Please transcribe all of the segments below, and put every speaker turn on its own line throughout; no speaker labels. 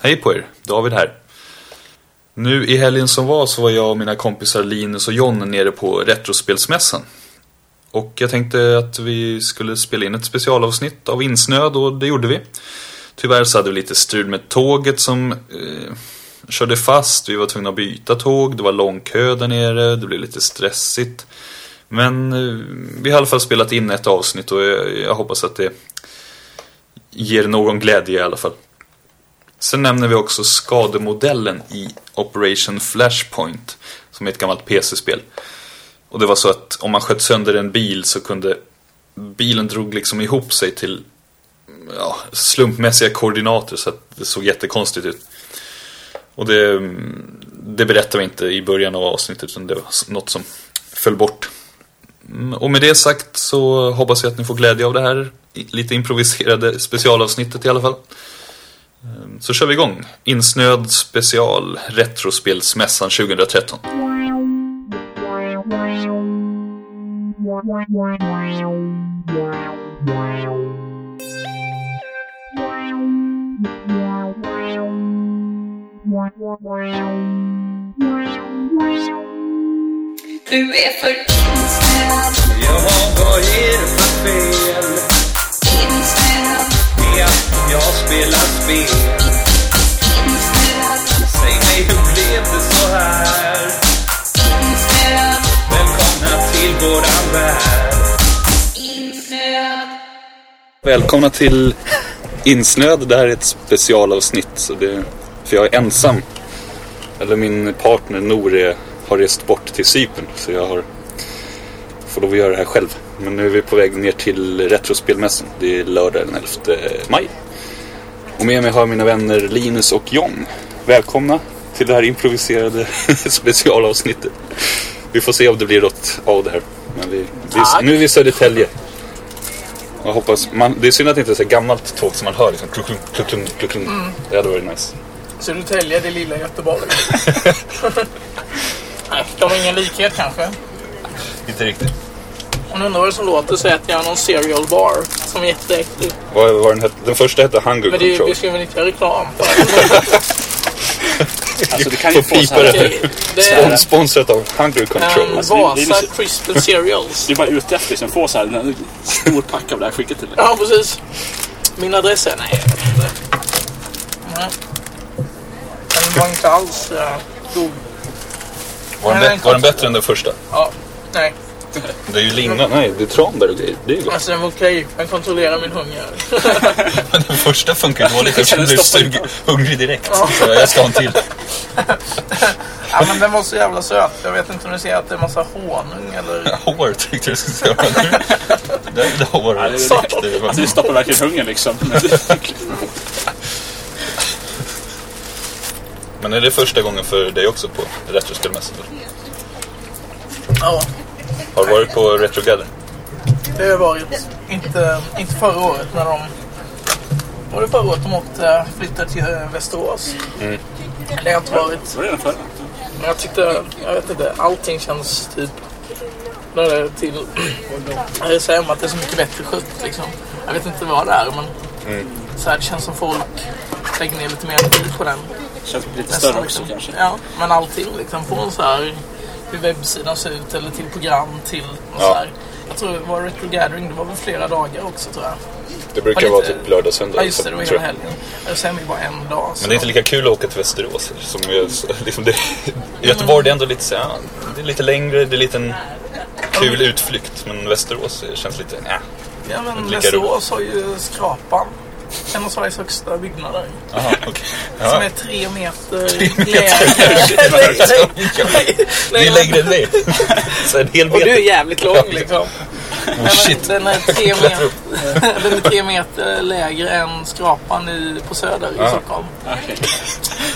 Hej på er, David här. Nu i helgen som var så var jag och mina kompisar Linus och John nere på Retrospelsmässan. Och jag tänkte att vi skulle spela in ett specialavsnitt av Insnöd och det gjorde vi. Tyvärr så hade vi lite strul med tåget som eh, körde fast, vi var tvungna att byta tåg, det var lång kö där nere, det blev lite stressigt. Men eh, vi har i alla fall spelat in ett avsnitt och jag, jag hoppas att det ger någon glädje i alla fall. Sen nämner vi också skademodellen i Operation Flashpoint, som är ett gammalt PC-spel. Och det var så att om man sköt sönder en bil så kunde bilen drog liksom ihop sig till ja, slumpmässiga koordinater så att det såg jättekonstigt ut. Och det, det berättar vi inte i början av avsnittet utan det var något som föll bort. Mm, Och med det sagt så hoppas jag att ni får glädje av det här i- lite improviserade specialavsnittet i alla fall. Så kör vi igång. Insnöd special Retrospelsmässan 2013.
Du är för insnöad,
Ja, vad är det för fel
insnöad,
i att jag spelar spel?
insnöad,
Säg mig, hur blev det så här?
insnöad,
Välkomna till våran värld.
insnöad.
Välkomna till Insnöd. Det här är ett specialavsnitt. Så det, för jag är ensam. Eller min partner Nor är- har rest bort till Cypern. Så jag har, får lov att göra det här själv. Men nu är vi på väg ner till Retrospelmässan. Det är lördag den 11 maj. Och med mig har jag mina vänner Linus och John. Välkomna till det här improviserade specialavsnittet. Vi får se om det blir något av det här. Men vi, vi, nu är vi i Södertälje. Jag hoppas, man, det är synd att det inte är så här gammalt tåg som man hör liksom kluklung, kluklung, kluklung.
Mm.
Det hade varit nice.
Södertälje, det lilla Göteborg. Nej, de har ingen likhet kanske.
Inte riktigt.
Om ni undrar vad det som låter så äter jag någon cereal bar som är jätteäcklig.
Vad var den, hette? den första hette Hunger
Men det, är-
Control.
vi ska väl inte göra reklam för det.
Alltså det kan ju
Får
få så
pipa
här...
det.
Okej, Eh, Det
Spon,
är
sponsrat av Hunger Control.
en
Alltså, det- det är
Vasa
liksom-
Crystal Cereals.
Du är bara ute efter liksom, få så här en stor pack av det här skickat till dig.
Ja, precis. Min adress är... Nej, jag vet inte. Nej. Den var inte alls eh, god.
var, den,
Nej,
bä-
den
var den bättre än den första?
Ja, nej.
Det är ju lingon. Nej, det är tranbär och grejer. Det är ju gott.
Alltså den var okej. Den kontrollerar min hunger.
Men den första funkar ju dåligt eftersom
Kändes
du är
stoppad.
sug- hungrig direkt. Så jag ska ha en till.
Ja, men den var så jävla söt. Jag vet inte om ni ser att det är massa honung eller...
Hår tyckte jag skulle säga. Det är hår.
Ja, det är
Exakt.
direkt.
Det var-
Alltså det stoppar verkligen hungern liksom.
Men är det första gången för dig också på Retrospelmässan?
Ja,
Har du varit på Retrogather?
det har varit. Inte, inte förra året när de... Var det förra året de åkte, flyttade till eh, Västerås? Det har inte varit.
Var det den förra?
Men jag tyckte, jag vet inte, allting känns typ... När det är till RSM, att det är så mycket bättre skött liksom. Jag vet inte vad det är, men... Så här, det känns som folk lägger ner lite mer tid på den
Känns lite
Nästan
större också
liksom.
kanske.
Ja, men allting liksom. Från så här hur webbsidan ser ut eller till program till och
Ja.
så här. Jag tror det var Retro Gathering, det var väl flera dagar också tror jag.
Det
Var
brukar
det
vara
inte-
typ lördag och söndag.
Ja just
så-
det, det var
tror
hela
jag.
helgen. Och Sen var det bara en dag. Så.
Men det är inte lika kul att åka till Västerås. Som är, liksom det, Göteborg det är ändå lite så, ja, det är lite längre, det är lite en kul utflykt. Men Västerås känns lite, äh.
ja men
lika
Västerås har ju Skrapan. En av Sveriges högsta byggnader.
Aha, okay.
Som
ja.
är tre meter lägre. Nej, nej,
Det är
nej,
längre än dig. Så en hel
Och du är
meter.
jävligt lång liksom.
Oh, shit.
Den är, tre
Klättra
meter,
upp.
den är tre meter lägre än Skrapan i, på Söder i Stockholm.
Okej.
Nu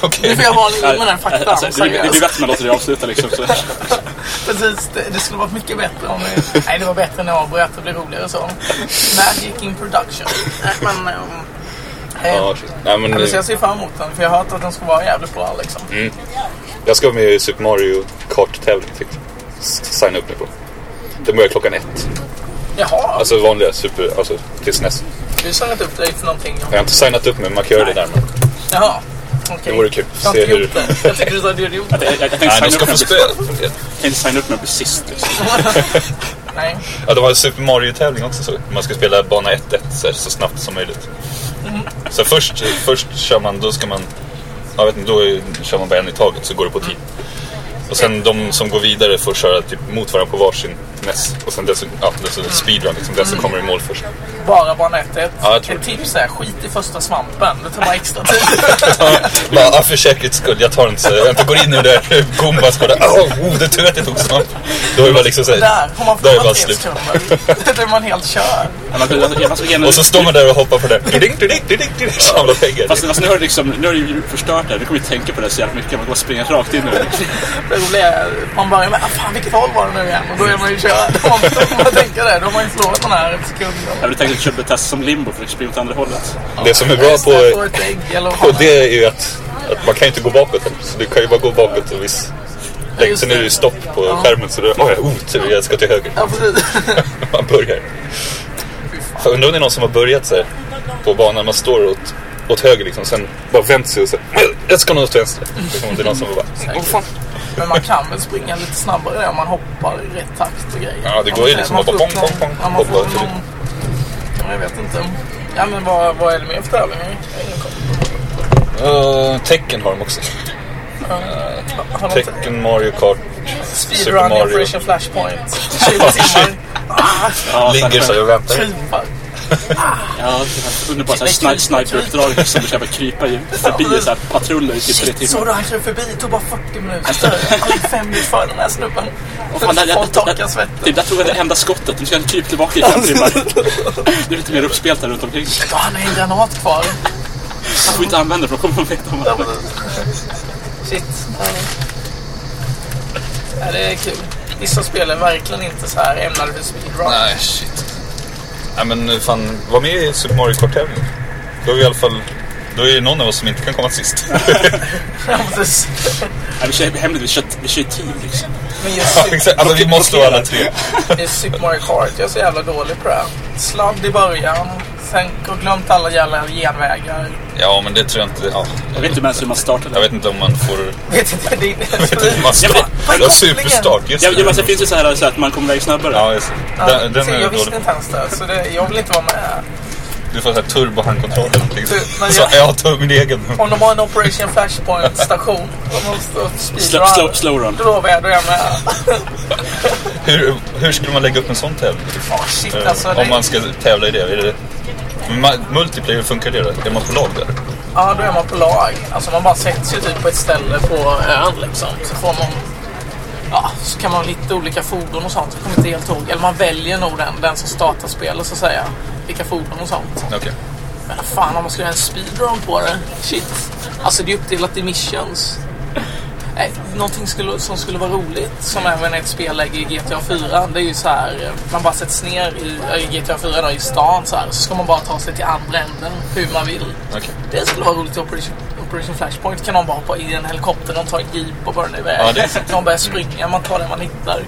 Okej.
får jag varning med den faktan.
Alltså, det, blir- det blir
seriöst.
bättre när man låter det avsluta liksom. Så.
Precis, det, det skulle varit mycket bättre om vi... Nej, det var bättre när jag avbröt. Det blev roligare så. Magic in production. Nej, men... ehm, eh,
Ja, shit. Nej, men,
Eller så jag ser fram emot den, för jag har hört att den ska vara jävligt bra liksom.
jag ska vara med i Super Mario Kart-tävling. tänkte jag. S- Signa upp mig på. Det börjar klockan ett.
Jaha,
Alltså vanliga Super, alltså till SNES.
du har signat upp dig för någonting.
Jag har inte signat upp mig, men man kan göra det närmare.
Jaha, Okej.
Det vore kul
Jag
att
har
se
inte
hur...
gjort det. Jag tycker du hade gjort det.
Jag, jag tänkte
Nej,
signa
ni ska
upp
få
mig-
spö.
jag tänkte signa upp mig precis. Liksom.
Nej.
Ja, det var en Super Mario-tävling också så. Man ska spela bana 1-1 så, här, så snabbt som möjligt. Så först, först kör man, då ska man... Jag vet inte, då är- kör man bara en i taget så går det på tid. Och sen de som går vidare får köra typ mot varandra på varsin näs. Och sen den som, ja, den som speedrun, liksom, den som kommer i mål först.
Bara bana 1
Ja, jag tror
Ett
det.
tips är skit i första svampen. Det tar bara extra tid.
Bara, ah, för säkerhets skull, jag tar inte så jag inte går in i det där gombaskådan. Åh, oh, det är tur att jag tog snabbt. Då är det bara liksom så här,
Där har man
då är det bara
förlorat tre
slut.
sekunder. Då är man helt körd.
Ja, man- alltså, jag- jag- jag- jag-
Och så står man där och hoppar på det. Ding, ding, ding, ding, ding, samlar pengar.
Fast alltså, nu har du liksom, nu har du ju förstört det här. Nu kommer jag tänka på det så jävla mycket. Man kommer springa rakt in i det.
Det roliga är man börjar med ah, fan vilket håll var det nu igen? Och då är man ju körd. Om man- om man tänker det, då har man ju förlorat den här en sekund.
Jag hade tänkt att köpa test som limbo för att springa åt andra hållet.
Det som är bra
Just det,
på
får ett ägg eller vad
På
fan.
det är ju att, att man kan ju inte gå bakåt heller, så du kan ju bara gå bakåt och viss längd. Sen är det ju stopp på skärmen så då åh, jag har otur, jag ska till höger.
Ja, precis.
Man börjar. Jag undrar om det är någon som har börjat så här, på banan, man står åt, åt höger liksom, sen bara vänt sig och så här, "Nej, jag ska nog åt vänster. Så kommer det någon som bara, åh fan.
Men man kan väl springa lite snabbare om man hoppar i rätt takt och grejer.
Ja, det går ju
Man-
liksom
man
att bara
får upp
pong,
någon-
pong, pong,
Ja, man får
hoppa
upp
till-
någon... Ja, Jag vet inte. Ja, men vad, vad är det mer för tävlingar? Jag har ingen koll.
Uh, tecken har de också.
Har de inte-
Tecken, Mario Kart, Super
Speedrun,
Mario.
Operation Flashpoint. 20 timmar.
Ja,
Ligger så här och väntar.
Krypar.
Ja, typ underbart såhär sni- sniperuppdrag som du ska bara krypa i- förbi såhär patruller i typ tre
Shit, såg
timmar.
du han körde förbi? Det tog bara 40 minuter. Han gick fem minuter före den här snubben. Och
Fan, där- där-
folk torkar
där-
svetten.
Typ, där tog jag det enda skottet. Nu ska han krypa tillbaka i fem timmar. Det är lite mer uppspelt här runt omkring.
Ja, han har en granat kvar.
Han får inte använda det för då kommer de veta om det.
Shit. Ja. Ja, det är kul. Vissa spel är verkligen inte så här ämnade för speedrun.
Nej, shit. Nej, men fan, var med i Super Mario Kart-tävlingen. Då är vi i alla fall... Då är det någon av oss som inte kan komma sist.
Ja, precis.
Nej, vi kör hemligt. Vi kör, vi kör i team liksom.
Men just,
Exakt, alltså vi måste vara alla tre.
just Super Mario Kart, jag är så jävla dålig på det här. Sladd i början, sen har glömt alla jävla genvägar.
Ja, men det tror jag inte... Ja,
Jag vet inte ens hur man startar.
jag vet inte om man får...
Vet inte, det är
Jag vet inte hur man ska...
Ja,
Jag har superstart, just
Ja, men alltså, det
det.
finns ju så här så att man kommer iväg snabbare.
Ja, just det. Den, den
se,
är
jag
jag
visste
dålig.
inte ens det, så det, jag vill inte vara med.
Du får så här turbohandkontrollen. Liksom.
Du, men
Så
jag-
jag tar min egen.
Om de har en Operation Flashpoint-station, de måste
Slow, slow,
speedrun.
slow run.
Då lovar jag, då är jag med.
Hur, hur skulle man lägga upp en sån tävling?
Oh, shit, alltså, det,
Eh, Om man ska tävla i det. Är det men ma- multiplayer, funkar det då? Är man på lag där?
Ja, då är man på lag. Alltså man bara sätts ju typ på ett ställe på ön liksom. Så får man... Ja, så kan man ha lite olika fordon och sånt. Jag kommer inte helt ihåg. Eller man väljer nog den, den som startar spelet så att säga. Vilka fordon och sånt.
Okej.
Men fan om man skulle göra en speedrun på det. Shit. Alltså det är uppdelat i missions. Nej, någonting skulle, som skulle vara roligt, som även ett spelläge i GTA 4, det är ju så här, eh, man bara sätts ner i, i GTA 4 då, i stan så här, så ska man bara ta sig till andra änden hur man vill.
Okej.
Det skulle vara roligt i Operation, Operation Flashpoint. Kan någon bara hoppa i en helikopter, någon tar en jeep och börjar iväg.
Ja, det är sant.
någon börjar springa, man tar det man hittar.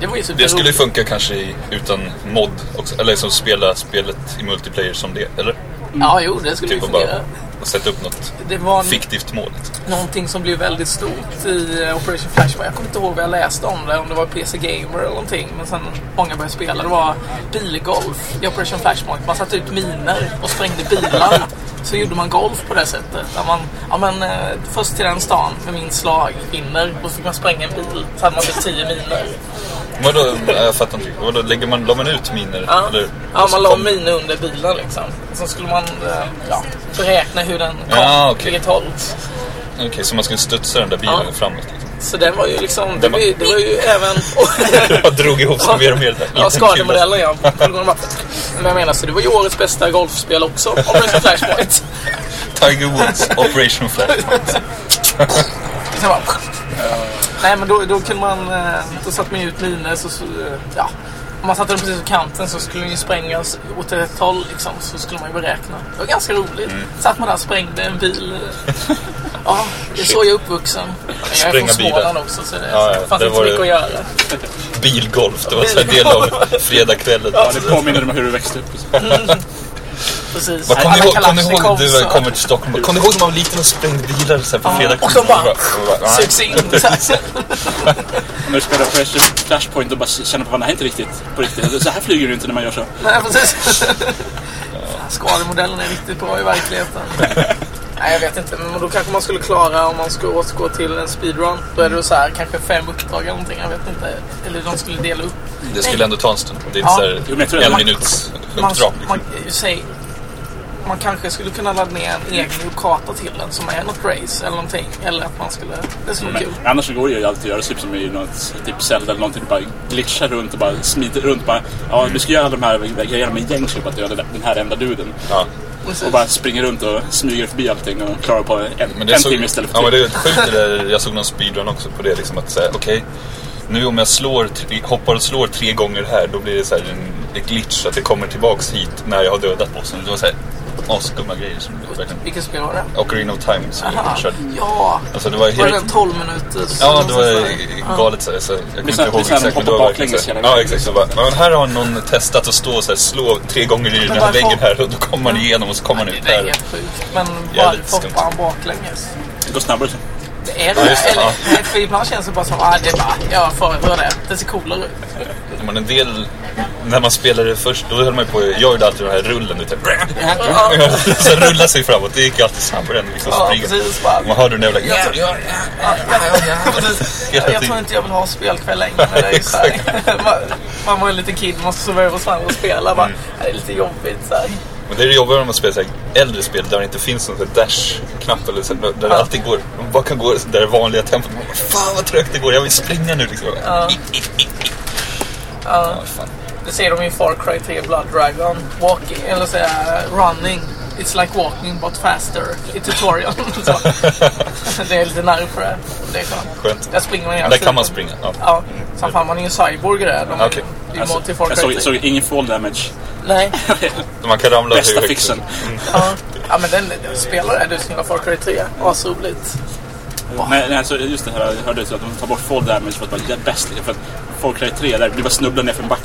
Det var ju
Det skulle ju
superroligt.
funka kanske i, utan mod också. Eller liksom spela spelet i multiplayer som det. Eller?
Ja, jo, det skulle ju
Typ och
fungera.
bara och sätta upp något
Det var en-
fiktivt mål. liksom.
någonting som blev väldigt stort i eh, Operation Flashpoint. Jag kommer inte ihåg vad jag läste om det, om det var PC Gamer eller någonting. Men sen många började spela. Det var bilgolf i Operation Flashpoint. Man satte ut miner och sprängde bilar. Så gjorde man golf på det sättet. Där man, ja, men, eh, först till den stan med min slag vinner och så fick man spränga en bil. Så hade man typ tio miner.
Vadå? Jag fattar inte. Vadå? Lägger man, la man ut miner?
Ja,
Eller,
ja
och så
man la
kom-
miner under bilen liksom. Så skulle man eh, ja, beräkna hur den kom,
Ja, okej.
vilket håll.
Okej, så man skulle studsa den där bilen
Ja.
framåt. Liksom.
Så den var ju liksom, det
Den
var
var-
ju, det var ju även...
Jag drog ihop sig mer och mer. där.
Ja,
Liten
skademodellen ja. Polygonen bara- Men jag menar, så det var ju årets bästa golfspel också. Operation Flashpoint.
kula. Tiger Woods, Operation Flash.
Sen bara... Nej, men då, då kunde man... eh, Då satte man ju ut miner så... så, eh, Ja. Om man satte den precis på kanten så skulle den ju sprängas åt ett håll liksom. Så skulle man ju beräkna. Det var ganska roligt.
Mm.
Satt man där och sprängde en bil. eh, Ja, det är så jag är uppvuxen. Men Jag är
Spränga
från
bilar.
Småland också så det
Ja, ja,
fanns
det
inte så
var
mycket att
det.
göra.
Bilgolf, det var en del av fredagskvällen.
Ja, det påminner om hur du växte upp.
Precis.
Vad kommer ni
Alla
ihåg,
kallar
kommer ni
sig
ihåg när
kompisar.
du kommer till Stockholm? Kommer ni ihåg när man var liten och sprängde bilar så här på
Ja,
fredag?
och de bara-
Nej.
Sugs in. så här.
När du spelar Fresh- Flashpoint och bara känner på vad det här är inte riktigt på riktigt. Så här flyger du inte när man gör så.
Nej, precis. Fan, Skalemodellen är riktigt bra i verkligheten. Nej, jag vet inte. Men då kanske man skulle klara om man skulle återgå till en speedrun. Då är det så här kanske fem uppdrag eller någonting. Jag vet inte. Eller de skulle dela upp.
Det skulle ändå ta en stund. Det är
Ja.
inte
Jo, men jag
så
tror
här en
att-
minuts
Man,
uppdrag.
man, eh,
liksom.
säg, man kanske skulle kunna ladda ner en egen karta till den som är något race eller någonting. Eller att man skulle... Det skulle vara
Men
kul.
annars så går det ju alltid att göra typ som i något typ Zelda eller någonting. Du bara glitchar runt och bara smiter runt. Bara, ja, du ska göra alla de här grejerna med gäng så du bara döda den här enda duden.
Ja.
Och bara springer runt och smyger förbi allting och klarar på en,
Men
en
det såg,
timme istället
ja, men
för tre.
det är sjukt det där. Jag såg någon speedrun också på det. Liksom att säga, okej, nu om jag slår, tre- hoppar och slår tre gånger här, då blir det så här en, en glitch att det kommer tillbaks hit när jag har dödat bossen. Det var så här asskumma grejer som det verkligen...
Vilket spel var det?
Ocarina of Time som
Aha.
jag körde.
Ja!
Alltså det var
Var det en
helt...
12 minuters?
Ja, det var galet så, här, så Jag kommer inte
så här-
ihåg
det är så här
exakt. men det
hoppa
var verkligen
baklänges
så här-
hela
Ja,
vägen.
exakt. Så bara, ja, men här har någon testat att stå och så här, slå tre gånger i den här
varför-
väggen här och då kommer man igenom och så kommer man
Det
ut
är
där.
helt sjukt. Men
Jävligt
varför
skumt.
hoppar han baklänges?
Det går snabbare. så.
Det är
Ja,
det.
just det,
eller,
ja.
nej, för ibland känns det bara som att ah, det är bara, jag föredrar det. Det ser coolare ut.
Men en del, när man spelade det först, då höll man ju på, jag gjorde alltid den här rullen. Du, typ,
Ja,
så rulla sig framåt, det gick ju alltid snabbare än liksom
Ja,
springa.
precis, bara-
Man hörde den jävla...
Ja, ja, ja, ja, precis.
Hela
Jag
tiden.
tror inte jag vill ha spelkväll längre. när det är så här. Man- Man var en liten kid, man skulle sova hos varandra och spela. Bara,
Mm.
"Ja, Det är lite jobbigt. Så här.
Men det är det jobbiga när man spelar så här äldre spel där det inte finns någon sån här dash-knapp eller så, där det alltid går, man bara kan gå där det vanliga tempot. Man bara, Fan vad trögt det går, jag vill springa nu liksom. Ja. fan.
Det säger de i Far Cry 3 Blood Dragon. Walking, eller säga running. It's like walking but faster i tutorialen. Så. det är lite nerv för det. Det är skönt.
Skönt.
Där springer man hela
Där
tiden.
kan man springa. Ja.
Ja, sen fan man är ju en cyborg i det här. De är
Okej.
ju
Alltså,
mod till Far
jag
Cry
såg,
3.
såg ingen fall damage.
Nej,
Man kan ramla hur
Bästa
högt-
fixen.
ja. ja men den, den spelar det du som gillar Far Cry 3. Asroligt.
Nej, nej, alltså just det här jag hörde att de tar bort fall damage för att vara bäst. För att Far Cry 3, där du bara snubblar ner för en back.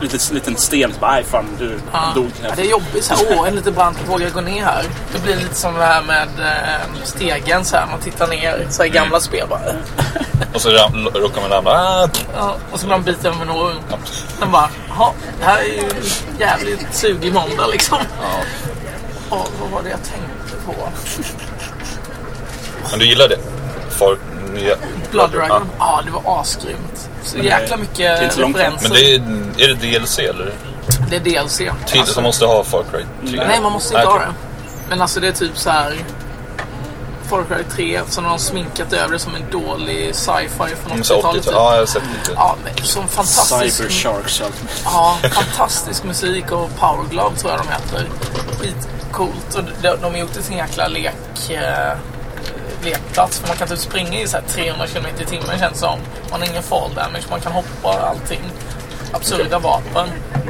Liten, liten sten, så bara, "Aj, fan du
Ja.
dog.
Ja, det är jobbigt så här, åh en liten brant, vågar jag gå ner här? Det blir lite som det här med eh, stegen så här, man tittar ner så här i gamla spel bara.
Och så ram, råkar man ramla. Ah,
Ja, och så blir man biten av en orm. Den bara, jaha, det här är ju en jävligt sugig måndag liksom. Ja. vad var det jag tänkte på?
men du gillar det? Far, nya,
Blood Dragon. Ja, det var asgrymt. Så jäkla mycket
det är inte långt.
referenser.
Men det är, är det DLC eller?
Det är DLC.
Tid som måste ha Far Cry 3?
Alltså- Nej, man måste inte
Nej,
ha
okej.
det. Men alltså det är typ så här... Far Cry 3, sen har de sminkat över det som en dålig sci-fi från
Mm, så
80-talet.
80
Typ.
Ja, jag har sett lite.
Ja, men som fantastisk...
Cyber Sharks och allt.
Ja, fantastisk musik och Power Glove tror jag de heter. Skitcoolt. Och de, de har gjort det till en jäkla lek, eh, lekplats. För man kan typ springa i så här 300 km i timmen känns det som. Man har ingen fall damage, man kan hoppa och allting. Absurda vapen.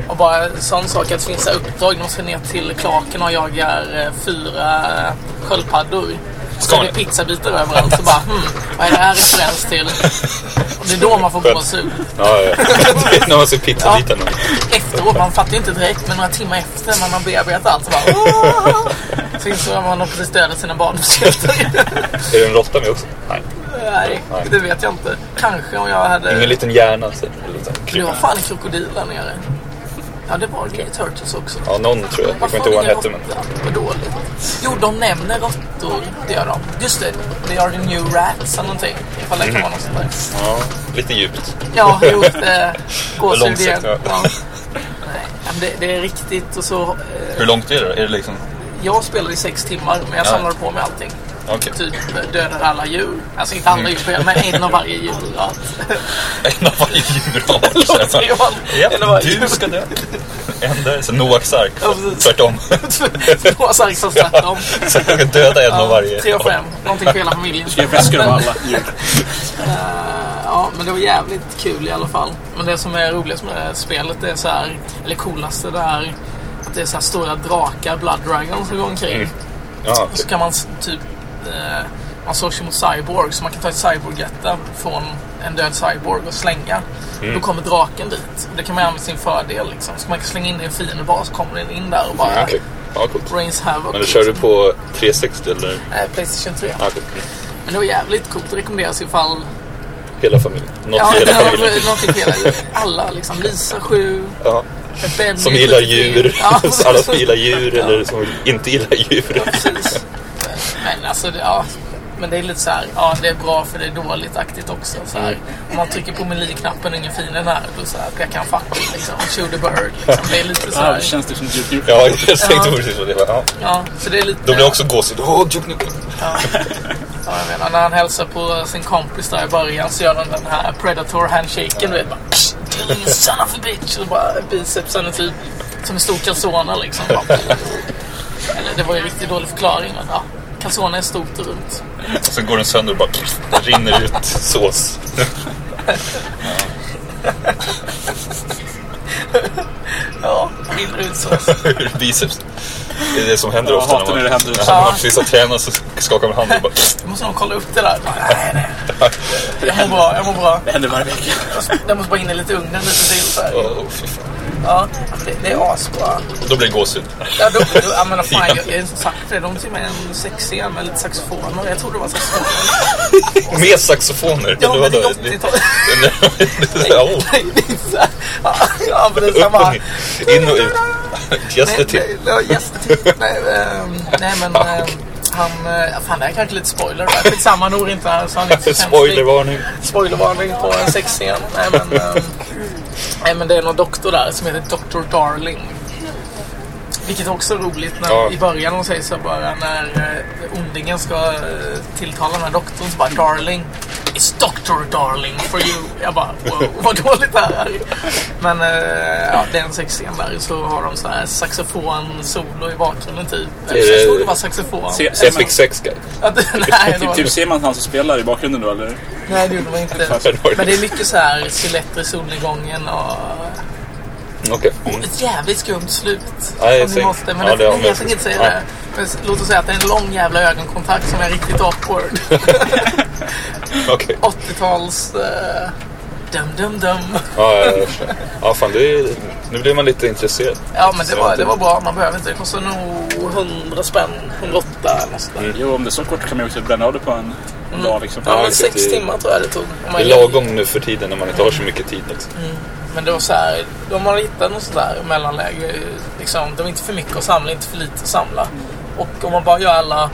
Och bara en sån sak att det finns så här uppdrag. De ska ner till klaken och jagar eh, fyra sköldpaddor.
Ska
Så det är
ni?
pizzabitar överallt. Så bara, hmm, vad är det här referens till? Och det är då man får
Skönt.
gåshud.
Ja, ja. Det är när man ser pizzabiten.
Efteråt, man fattar ju inte direkt, men några timmar efter när man har bearbetat allt så bara... "Åh!" Så insåg man att man har precis dödat sina barn på slutet.
Är det en råtta med också? Nej.
Nej, det vet jag inte. Kanske om jag
Ingen
hade...
liten hjärna. Så, eller så.
Det var fan en krokodil där nere. Ja, det var det i Turtles också.
Ja, någon tror jag. Jag kommer inte ihåg vad han hette. Men...
Vad dåligt. Jo, de nämner råttor. Det gör de. Just det, they are the new rats eller någonting. Ifall det kan vara något sånt där.
Ja, lite djupt.
Ja, jo, det gåshud igen.
Långsamt,
Ja.
ja.
Nej, men det, det är riktigt och så... eh,
Hur långt är det då? Är det liksom...
Jag spelade i sex timmar, men jag
Ja.
samlade på mig allting.
Okej.
Typ dödade alla djur. Alltså inte alla djur, men en av varje djur. Ja.
En av varje
Låter ju
djurart.
man- en av
Ja,
varje
du
djur.
ska dö. En där. Så Noaks ark.
Ja, precis.
Tvärtom.
Två sargsar tvärtom.
Så jag kan döda en av varje.
Tre och fem. Någonting för hela familjen.
Jag väskar av alla djur.
Ja, men det var jävligt kul i alla fall. Men det som är roligast med det här spelet, det är så här, eller coolaste, det är att det är så här stora drakar, Blood Dragons, som går omkring.
Mm. Ja,
Och så
okej.
kan man s- typ... Eh, man slår sig mot cyborg, så man kan ta ett cyborg-getta från en död cyborg och slänga.
Mm.
Då kommer draken dit. Och det kan man använda till sin fördel. Liksom. Så man kan slänga in det i en fiendebas, så kommer den in där och bara
okej. Ja, coolt.
Rains Havoc.
Men du kör du på 360 eller?
Eh, Playstation 3.
Ja, coolt.
Men det var jävligt coolt. Det rekommenderas ifall...
Hela familjen. Något
Ja,
för hela familjen.
någon fick hela... Alla liksom. Lisa 7.
Ja.
Benny
Som gillar
73.
djur.
Ja,
Alla som gillar djur eller som inte gillar djur.
Precis. Men alltså, det, ja. Men det är lite så här, ja det är bra för det är dåligt-aktigt också. Så här. Om man trycker på menyknappen ingen fin den här, då så här pekar han fuck it, liksom. Shoot the bird liksom. Det är lite så
Ja, det
här.
känns liksom Duke Nukem.
Ja, jag tänkte precis på det. Ja.
Ja, så det är lite...
Då blir jag också gåshud. Åh, Duke Nukem.
Ja, jag menar, när han hälsar på sin kompis där i början så gör han den här predator-handshaken. Du vet bara... "Psh, killing Son of a bitch! Och så bara bicepsen är typ som en stor calzone liksom. Bara, Eller det var ju en riktigt dålig förklaring men ja. Calzone är stort och runt.
Och sen går den sönder och bara pff, rinner ut sås.
Ja, rinner ut så.
Ur biceps. Det är det som händer
Ja,
ofta
hatar
när man,
när det händer.
när man precis har tränat så skakar man handen och bara...
Jag måste nog kolla upp det där. Nej, nej. Jag mår bra, jag mår bra.
Det händer varje vecka.
Jag måste bara in i lite ugnen lite till. Så här.
Åh, fy fan.
Ja, det, det är asbra.
Och Då blir det gåshud.
Ja, då, då, jag menar fan, jag, jag är som sagt det. De tog med en sexscen med lite saxofoner. Jag trodde det var saxofoner.
Med saxofoner.
Ja, men det är
Vadå?
80-talet.
Ja, oh.
Nej, det är så här. Ja, men det är samma.
Upp och ner. In och ut. Just det
Nej,
till.
nej, nej, gästetid. Nej, ehm, nej, men ehm, han... eh, Fan, det här kanske är lite spoiler. va? Skitsamma, han når inte här så han är inte så känslig.
Spoilervarning.
spoilervarning på en sexscen. Nej men, ehm, nej men det är någon doktor där som heter Dr. Darling. Vilket också är roligt när
Ja.
i början hon säger så bara när eh, ondingen ska eh, tilltala den här doktorn så bara Darling. It's Dr. Darling for you. Jag bara wow, vad dåligt det här är. Men eh, ja, det är en sexscen där så har de så här saxofon-solo i bakgrunden typ.
det-
Jag tror det var saxofon.
Se- se-
Epic Sex Guy.
Att- nej, det var-
Typ, typ ser man han som spelar i bakgrunden då eller?
Mm.
Nej, det gjorde man inte. Men det är mycket så här siluetter i solnedgången och
Okej.
ett jävligt skumt slut.
Nej,
om ni
säg-
måste, men
ja,
det,
det har
jag
vi-
tänker inte säga
ja.
det. Men låt oss säga att det är en lång jävla ögonkontakt som är riktigt awkward.
Okej.
80-tals... eh, dum, dum, dum.
Ja, ja, ja. ja, fan det är, Nu blir man lite intresserad.
Ja, men det var, det var bra. Man behöver inte. Det kostar nog 100 spänn. 108 eller något sånt där.
Jo, om det är så kort kan man ju också bränna av det på en dag liksom.
Mm. Ja, men
exakt.
sex
Det-
timmar tror jag det tog. Om
Det
man
är lagom nu för tiden när man inte har så mycket tid. Liksom.
Men det var så här, de har hittat något sådär mellanläge. Liksom, det var inte för mycket att samla, inte för lite att samla. Och om man bara gör alla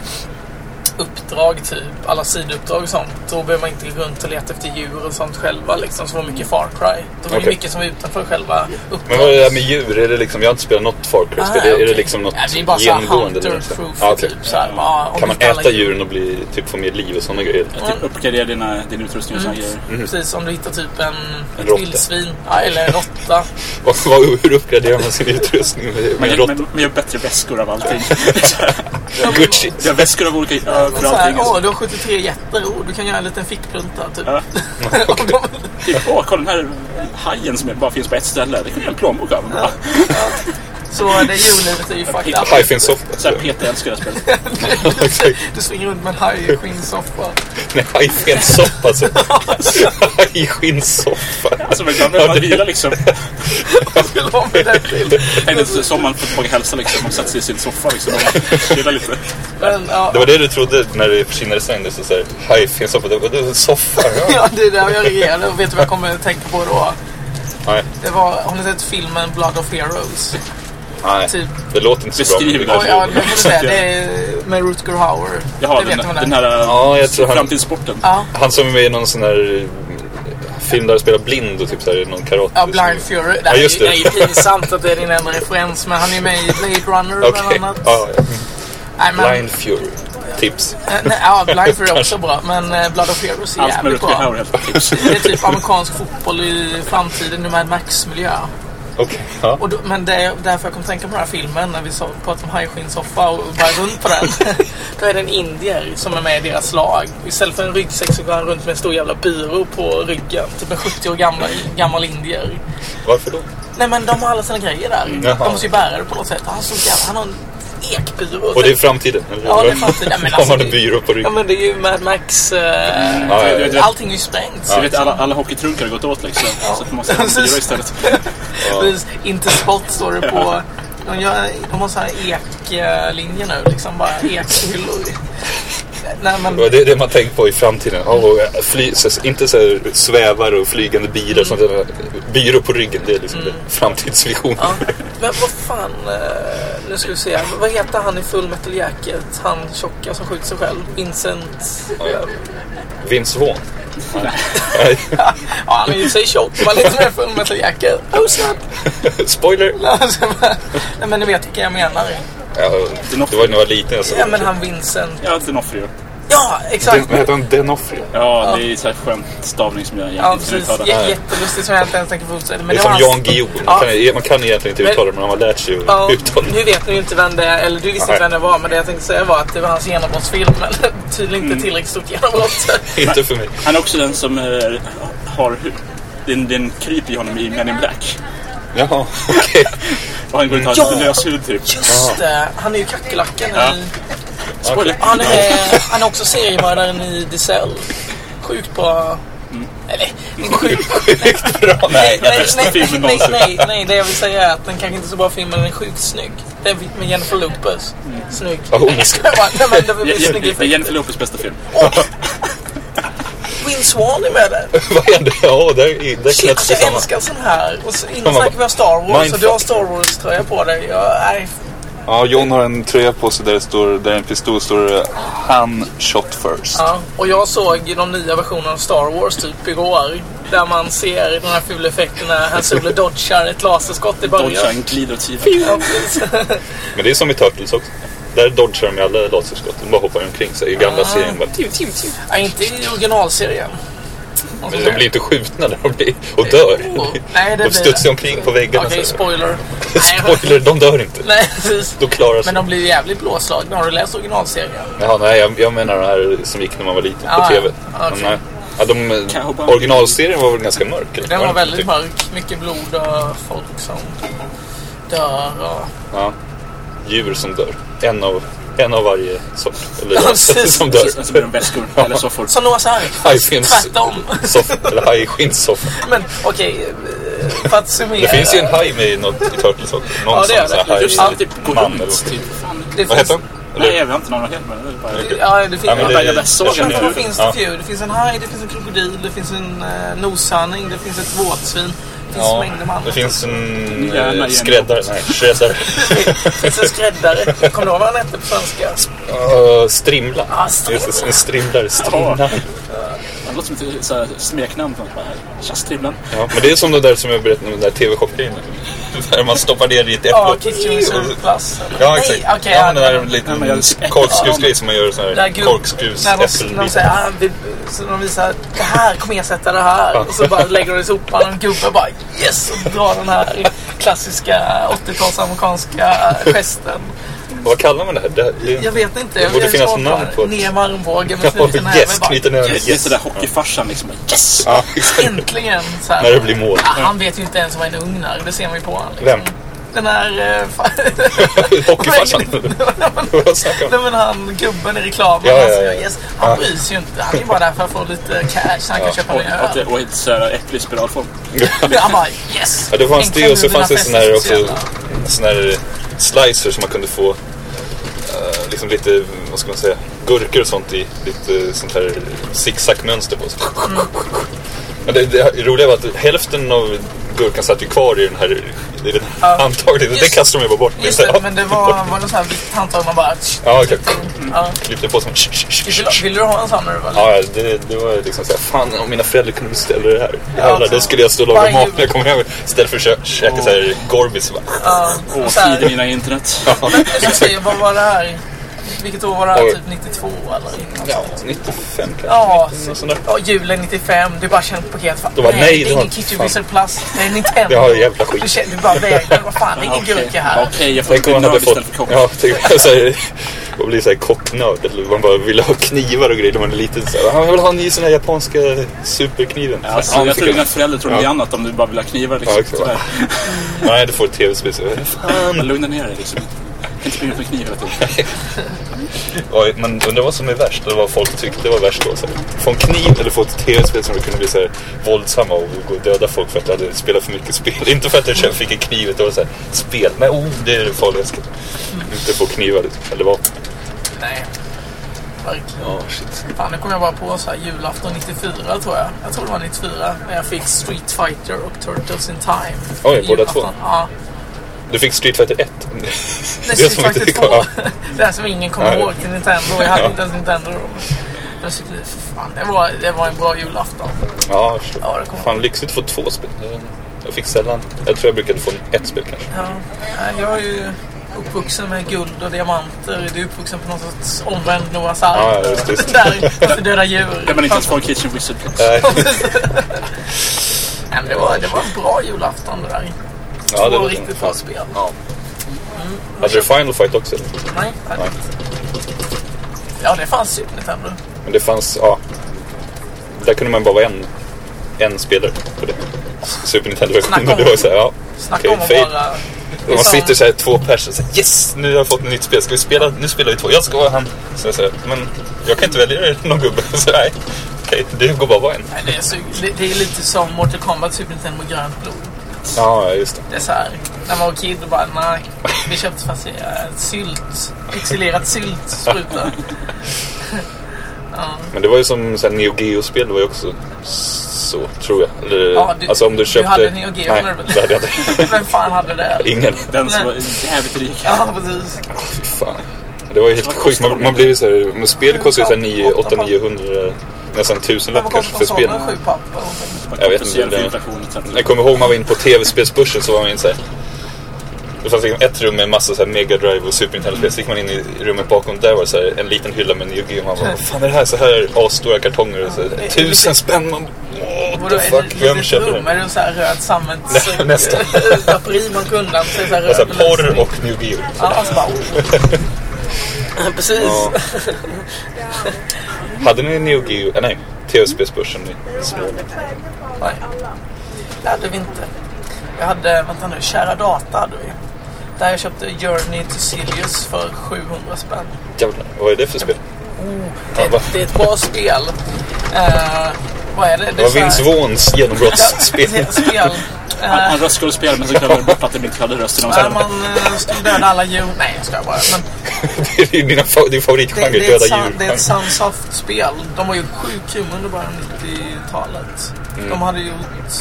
uppdrag, typ, alla sidouppdrag och sånt, då behöver man inte gå runt och leta efter djur och sånt själva. Liksom, som var mycket Far Cry. Det var ju
Okej.
mycket som var utanför själva
Men vad är
uppdraget.
det där med djur? Är det liksom, jag har inte spelat något Far Cry-spel.
Ah,
är, är det
okej.
liksom något
Ja, det är bara så här
genomgående? eller något sånt?
hunter-proof.
Ja, okej.
typ, så här, bara, om
Kan man
inte alla
äta djuren och bli, typ, få mer liv och sådana grejer?
Typ uppgradera dina, din utrustning och såna
Mm.
grejer.
Mm.
Precis, om du hittar typ en,
råtta.
ett vildsvin. Ja, eller en råtta.
Vad- vad- Hur uppgraderar man sin utrustning med,
Man
med
gör,
råttor?
man, man gör bättre väskor av allting.
Gucci!
Jag har väskor av olika ö,
Och
för
så här,
allting.
åh,
Alltså.
du har 73 getter. Åh, du kan göra en liten fickplunta, typ.
Ja.
Om de-
Typ, åh, kolla den här hajen som bara finns på ett ställe. Det kan jag göra en plånbok av. Ja.
Så det djurlivet är ju fucked up.
Hajfinsoppa.
Så här, Peter älskar det här spelet.
alltså. Exakt.
Du springer runt med en hajskinnsoffa.
Nej, hajfenssoppa alltså. Hajskinnsoppa.
Alltså, man glömmer att vila liksom.
Skulle ha med den till.
Tänk dig som man får tillbaka hälsa liksom. Man sätter sig i sin soffa liksom. och chillar lite.
Men, ja,
Det var det du trodde när det försvinnade sen. Du sa såhär, hajfenssoppa. Det var det var en soffa. Ja.
ja, det är där jag reagerade. Och vet du vad jag kommer att tänka på då?
Nej,
Det var, har ni sett filmen Blood of Heroes?
nej.
Typ.
Det låter inte så bra.
Beskriv det.
Ja, ja, det får du säga. Det är med Rutger Hauer.
Jaha,
det vet
den,
man
den här
Ja, jag tror han-
framtidssporten.
Ja.
Han som är med i någon sån här eh, film där han spelar blind och typ såhär någon karate.
Ja, Blind Fury. Det
Ja,
här är
just
ju-
det.
det är ju pinsamt att det är din enda referens, men han är ju med i Blade Runner
Okej.
bland annat.
Ja, ja.
Nej, men,
Blind Fury. Tips.
eh, nej, ja, Blind Fury är också bra, men eh, Blood of Heroes är
Allt
jävligt
med Rutger
bra.
Hauer helt tips.
Det är typ amerikansk fotboll i framtiden i Mad Max-miljö.
Okej. Ja.
Och då, men det är därför jag kom att tänka på den här filmen när vi så, pratade om hajskinnsoffa och var runt på den. då är det en indier som är med i deras lag. Istället för en ryggsäck så går han runt med en stor jävla byrå på ryggen. Typ en 70 år gammal, gammal indier.
Varför då?
Nej men de har alla sina grejer där.
Jaha.
De måste ju bära det på något sätt. Han, är så jävla, han har en ekbyrå.
Och det är framtiden? Eller?
Ja, det är framtiden. Ja, men
Har man
alltså,
en byrå på
Ja
ryggen?
men det är ju Mad Max... Eh,
Ja, ja,
Du
ja.
vet-
allting är ju sprängt.
Du vet, alla, alla hockeytrunkar har gått åt liksom. Så att man måste ha en byrå istället.
Precis. Inte spott står det på De, gör, de har så här eklinjer nu, liksom bara ekhyllor. Nej, men,
Det är det man tänker på i framtiden. Ja, och eh, fly, så- inte så här svävar och flygande bilar och sånt där. Byrå på ryggen, det är liksom det. framtidsvision.
Mm. ja. men vad fan, eh, nu ska vi se. Vad heter han i Full Metal Jacket? Han tjocka som skjuter sig själv. Vincent... eh,
Vince Vaughn.
Ja, han är ju i sig tjock. Man är inte med Full Metal Jacket. Oh, snap!
Spoiler!
Nej, men ni vet vilka jag menar.
Ja, det var ju när jag var liten. alltså. Jag såg
Ja, men han Vincent.
Ja, Denofrio.
Ja, exakt!
Vad heter han? Denofrio?
Ja, det är så här skönt stavning som jag
Ja,
egentligen inte kan
precis.
uttala.
J- jättelustigt som jag inte ens tänker fortsätta.
Det
Men
är
det
som
var
Jan
hans-
Guillou. Man
Ja.
kan, man kan egentligen inte uttala det, men man har lärt sig
Ja,
att uttala det.
nu vet ni ju inte vem det är, eller du visste
Nej.
inte vem det var, men det jag tänkte säga var att det var hans genombrottsfilm, men tydligen inte tillräckligt stort genombrott.
Inte för mig.
Han är också den som eh, har... Den, den kryper i honom i Men in Black.
Jaha, okej.
Och han går ut och har
Ja!
lite lös hud typ.
Just det, han är ju kackerlackan
Ja.
i...
Spoiler.
Han är, han är också seriemördaren i The Cell. Sjukt bra... Eller, inte sjukt...
Sjukt bra. Nej.
Nej, nej,
bästa
nej,
filmen
nej,
någonsin.
nej, nej, det jag vill säga är att den kanske inte är så bra film, men den är sjukt snygg. Den fick med Jennifer Lopez. Snygg.
Ja, hon är
Jag skojar bara. Nej, men det var
Je-
snygg
Je- Det är
effekt.
Jennifer Lopez bästa film.
Will Swan är med där.
Vad hände? Ja, där, där
Shit,
knöts det
alltså, jag
samman.
älskar sån här. Och så
Fan,
innan
vad-
snackade vi om Star Wars och du
Mindfuck.
har Star Wars-tröja på dig. Jag, nej,
Ja, John har en tröja på sig där det står, där en pistol står eh, Han shot first.
ja. Och jag såg de nya versionerna av Star Wars typ igår. Där man ser den här fula effekten när Han Solo dodgar ett laserskott i början.
Dodgen glider åt sidan.
Ja, precis.
Men det är som i Turtles också. Där dodgar de ju alla laserskott. De bara hoppar omkring sig i gamla
Ah,
serien. Bara,
typ.
tiu, tiu, tiu.
Ja, inte i originalserien. Och så-
Men de blir inte skjutna där de blir, och dör.
Oh, nej, det
de
blir-
studsar omkring på väggarna.
Okej,
så här.
spoiler.
Spoiler, de dör inte.
Nej, precis.
De klarar sig.
Men de blir jävligt blåslagna. Har du läst originalserien?
Jaha, nej, jag, jag menar de här som gick när man var liten på
Ah,
TV.
ja,
Men,
okej.
nej. ja, de,
Cowboy.
originalserien var väl ganska mörk? eller?
Den var
den
väldigt
inte?
mörk. Mycket blod och folk som dör och...
Ja. Djur som dör. En av, en av varje sort. Eller
Ja, precis.
som dör.
Sen så blir de väskor. Eller soffor.
Som Noahs ark.
Hajskins...
Tvärtom.
soff- Eller hajskinnssoffan.
Men okej, eh, för att summera.
Det finns ju en haj med i något i Turtles också. Någon
Ja, det gör
sån
det.
här haj-
Just
Ja.
det, typ går
man eller
runt. Typ.
det
Vad
finns-
heter han?
Nej, jag har inte någon helt men det är bara...
Ja, det finns,
Ja, men det-
jag bara såg
jag känner
den.
Men vad
det.
finns
Ja.
det för djur? Det finns en haj, det finns en krokodil, det finns en eh, noshörning, det finns ett våtsvin. Det finns
Ja,
mängder med
det
annat.
finns en
Gärna
eh,
genom-
skräddare. Nej, skräddare.
Det finns en skräddare. Kommer du ihåg vad han hette på svenska?
Eh, strimla.
Ah, strimla.
Just det, En strimlare.
Ja.
Strimla.
Det låter som ett eh, så här smeknamn. som bara, Tja, Striblan.
Ja, men det är som det där som jag berättade om, den där TV-chockgrejen. Där man stoppar ner i ett äpple.
Ja, Kitchen Plus.
Ja, exakt.
Nej, okej.
ja,
ja,
men den där
Ja, men jag-
liten korkskruvsgrejen som man gör sån
där
här
gub- när de- när de
korkskruvsäppelbitar.
säger ah, vi, så de visar det här kommer ersätta det här. Och så bara lägger de i sopan och en gubbe bara yes och drar den här klassiska 80-tals amerikanska gesten.
Vad kallar man det här? Det, det,
Jag vet inte.
Det
Jag
borde
jag är
finnas
svag
namn
för det.
på det.
Ner med armbågen med
Ja,
knuten
yes,
bara,
knyter ner
Det är sådär hockeyfarsan liksom. Yes!
Ja, exakt.
Äntligen! Så här.
När det blir mål.
Ah, Han vet ju inte ens vad en ugn är. Det ser man ju på honom. Liksom.
Vem?
Den här... eh, fan-
Hockeyfarsan. Vad snackar man
Nej men han gubben i reklamen.
Ja, ja,
han som
ja.
gör yes, han bryr sig ju inte. Han är bara där för att få lite cash så han kan köpa
Och,
en öl.
och, och, och ett sådär äpple i spiralform.
Han bara yes!
Ja, det fanns
Enkla
det och så
huvudena
fanns det
fäster
sån här också,
speciella.
sån här slicer som man kunde få eh, liksom lite, vad ska man säga, gurkor och sånt i lite eh, sånt här zigzagmönster på. Så.
Mm.
Men det, det roliga var att hälften av gurkan satt ju kvar i den här, i den här
Ja.
handtaget. Det
Just-
kastade de ju bara bort.
Just det, men det var, var det sån här vitt handtag man bara...
Ja, okej.
Ja.
Klippte på som...
Vill, du- vill du ha en sån nu eller?
Mm. Ja, det, det var liksom såhär, fan om mina föräldrar kunde beställa det här. Jävlar,
alltså.
då skulle jag stå och laga
Varje-
mat när jag kom hem. Istället för att kö- käka såhär Gorbis. va?
Och
Och
så här-
tiden innan internet.
Men så säger, vad var det här? Vilket år var det här?
Oj.
Typ 92 eller?
Ja, 95 kanske.
Ja,
Något
så-
sånt där.
ja, julen 95. Du bara känner paket. Fan,
De bara, nej,
det
det
är
var-
ingen Kitchen Wizard Plus. Det är Nintendo.
Det har ju jävla skit.
Du känner du bara vägrar. Vad fan, det är ingen gurka här.
Okej, jag får
Tänk om
bli
man hade
nörd
fått...
istället för kock.
Ja, tänk om såhär... Och bli såhär kocknörd. Eller man bara ville ha knivar och grejer när man är liten. Så här, "Ah, jag vill ha en ny sån här japanska superkniven. Så här,
Alltså,
ja, typ.
jag
fick
tror dina föräldrar tror något
Ja.
annat om du bara vill ha knivar.
Ja,
Liksom,
exakt.
sådär.
Nej, du får ett tv-spel. så-
Men lugna ner dig liksom. kan inte springa ut med kniv hela tiden.
Oj, men undrar vad som är värst eller vad folk tyckte var värst då. Så här, få en kniv eller få ett tv-spel som kunde bli så här, våldsamma och gå och döda folk för att du hade spelat för mycket spel. Inte för att du själv fick en kniv utan det var så här, spel. Men oh, det är det farligaste. Inte få knivar liksom, eller vapen.
Nej. Verkligen.
Ja, shit.
Fan, nu kommer jag bara på så här julafton 94 tror jag. Jag tror det var 94 när jag fick Street Fighter och Turtles in Time.
Oj,
I
båda
julafton.
två?
Ja.
Du fick Street Fighter 1.
Nej,
Det är
Street
som inte
Fighter
fick
2.
vara-
det här som ingen kommer
Nej.
ihåg till Nintendo. Jag hade
Ja.
inte ens Nintendo då. Men så- Fan, det var, det var en bra julafton.
Ja, shit.
Ja, det kommer.
Fan, lyxigt att få två spel. Jag fick sällan. Jag tror jag brukade få ett spel kanske.
Ja. Nej, Jag är ju uppvuxen med guld och diamanter. Du är uppvuxen på något sorts omvänd Noahs ark.
Ja, just det.
Där, fast det döda djur.
Där man inte ens får Kitchen Wizard liksom? Plus.
Nej, men det, var, det var en bra julafton det där.
Ja,
Två
var-
riktigt bra spel.
Ja. Hade du Final Fight också? eller?
Nej, jag hade inte. Ja, det fanns ju på Nintendo.
Men det fanns, ja. Där kunde man bara vara en, en spelare på det. Super Nintendo-versionen.
Snacka om-
Det var så här, ja.
Snacka
okej,
om att
fate.
bara...
Och Man
liksom-
sitter så här två personer och säger yes, nu har jag fått ett nytt spel. Ska vi spela? Nu spelar vi två. Jag ska vara han. Så jag säger, men jag kan inte välja någon gubbe. Så nej, okej, det går bara att vara en.
Nej, det, är så, det, det är lite som Mortal Kombat Super Nintendo grönt blod.
Ja, just det.
Det är så här, när man var kid och bara nej, vi köpte fast eh, sylt, pixelerat sylt spruta.
Men det var ju som så här, Neo Geo-spel. Det var ju också så, tror jag. Eller,
Ja, du-
alltså om du
du
köpte...
hade Neo Geo,
Nej,
eller vad?
det hade jag inte.
Vem fan hade det?
Ingen.
Den som var jävligt rik.
Ja, precis.
Fan. Det var ju helt sjukt. Man, man blev ju såhär, men spel kostar ju såhär 9, 8, 900, nästan 1000
Vad
lapp
kostar
kanske för spel.
konsolen? Sju papp? eller någonting.
Jag vet inte.
Kompenserad för
Det,
inflationen. typ. så att-
jag kommer ihåg man var inne på tv-spelsbörsen så var man inne såhär. Det fanns liksom ett rum med en massa så här Mega Drive och Super Nintendo-spel. Så gick man in i rummet bakom. Där var det så här en liten hylla med Neo Geo. Man bara, vad fan är det här? Så här asstora kartonger. Och så här, Tusen spänn! Man, what
Vadå,
the
är det
fuck?
ett
Vem
litet
köper
rum?
det?
Är det så här röd sammets...
Nej, nästan.
Draperi man kunde undan sig. Så här
Och så
röd
här, Alltså, porr och Neo Geo.
Ja, alltså bara... oh. Precis.
Hade ni Neo Geo? eh, Nej, tv-spelsbörsen i Småland.
Nej. Det hade vi inte. Jag hade, vänta nu, Kära Data hade vi. Där jag köpte Journey to Sirius för 700 spänn.
Jävlar, vad är det för spel?
Det,
Ja, va?
det är ett bra spel. Eh, vad är det? Det
Det
är
var
så här-
Vince Vaughns
Ja, det är
genombrottsspel.
ett spel.
Han, han röstskådespelare men så glömde han bort att det inte hade rösten. Och
Där
sen,
man eh, skulle döda alla djur. Nej, jag skojar bara. Men
det är ju dina fa- din
det,
favoritgenre,
det, är ett,
döda
sun- det är
djur.
ett Sunsoft-spel. De var ju sjukt grymma under början av 90-talet.
Mm.
De hade gjort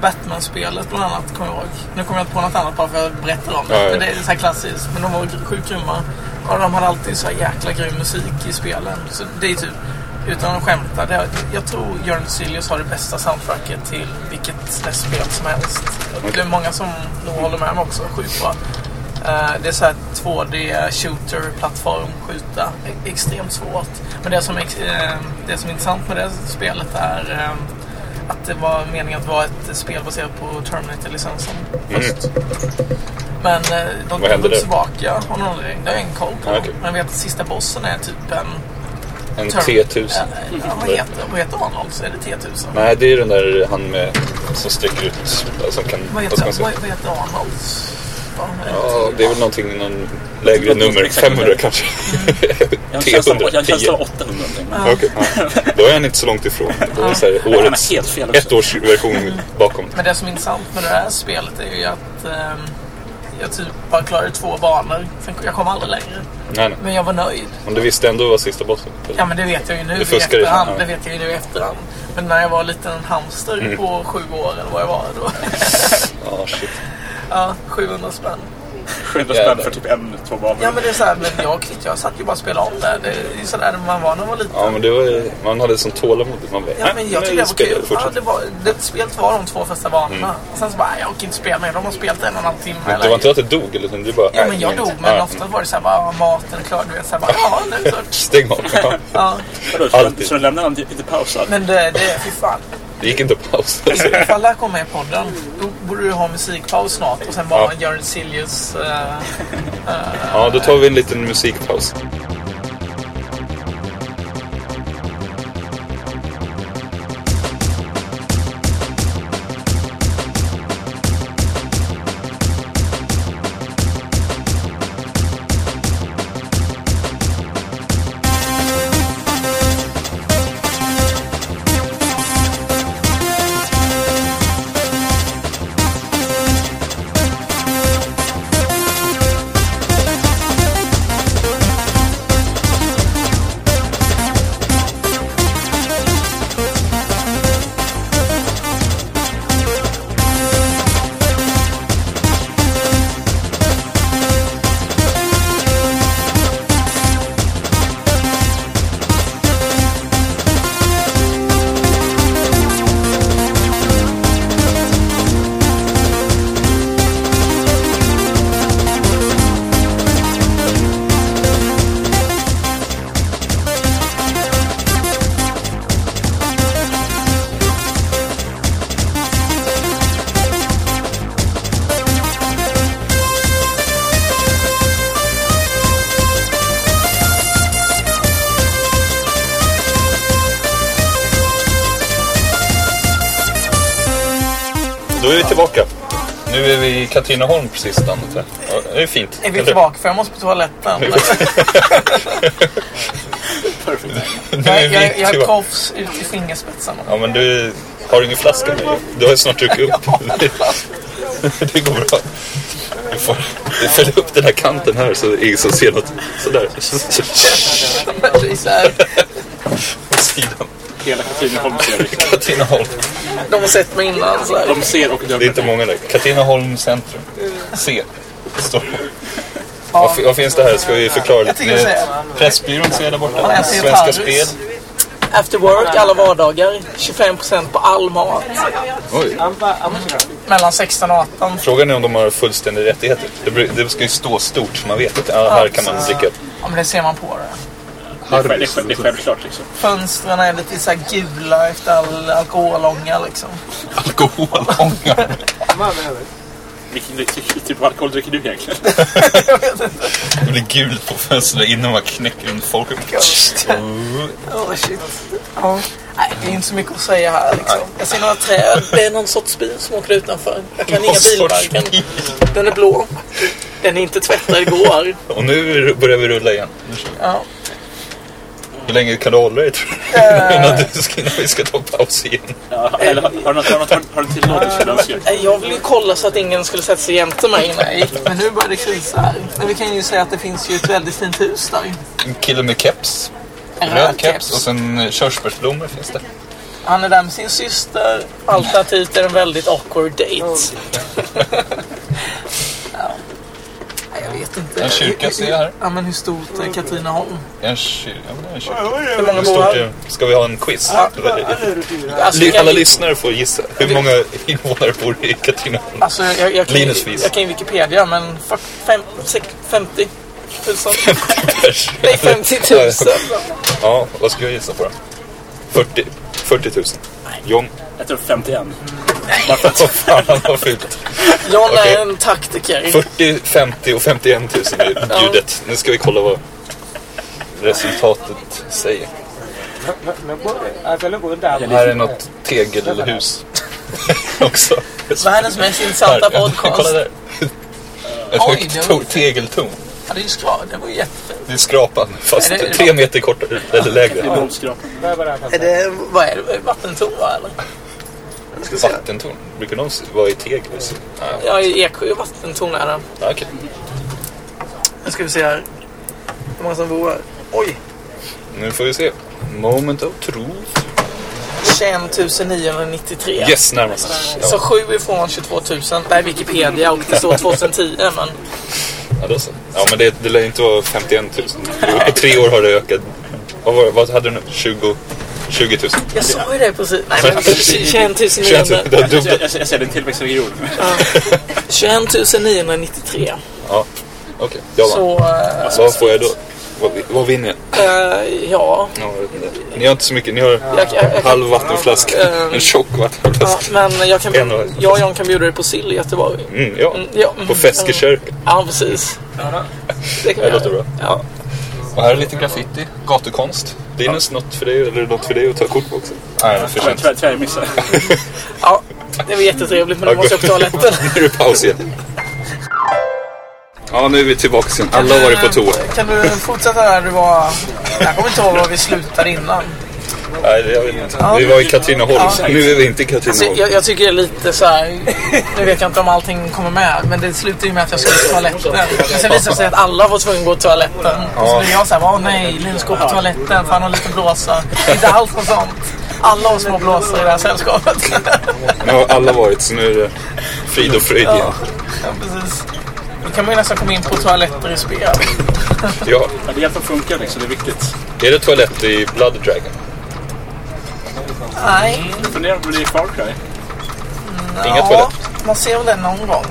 Batman-spelet bland annat, kommer jag ihåg. Nu kommer jag inte på något annat bara för att jag berättar om det.
Ja, ja.
Men det är så här klassiskt. Men de var gr- sjukt grymma. Och de hade alltid så här jäkla grym musik i spelen. Så det är typ, utan att skämta, det, jag tror Jörn Silius har det bästa soundtracket till vilket dess spel som helst. Det är många som nog håller med mig också. Sjukt bra. Eh, Det är så här 2D shooter, plattform, skjuta. E- Extremt svårt. Men det som, ex- eh, det som är intressant med det spelet är eh, att det var meningen att vara ett spel baserat på Terminator-licensen först. Men eh, de
Vad hände
drog
där?
tillbaka av någon anledning. Det har jag ingen koll på.
Ja, okej.
Men jag vet att sista bossen är typ en...
En
Term-
T-1000.
eh, Ja, vad, heter, vad heter Arnold? Så är det T-1000?
Nej, det är den där han med, som sträcker ut, alltså, som kan...
Vad
vad ska man
heter,
säga?
vad, vad heter Arnold? Vad har han
Ja,
heter?
det är väl någonting, någon lägre
Jag tror
nummer.
exakt
500
det.
kanske.
Typ jag känns
T100,
jag
10.
känns 800 någonting.
Okej, ja. Då är han inte så långt ifrån. Då är det så här,
Han
årets,
är helt fel också.
ett års version bakom.
Men det som är intressant med det här spelet är ju att ehm, jag typ bara klarade två banor. Sen, jag kom aldrig längre.
Nej, nej.
Men jag var nöjd.
Men du visste ändå vad sista bossen
Ja men det vet jag ju nu
Du
i
fuskar ju,
efterhand.
ja. Mm.
Det vet jag ju nu i efterhand. Men när jag var liten hamster på sju år eller vad jag var då.
Ja, shit.
ja, 700 spänn.
700 spänn för typ en, två
Ja
banor.
men det är så här, men jag och Kit, jag satt ju bara och spelade om det. Det är ju sådär man var när man var liten.
Ja, men det var, man hade sån tålamod. Man bara,
Ja, men jag tyckte det var kul. Ja,
fortsätt. Mm.
det var, det spelet var de två första banorna. Och Sen så bara, jag orkar inte spela mer. De har spelat en och en halv timme.
Men
eller-
det var inte att det dog, eller utan det bara...
Ja,
nej,
men jag
det
dog.
var inte-
Men
ja,
ofta var det så här, bara, ja, maten är klar. Du vet, så här, bara, ja, nu så.
Stäng av. Ja.
Ja.
Vadå, Så
Alltid.
så de lämnade han inte pausad.
Men det, det, fy fan.
Det gick inte att pausa.
Ifall det här kommer med i podden, då borde du ha musikpaus snart och sen bara
Ja.
göra en Silius... eh,
Ja, då tar vi en liten musikpaus. Då är vi tillbaka. Nu är vi i Katrineholm precis i landet här. Ja, det är fint.
Är vi
Eller-
tillbaka? För jag måste på toaletten.
Nu
Jag,
är vi
jag, jag har
tillbaka.
kofs ut i fingerspetsarna.
Ja, men du har du ingen flaska med dig? Du har ju snart druckit upp. det går bra. Du får du fäller upp den här kanten här så ingen som ser något. Sådär.
Det är så här,
På sidan.
Hela Katrineholm ser vi.
Katrineholm.
de har sett mig innan. Så här.
De ser och
Det är
dömer.
inte många där. Katrineholm centrum. C. Står det. Vad, fi- vad finns det här? Ska vi förklara lite?
tycker jag säger.
Pressbyrån ser jag där borta.
jag ser
Svenska
Paris.
Spel.
After work alla vardagar. 25% på all mat.
Oj.
Mellan 16 och 18.
Frågan är om de har fullständiga rättigheter. Det, bru- det ska ju stå stort så man vet att ja, här kan man dricka.
Ja, men det ser man på det.
Det är, det är, det är självklart liksom.
Fönstren är lite så här gula efter all alkoholånga liksom.
Alkoholånga.
Vilken vilken typ av alkohol dricker du egentligen?
Det blir gult på fönstren innan man knäcker runt folk.
Oh, shit. Ja. Nej, det är inte så mycket att säga här liksom. Jag ser några träd. Det är någon sorts bil som åker utanför. Jag kan inga
Någon sorts
bilmärken. Den är blå. Den är inte tvättad igår.
Och nu börjar vi rulla igen. Nu kör vi.
Ja.
Hur länge kan du hålla dig tror du? Innan, du ska, innan vi ska ta paus igen.
Ja, eller, har du något- har du något- har du- har du en till låt du skulle önska?
Nej, Jag ville ju kolla så att ingen skulle sätta sig jämte mig innan jag gick. Men nu börjar det krisa här. Men vi kan ju säga att det finns ju ett väldigt fint hus där.
En kille med keps.
En
Röd keps och sen eh, körsbärsblommor finns det.
Han är där med sin syster. Alternativt är det en väldigt awkward date. Ja. Nej, Jag vet inte.
En kyrka ser jag här.
Ja, men hur stort är Katrineholm?
En kyr... Ja, men det är en kyr.
Hur många
Hur
bor
stort
här?
är Ska vi ha en quiz?
Alltså,
Li-
jag-
Alla lyssnare får gissa. Hur många invånare bor i Katrineholm?
Alltså, jag, jag, kan,
Linus vis.
jag kan ju Wikipedia, men fuck, fem, sex, 50 tusen.
Pers.
Nej, 50 tusen.
Ja, vad ska jag gissa på då? 40, 40 000. John.
Jag tror 51.
Vad fan han har fyllt.
John
Okej.
är en taktiker.
40, 50 och 51 000 är ljudet. Nu ska vi kolla vad resultatet säger. Här är något tegelhus också.
Världens mest
Här,
intressanta
ja,
podcast.
Kolla där. Ett
Oj,
högt
det
to-
var-
tegeltorn.
Ja, det är ju skra. Det var ju jättefint.
Det är skrapan, fast
Är det-
tre meter kortare eller
Det
lägre.
är bollskrap.
Är det, vad är det? Vattentoa eller?
Vattentorn. Brukar de se- vara i tegelhus?
Ja, i Eksjö vattentorn är den.
Ja, okej.
Nu ska vi se här. Hur många som bor här? Oj!
Nu får vi se. Moment of truth.
21 993.
Yes, närmast.
Så
Ja,
7 ifrån 22 000. Det är Wikipedia och det står 2010 men...
ja, då så. ja men det, det lär inte vara 51 000. På tre år har det ökat. Vad, var, vad hade du nu? 20, 20 000?
Jag sa ju det precis. Nej men 21
Känns det,
900.
det har
Jag, jag,
dubblat.
jag ser det är en tillväxtregion.
21 993.
Ja, okej. Jag vann.
Så eh,
Vad får jag då? Vad, vi- vad vinner jag?
eh, ja.
Ja, jag vet inte. Ni har inte så mycket. Ni har
Jag, jag, jag,
halv vattenflaska.
Ehm.
En tjock
ja,
vattenflaska.
men jag, kan,
En och-
jag och John kan bjuda dig på sill i Göteborg.
Mm, ja.
Mm, ja, mm,
På Feskekyrkan.
Ja precis. Det kan vi
Det låter
göra.
bra.
Ja.
Och här är lite graffiti. Gatukonst. Linus, något för dig eller något för dig att ta kort på också? Nej, det är för
Tyvärr,
sent.
tyvärr, tyvärr missade.
ja, det var jättetrevligt men nu måste jag på toaletten.
Nu är det paus igen. Ja, nu är vi tillbaka igen. Alla har varit på toa.
Eh, Kan du fortsätta där du var? Jag kommer inte ihåg var vi slutade innan.
Nej, jag vet inte. Vi var i Katrineholm. Nu är vi inte i
Alltså,
Katrineholm.
jag, jag tycker det är lite så här. Nu vet jag inte om allting kommer med. Men det slutar ju med att jag skulle till toaletten. Men sen visade det sig att alla var tvungna att gå till toaletten. Och så blev jag så här. Åh nej, Linus går på toaletten för han har lite blåsa. Inte alls något sånt. Alla har små blåsor i det här sällskapet.
Nu har alla varit, så nu är det frid och fröjd igen.
Ja, precis. Då kan man ju nästan komma in på toaletter i spel.
Ja.
Men det hjälper att funka liksom, det är viktigt.
Är det toalett i Blood Dragon?
Nej.
Jag funderar på om det är Far Cry.
Inga
ja,
toalett?
man ser väl den någon gång.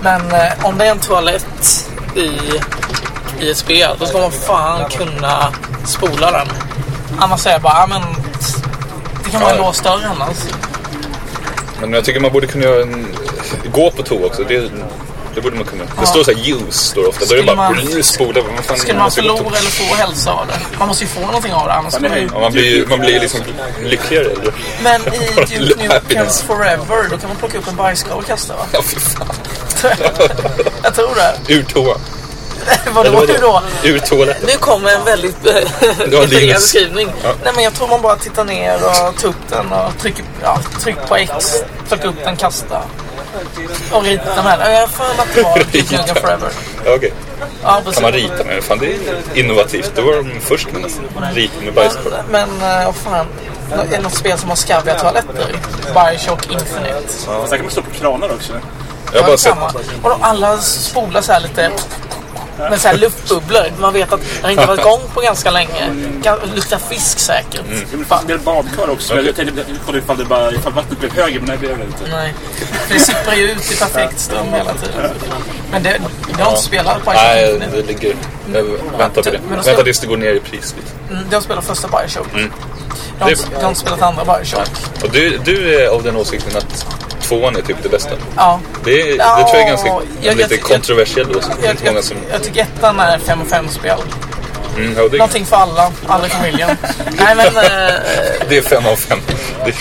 Men eh, om det är en toalett i, i ett spel, då ska man fan kunna spola den. Annars är jag bara, ja men det kan vara en
Ja.
låst dörr annars.
Men jag tycker man borde kunna göra en... gå på toa också. Det, Det borde man kunna. Det står så här use, står det ofta. Då är det
Skulle
bara
man-
spola. Vad fan,
Skulle man
måste gå
förlora eller få hälsa av det? Man måste ju få någonting av det annars kommer man ju...
Ja, man blir ju man blir ju liksom lyckligare äldre.
Men i Duke Nukem's
Happiness.
Forever, då kan man plocka upp en bajskorv och kasta va?
Ja, fy fan.
Jag tror det.
Ur toan.
Vadå
Eller vadå?
hur då?
Ur toaletten.
Nu kommer en väldigt befriande
Linus.
beskrivning.
Ja.
Nej men jag tror man bara tittar ner och tar upp den och trycker ja, tryck på X, plocka upp den, kasta. Och rita med den. Jag har för mig att det var Duke Nukem typ Forever.
Ja, okej.
Ja, precis.
Kan man rita med? Fan, det är innovativt. Det var de först med nästan. Rita med bajskorv.
Men, men eh, vad fan. Nå- Är det något spel som har skabbiga toaletter? Bioshock Infinite.
Fast där kan man stå på kranar också.
Jag har bara sett...
samma. Och de alla spolar så här lite med så här luftbubblor. Man vet att den inte har varit igång på ganska länge. Ga- Luktar fisk säkert.
Mm.
Det fanns en del badkar också. men Jag tänkte kolla ifall, det bara, ifall vattnet blev högre, men det blev det inte.
Nej. För det sipprar ju ut i perfekt stum hela tiden. Men det, det har inte spelat Bioshock
Nej,
Infinite.
det ligger... Jag väntar på det.
Men då ska-
Vänta tills det går ner i pris lite.
Mm, De har spelat första Bioshock. De,
Mm. Det
har,
är bra.
de har inte spelat andra Bioshock.
Och du, du är av den åsikten att tvåan är typ det bästa.
Ja.
Det, är- det
Ja,
tror jag är ganska
jag-
en
jag-
lite
jag-
kontroversiell åsikt. Det är
Jag,
inte många
jag,
som...
jag tycker ettan är 5 och 5 spel.
Mm, ja, det,
Någonting för alla, alla i familjen. Nej men, eh,
det är fem av fem. Det,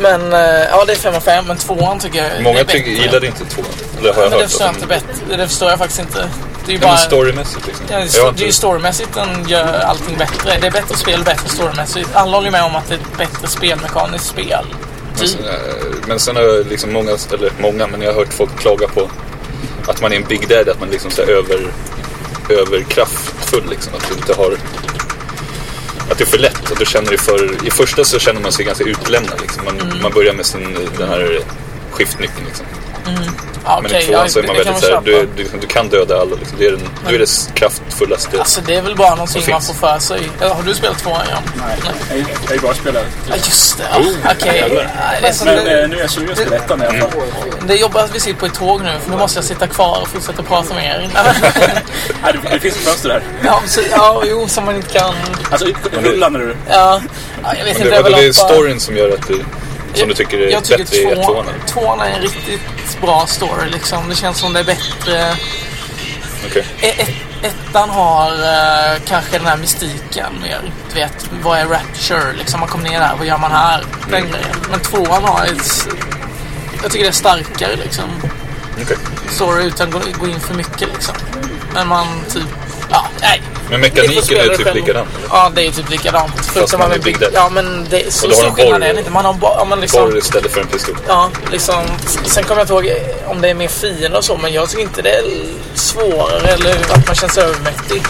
men eh, ja det är 5 och 5 men tvåan tycker jag är
många
bättre.
tycker, gillade inte tvåan. Det har jag
Men det
hört.
förstår jag inte bättre. Det förstår jag faktiskt inte. Det är
Nej,
ju bara...
men storymässigt liksom.
Ja, det är
Jag har
sto-
inte-
det är ju storymässigt den gör allting bättre. Det är bättre spel, bättre storymässigt. Alla håller med om att det är ett bättre spelmekaniskt spel. Typ.
Eh, Men sen har jag liksom många, eller många, men jag har hört folk klaga på att man är en Big Daddy, att man liksom så här över, överkraftfull liksom. Att du inte har... Att det är för lätt och du känner dig för... I första så känner man sig ganska utlämnad liksom. Man,
Mm.
man börjar med sin, den här skiftnyckeln liksom.
Ja,
Men
okej,
i tvåan
ja,
så är man
det kan
väldigt så här,
köpa.
du, du, du kan döda alla liksom. Du är, den, du är det kraftfullaste.
Alltså det är väl bara någonting
Det
man
finns.
får för sig. Eller, Har du spelat tvåan Jan?
Jag är- Jag är ju bara spelare.
Ja, just det.
Oh,
Ja, Okej. Ja, det är som
Men eh,
Alltså, det-
nu är jag sugen på ettan i alla fall.
Det är jobbigt att vi sitter på ett tåg nu för nu måste jag sitta kvar och fortsätta prata med er.
Nej, det- Det finns ett fönster här.
ja, så, ja, jo, som man inte kan...
Alltså, rulla när du...
Ja, ja, jag vet
Men
inte.
det,
jag
vadå,
vill
det är
hoppa-
storyn som gör att du, som du tycker är
jag tycker
bättre i
två,
tvåan? eller?
tvåan är en riktigt bra story liksom. Det känns som det är bättre.
Okej.
E- ett- Ettan har eh, kanske den här mystiken mer. Du vet, vad är Rapture? Liksom, man kommer ner där, vad gör man här? Den
Mm.
grejen. Men tvåan har ett... s- Jag tycker det är starkare liksom.
okej.
Story utan att gå- gå in för mycket liksom. Men man typ... Ja, nej.
Men
Ni får
mekaniken
spela
är
det
typ
själv.
likadan? eller?
Ja, det är typ likadant. Förutom
man
att
är
man-
Big Daddy.
Ja, men det är
Och
så
då har
stor
de boll-
skillnad är det inte. Man har bara... Ja, men liksom...
Borr istället för en pistol.
Ja, liksom. Sen kommer jag inte ihåg eh, om det är mer fiender och så, men jag tycker inte det är svårare eller att man känns övermäktig.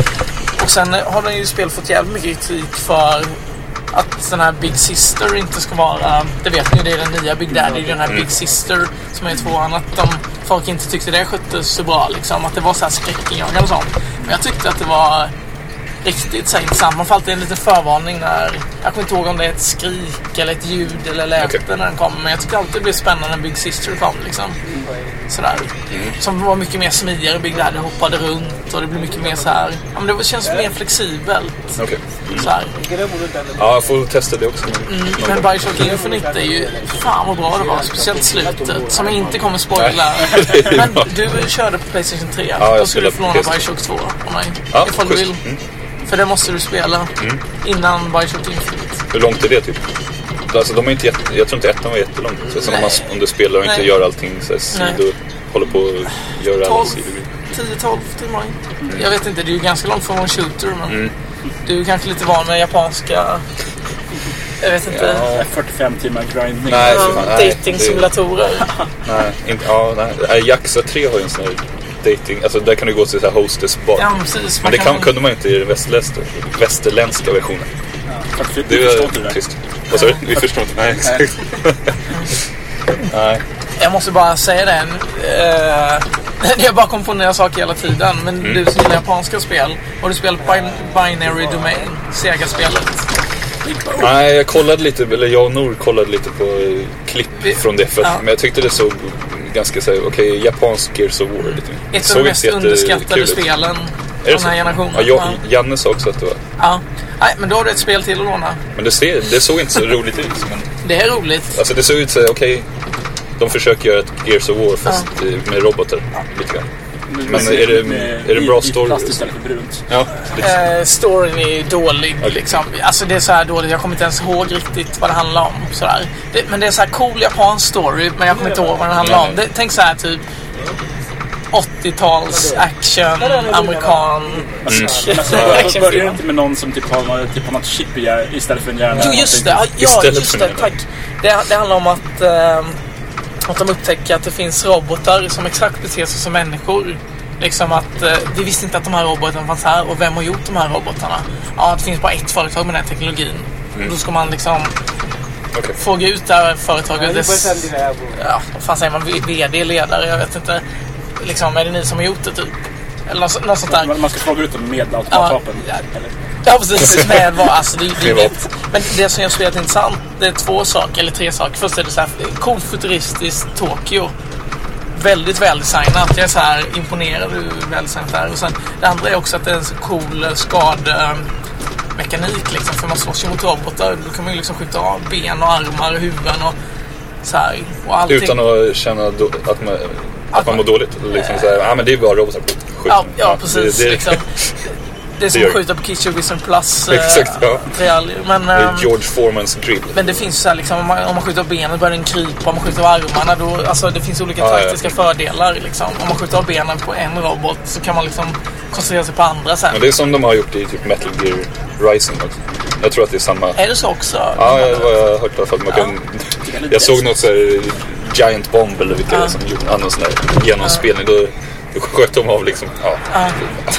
Och sen har den ju spel fått jävligt mycket kritik för att den här Big Sister inte ska vara... Det vet ni, det är den nya Big Daddy, den här Big Sister som är i tvåan. Att de, folk inte tyckte det sköttes så bra liksom. Att det var så här skräckinjagande och sånt. Men jag tyckte att det var riktigt så här, intressant. Man får alltid en liten förvarning när... Jag kommer inte ihåg om det är ett skrik eller ett ljud eller läte
Okej.
när den kommer. Men jag tyckte alltid det blev spännande när Big Sister kom. Liksom. Sådär.
Mm.
Som var mycket mer smidigare. Big Daddy hoppade runt och det blev mycket mer så här... Ja, men det känns mer flexibelt.
Okej.
Så här.
Ja, jag får testa det också.
Mm, Men Bioshock Infinite är ju... Fan vad bra det var. Speciellt slutet. Som jag inte kommer spoila.
Nej. Det är
Men
bra.
du körde på Playstation 3.
jag
Då skulle
spelade
du
på
få låna
PS3.
Bioshock 2 av mig.
Ja,
ifall du
schysst. Mm.
vill. För det måste du spela innan Bioshock Infinite.
Hur långt är det typ? Alltså, de är inte jätte... Jag tror inte ettan var jättelång. Så som om, man, om du spelar och inte
Nej.
gör allting så här, sido, håller på och gör alla
12,
sidor.
10-12 timmar.
Mm.
Jag vet inte, det är ju ganska långt från en shooter. Men Du är kanske lite van med japanska... Jag vet inte.
eh, 45 timmar grindning.
Nej, för fan. nej, det-
Dating-simulatorer.
Nej, inte, ja, nej. nej. Jaxa 3 har ju en sån här dating... Alltså, där kan du gå till så här hostess bar.
Ja, precis.
Men det kan, kunde man ju inte i den västerländska, västerländska versionen.
Fuck, för-
Det
Du förstår inte det.
är
där.
trist. Vad sa du? Vi förstår inte. Nej, exakt. Nej.
Jag måste bara säga det. Uh, jag bara kom på nya saker hela tiden. Men
Mm.
du som gillar japanska spel. Har du spelat bin- Binary Domain? Sega-spelet.
Nej, jag kollade lite, eller jag och Nor kollade lite på eh, klipp från det. För att,
Ja.
Men jag tyckte det såg ganska så här, okej, japansk Gears of War lite.
Ett av
Såg
de mest
inte jättekul
underskattade
eh, ut.
spelen
Är det
av den
så?
här generationen.
Ja, jag, Janne sa också att det var.
Ja. Nej, men då har du ett spel till att låna.
Men det, ser, det såg inte så roligt ut. Men,
Det är roligt.
alltså det såg ut så här, okej, de försöker göra ett Gears of War fast eh, med robotar. Lite grann.
Men
är det- är det bra story?
Plast istället för brunt.
Ja, lite
Eh, storyn är dålig liksom. Alltså det är så här dåligt, jag kommer inte ens ihåg riktigt vad det handlar om. Så där. Det, men det är så här cool japansk story, men jag kommer inte ihåg vad den handlar om. Det, tänk så här typ 80-tals action, amerikan.
Mm.
Alltså,
Action
börjar
film.
inte med någon som typ har, typ har något chip i hjär- istället för en hjärna?
Jo, just det. Ja,
Äh, Istället
just
för
det.
nöden.
Tack. Det, det handlar om att, eh, att de upptäcker att det finns robotar som exakt beter sig som människor. Liksom att eh, vi visste inte att de här robotarna fanns här och vem har gjort de här robotarna? Ja, det finns bara ett företag med den här teknologin.
Mm.
Då ska man liksom fråga ut det här företaget. dess, ja, vad fan säger man? V- VD, ledare, jag vet inte. Liksom, är det ni som har gjort det typ? Eller något, något sånt där.
Man, man ska fråga ut dem med automatvapen.
Ja.
Eller?
Ja precis, med vad, alltså det, det är
Privat.
inget. Men det som gör spelet intressant, det är två saker, eller tre saker. Först är det så här coolt futuristiskt Tokyo. Väldigt väldesignat. Jag är så här imponerad hur väldesignat det är. Och sen det andra är också att det är en så cool eh, skadmekanik liksom. För man slåss ju mot robotar. Då kan man ju liksom skjuta av ben och armar och huvuden och så här. Och allting.
utan att känna då, att man, att man mår dåligt. Liksom så här, ah, men det är bara robotar. Skjut.
Ja, ja precis.
Det, det,
liksom. det är som
gör
att
det.
skjuta på Kitchewism plus eh,
Exakt, ja.
trial. Men,
det
ehm,
är George Foremans grill.
Men det finns så här liksom, om man, om man skjuter av benen börjar den krypa, om man skjuter av armarna då, alltså det finns olika
Ja, ja.
taktiska fördelar liksom. Om man skjuter av benen på en robot så kan man liksom koncentrera sig på andra sen.
Men det är som de har gjort i typ Metal Gear Rising. också. Jag tror att det är samma.
Är det så också?
Ja, det var jag har hört i alla fall. Man kan, jag såg något så här Giant Bomb eller vilka det är som gjorde hade någon sån där genomspelning. Då, då sköt de av liksom, ja,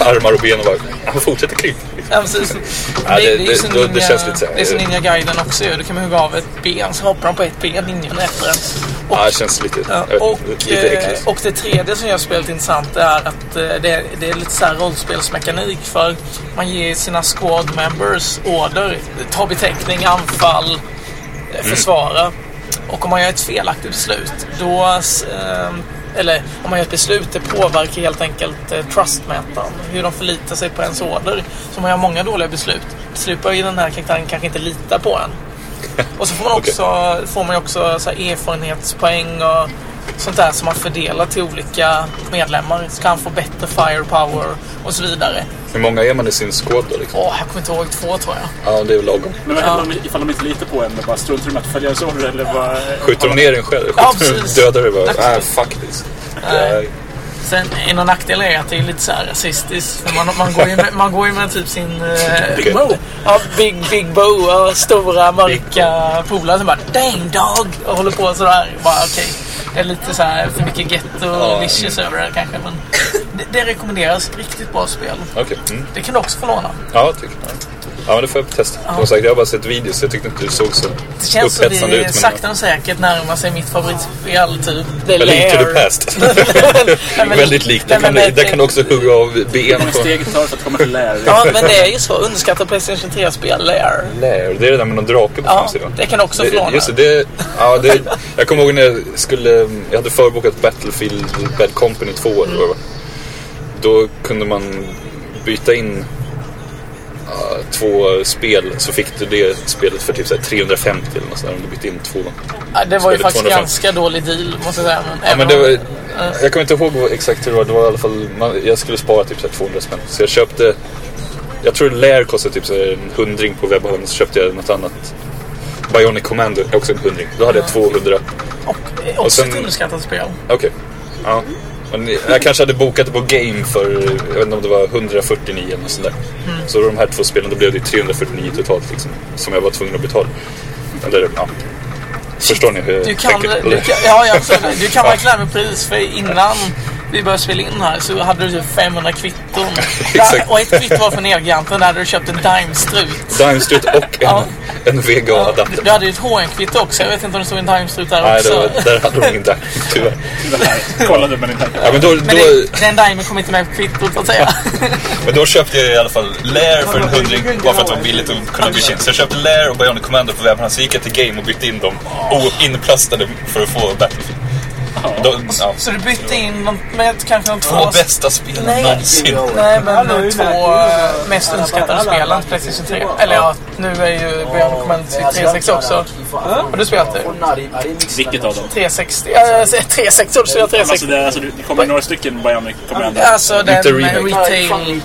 armar och ben och bara, han fortsätter krypa. Liksom.
Ja, precis.
Ja,
det,
det-
det, är
det-
som
då- det
ninja,
känns lite så här-
det är som Ninja Guiden också ju. Då kan man hugga av ett ben så hoppar de på ett ben, ninjan efter en. Och,
Ja, det känns lite, jag
ja,
vet,
och,
inte, lite
eh,
äckligt.
och det tredje som gör spelet intressant är att eh, det, är- det är lite så här rollspelsmekanik för man ger sina squad members order, ta beteckning, anfall, eh,
Mm.
försvara. Och om man gör ett felaktigt beslut, då... eh, Eller om man gör ett beslut, det påverkar helt enkelt eh, trustmätaren. Hur de förlitar sig på ens order. Så om man gör många dåliga beslut, slutar ju den här karaktären kanske inte lita på en. Och så får man också, får man ju också så här erfarenhetspoäng och sånt där som man fördelar till olika medlemmar. Så kan han få bättre firepower och så vidare.
Hur många är man i sin squad då? Liksom?
Åh, jag kommer inte ihåg två tror jag.
Ja, det är väl lagom.
Men vad händer om- ifall de inte litar på en? Bara struntar de i att följa ens order? Eller bara,
Skjuter de ner en själv?
Ja,
Skjuter
precis.
de dödar det bara?
Tack.
Nej, faktiskt.
Nej. Sen en av nackdelarna är att det är lite så här rasistiskt. För man, man, går ju med, man går ju med typ sin... eh,
Big Bo.
Ja, Big, big Bo och stora mörka polare som bara Dang dog! Och håller på sådär. Bara okej. Det är lite så här för mycket getto och vicious över det här kanske. Men det, det rekommenderas. Riktigt bra spel.
Okej. Mm.
Det kan du också få låna.
Ja, jag tycker jag. Ja, men det får jag testa. Som sagt, jag har bara sett videos så jag tyckte inte det såg så
Det känns som
upphetsande
det
ut.
sakta men säkert närmar sig mitt favoritspel typ. The
Men lite to
Lair.
the past.
Nej, men-
Väldigt likt.
nej,
Där kan,
men
du- där kan du också hugga av ben på...
Hur steget tar för att komma till lär?
Ja, men det är ju så. Underskattat Playstation 3-spel, Lair.
Lair. Det är det där med någon drake på
Ja,
framsidan.
det kan också
Det-
förvåna.
Just det, det, ja, det, jag kommer ihåg när jag skulle, jag hade förbokat Battlefield Bad Company 2 eller vad det var. Då kunde man byta in ja, två spel så fick du det spelet för typ så här 350 eller något sånt där om du bytte in två.
Ja, det var ju
Spelet
faktiskt
250.
ganska dålig deal, måste jag säga. Men,
Ja,
även
men det
om-
var, jag kommer inte ihåg vad- exakt hur det var. Det var i alla fall, man, jag skulle spara typ så här 200 spänn. Så jag köpte, jag tror Lair kostade typ så här en hundring på webbhandeln. Så köpte jag något annat. Bionic Commando, också en hundring. Då hade jag 200.
Och, eh, också
sen-
ett underskattat spel.
Okej. Ja. Men jag kanske hade bokat det på Game för, jag vet inte om det var 149 eller något sånt där.
Mm.
Så de här två spelen, då blev det 349 totalt liksom. Som jag var tvungen att betala. Eller ja. Förstår ni hur jag
Du kan,
tänker?
du kan, ja, jag förstår det. Du kan verkligen med pris, för innan vi började spela in här så hade du typ 500 kvitton.
Exakt.
och ett kvitto var från Elgiganten, där hade du köpt en Dime-strut.
Dimestrut och en,
Ja.
en VGA-adapter.
Du hade ju ett HN-kvitto också, jag vet inte om det stod en Dime-strut där
Nej, det
också.
var, där hade de inte tyvärr.
Kollade men inte.
Ja, men, då,
Men
då,
det, den Dimen kom inte med på kvittot, så att säga.
men då köpte jag i alla fall Lair för en hundring bara för att det var billigt att kunna byta in. Så jag köpte Lair och Bionic Commando på webbhandeln. Så gick jag till Game och bytte in dem oinplastade för att få Battlefield. De, ja.
Så du bytte in någon- med kanske de
Två
två...
bästa spelen
Nej.
någonsin.
Nej, men de två eh, mest uppskattade spelen till Playstation 3. Eller ja, nu är ju Beyond Command till 360 också. Har du spelat det?
Vilket av dem?
360? Äh, 360 har du spelat
Alltså
360?
det, alltså, det kommer några stycken Bionic Commando.
Alltså den
Inte
eh,
remake.
retail...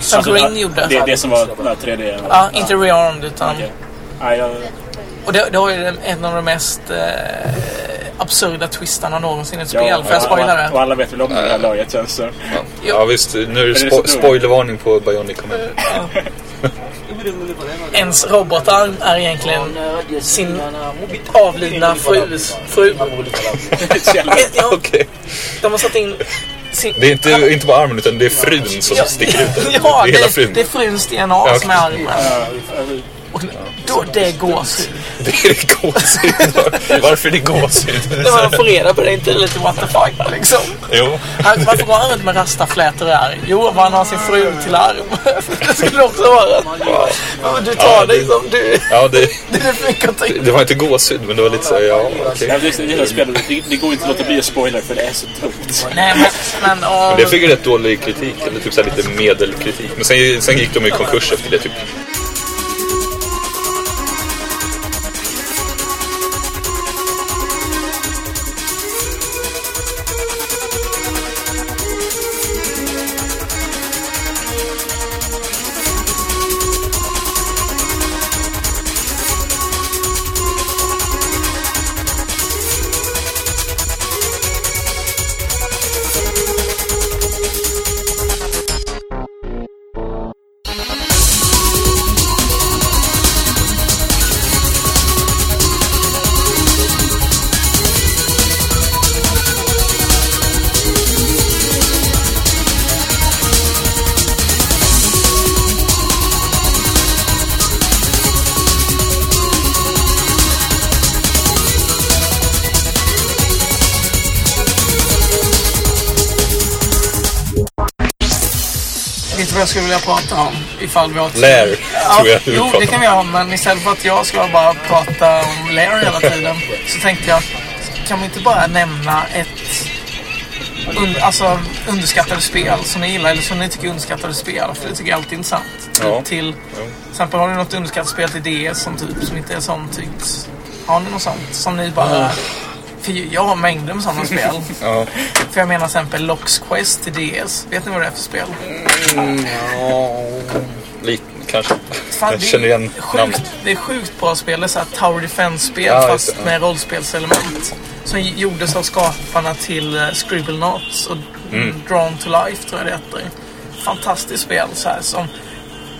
Som
Alltså,
Green
Det
gjorde.
är det som var den här 3D.
Ja, inte rearmed utan...
Okej. Nej, jag,
Och det, det har ju den- en av de mest eh, absurda twistarna någonsin i ett
jag,
spel. Får jag
och alla-
spoila det?
Och alla vet väl om det här laget känns så.
Ja visst, nu är det
det
spo-
så stor?
spoilervarning på Bionic Command.
Ens robotarm är egentligen sin avlidna frus fru. Ja,
Okej.
De har satt in sin...
Det är inte, inte bara armen utan det är frun som sticker ut. där.
Ja,
det är hela
det,
frun.
det är fruns DNA som är armen. Och då, det gås.
Det är gåshud. Varför är det gåshud?
Det var att få reda på det, inte lite what the fuck liksom.
Jo.
Att Varför går han runt med rastaflätor där? Jo, för han har sin fru till arm. Det skulle också vara att du tar dig som du...
Ja, det,
Det är för mycket att ta in.
det var inte gåshud men det var lite så här, ja okej.
Det, här- det, det, här spelet, det, det går inte att låta bli en spoiler för det är så dumt.
Nej, men... men och,
Det fick ju rätt dålig kritik, eller typ så här lite medelkritik. Men sen, sen gick de i konkurs efter det typ.
Vet du vad jag skulle vilja prata om? Ifall vi har ett-
Lär, tror jag du
jo, det kan vi göra. Men istället för att jag ska bara prata om Lair hela tiden så tänkte jag, kan vi inte bara nämna ett un, alltså, underskattade spel som ni gillar eller som ni tycker är underskattade spel? För det tycker jag alltid är intressant. Typ
Ja.
till, till exempel, har ni något underskattat spel till DS som, typ, som inte är sånt? Har ni något sånt som ni bara... För jag har mängder med sådana spel.
Ja.
För jag menar till exempel Locks Quest till DS. Vet ni vad det är för spel?
Lite kanske.
Fan,
Jag
det är
känner igen namnet.
sjukt, Det är sjukt bra spel. Det är så här Tower Defense-spel
Ja, just
fast
det, ja.
med rollspelselement. Som gjordes av skaparna till eh, Scribblenauts och
Mm.
Drawn to Life tror jag det heter. Fantastiskt spel så här som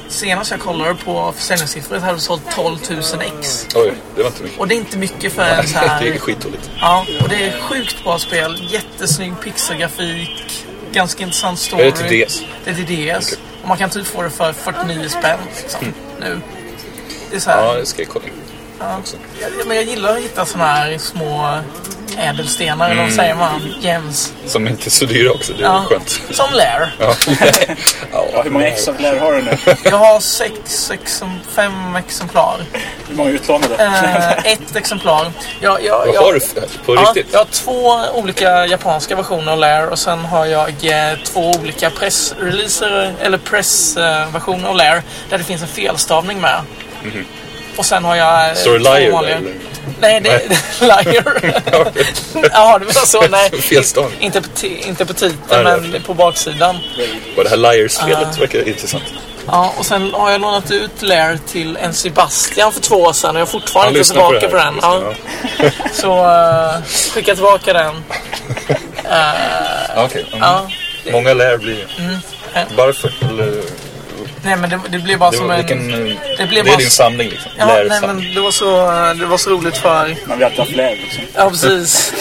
Senast jag kollade på försäljningssiffror hade det sålt 12 000 ex.
Oj, det var inte mycket.
Och det är inte mycket för en så
Det är
här...
skitdåligt.
Ja, och det är sjukt bra spel. Jättesnygg pixelgrafik. Ganska intressant story.
Är det till DS?
Det är till DS. Och man kan typ få det för 49 spänn liksom, nu. Det är så här,
Mm. Ja, det ska jag kolla in.
jag, men jag gillar att hitta såna här små ädelstenar, eller vad säger man? Gems.
Som inte är så dyra också, det Mm. är
Ja.
skönt.
Som Lair.
Ja, hur många exemplar har du nu?
Jag har sex, exem- fem exemplar.
Hur många utlånade?
Eh, ett exemplar. Jag, jag,
Vad
jag,
har du för, på
Ja,
riktigt?
jag har två olika japanska versioner av Lair och sen har jag eh, två olika pressreleaser eller pressversioner av Lair där det finns en felstavning med. Och sen har jag... eh,
Står Mhm. det
två
liar där,
vanliga-
eller?
Nej, det är liar. Jaha, det var så. Nej.
Felstavning.
Inte på, ti- inte på
Nej,
titeln,
nej,
men på baksidan.
Vad det här liar-spelet verkar intressant.
Ja, och sen har jag lånat ut Lair till en Sebastian för två år sedan och jag har fortfarande
Han
inte
lyssnar på det
tillbaka
här.
på den. Ja.
Ja.
Så eh, skicka tillbaka den.
Ja, okej. Mm.
Ja. Mm.
Många lär blir det.
Ja.
Varför? Eller,
Nej, men det, det blir bara
det,
som
var,
en...
vilken, det,
blev
är
bara-
din samling liksom.
Ja, nej,
Lärsamling.
men det var, så, det var så roligt för...
Man vill alltid ha fler liksom.
Ja, precis.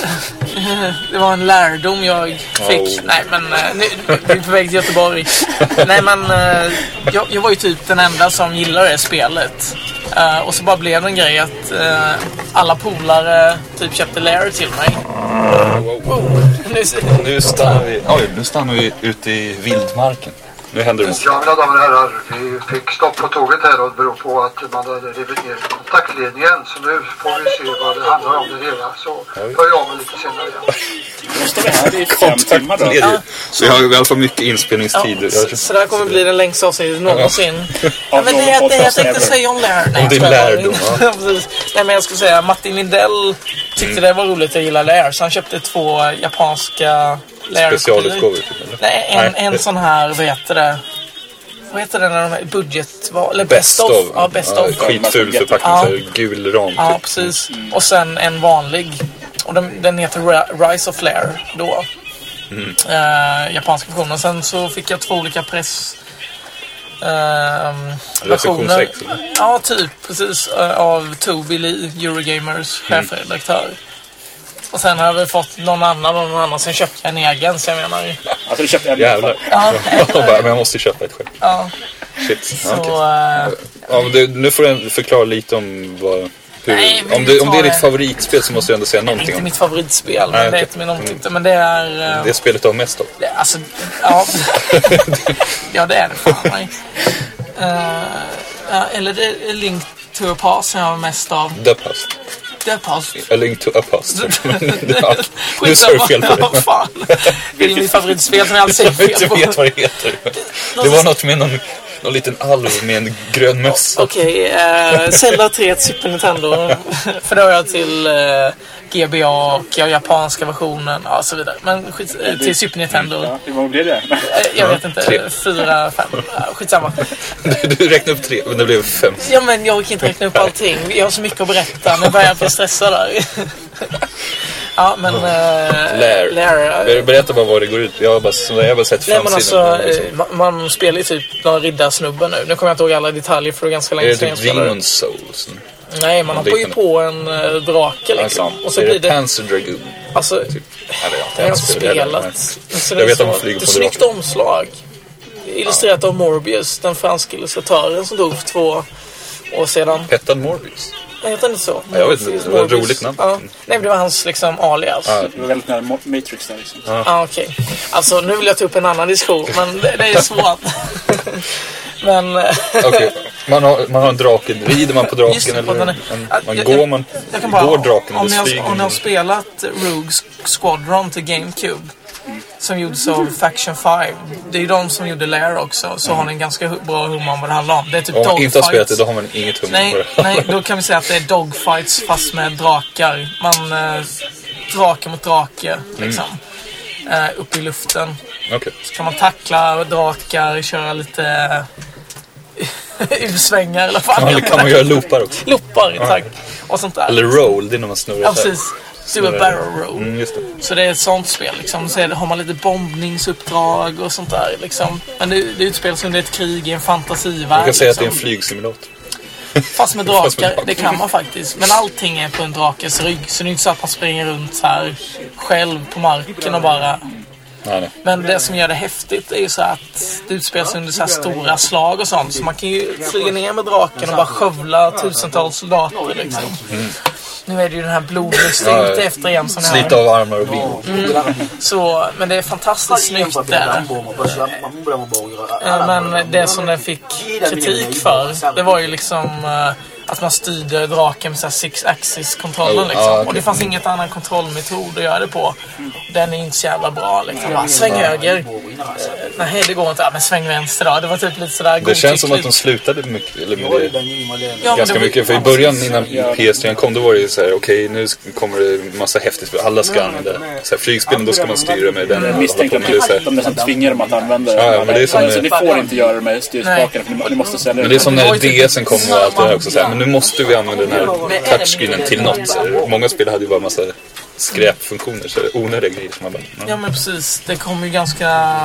Det var en lärdom jag fick.
Oh.
Nej, men eh, nu, vi är på väg till Göteborg. Nej, men eh, jag, jag var ju typ den enda som gillade det spelet. Eh, Och så bara blev det en grej att eh, alla polare typ köpte Lair till mig. Oh, Wow. Nu,
Nu stannar vi, oj, nu stannar vi ute i vildmarken. Nu händer det något.
Ja, mina damer och herrar, vi fick stopp på tåget här och det beror på att man hade rivit ner kontaktledningen. Så nu får vi se vad det handlar om det hela. Så hör jag av mig lite senare igen.
Måste vi här i fem timmar då?
Ledig. Så jag har i alla fall mycket inspelningstid.
Ja,
Jag-
så, så det här kommer bli den längsta avsnittet någonsin. Ja, men
någon
det, det jag
podcast
tänkte
ever.
säga om lärdom. Nej,
Om din
jag skojar.
lärdom,
Ja, precis. Nej, men jag skulle säga Martin Lindell tyckte det var roligt att gilla Lair. Så han köpte två japanska Lair.
Specialutgåvor. typ, eller?
Nej, en,
Nej,
en
det-
sån här, vad heter det? Vad heter det när de är budget... Eller
Best of.
Ja, best of.
Skitful förpackning.
Ja.
Så här gul ram.
Ja,
typ.
precis. Och sen en vanlig. Och den, den heter Ra- Rise of Flair då. Eh, japanska versionen. Sen så fick jag två olika press... ehm, versioner.
Recensionsex, eller?
Ja, typ. Precis. eh, av Toby Lee, Eurogamers
Mm.
chefredaktör. Och sen har vi fått någon annan och någon annan. Sen köpte jag en egen. Så jag menar...
Alltså du köpte en
Jävlar. Ja. bara, men jag måste köpa ett själv.
Ja,
Shit.
så...
Ja, okej.
eh,
ja, men du, nu får du förklara lite om vad... Hur,
Nej, men
om, det,
vi
om
tar
det är
det.
ditt favoritspel så måste du ändå säga någonting
eh, inte
om det.
mitt favoritspel.
Nej,
men det
okej.
är
Mm.
ett med någon tyckte. Men det är... eh,
Det spelet du har mest av.
Det, alltså, ja. ja, det är det fan. Nej. Eh, ja, eller det är Link to a Past som jag har mest av.
The Past.
The Past.
A Link to a Past. ja, nu sa
Skitsamma.
du fel på
Ja,
det.
fan. Det är mitt favoritspel som jag alltid
Jag vet
säger fel
inte vet
på.
vad det heter. Det var något med någon, någon liten alv med en grön mössa.
Okej, eh, Zelda 3 till Super Nintendo. För då har jag till eh, GBA och jag har japanska versionen och så vidare. Men skit, eh, till Super Nintendo.
Ja, hur många blev det?
Eh, Jag vet inte,
tre.
fyra, fem, eh, skitsamma.
Du, du räknade upp tre, men det blev fem.
Ja men jag kan inte räkna upp allting. Jag har så mycket att berätta. Nu börjar jag bli stressad där. Ja men... eh,
Lair.
Lair. eh,
Ber- Berätta bara vad det går ut på. Jag har bara, som sagt, jag har bara sett
Nej men
framsidan.
alltså,
men liksom,
eh, man, man spelar ju typ någon riddarsnubbe nu. Nu kommer jag inte ihåg alla detaljer för det är
är
ganska länge
det
sedan jag
typ
spelade.
Demon Souls?
Nej, man hoppar ju
liknande?
på en eh, drake liksom.
Alltså,
och så
är
blir det...
Panzer Dragoon?
alltså,
Typ. Eller, ja,
det har jag inte
spelar heller,
spelat.
men-
Så det
Jag
är
vet att
så-
man flyger
Det
på
är snyggt
draken.
omslag. Illustrerat av Morbius, den franske illustratören som dog för två år sedan.
Hettan Morbius?
Nej, heter han inte så?
Ja, jag vet inte. Det var ett
Morbius.
roligt namn.
Ja. Nej, men det var hans liksom alias. Ja,
Det var väldigt nära Ma- Matrix där liksom.
okej. Alltså, nu vill jag ta upp en annan diskussion, men det, det är svårt. men... eh,
Okej, man, har, man har en drake. Rider man på
Just
draken
det, på
eller?
den är-
en,
Ja,
man
jag-
går
jag-
man?
Jag kan bara,
går draken
om, ni
eller
har,
flyger
om ni har
man?
spelat Rogue Squadron till GameCube som gjordes av Faction 5. Det är ju de som gjorde Lair också, så har ni en ganska hu- bra hum om vad det handlar om. Det är typ
Om man inte Mm. har spelat det,
dogfights.
då har man inget humör
Nej,
på det.
nej, då kan vi säga att det är dogfights fast med drakar. Man eh, drake mot drake, liksom. Eh, upp i luften.
Okej.
Så kan man tackla drakar, köra lite U-svängar eller vad fan
Man, kan man göra loopar också?
Loppar, tack. Och sånt där.
Eller roll, det är när man snurrar
Ja,
så här.
precis. Super Barrel Roll.
Mm, just det.
Så det är ett sånt spel liksom. Så är det- har man lite bombningsuppdrag och sånt där liksom. Men det, det utspelar sig under ett krig i en fantasivärld.
Man kan säga att det
liksom.
är en flygsimulator.
Fast med
fast med
drakar,
drakar.
det kan man faktiskt. Men allting är på en drakes rygg. Så det är inte så att man springer runt så här själv på marken och bara...
Nej, nej.
Men det som gör det häftigt är ju så att det utspelar sig under så här stora slag och sånt. Så man kan ju flyga ner med draken och bara skövla tusentals soldater liksom. Nu är det ju den här blodlusten jag är ute efter igen som ni hör.
Slita av armar och ben.
Så, men det är fantastiskt snyggt där. Eh, Men det som den fick kritik för, det var ju liksom eh, att man styrde draken med så här six axis kontrollen
Oh, ah,
liksom.
okej.
Och det fanns inget annan kontrollmetod att göra det på. Den är inte så jävla bra liksom. Bara, Sväng höger. Eh, Nej, det går inte. Ja, men sväng vänster då. Det var typ lite sådär
Det känns som att
godtyckligt.
de slutade mycket, eller med det
Ja, men
ganska
det var-
mycket. För i början innan PS3 kom, då var det ju så här: okej nu sk- kommer det massa häftigt spel. Alla ska använda så här, flygspelen, då ska man styra med den.
Jag
och hålla
misstänker
på
att
med det, så
de,
här.
de nästan tvingar dem att använda
Ja, ja, men det är som-
alltså, ni får inte göra det med styrspakarna för ni, ni måste sälja
Men det är som
Det
när
var ju typ
DSen kom och allt det där också. Så här, men nu måste vi använda den här
Men är det
touchscreenen till något. Så här. Många spel hade ju bara massa skräpfunktioner, så här, onödiga grejer. Som man bara,
Ja men precis, det kom ju ganska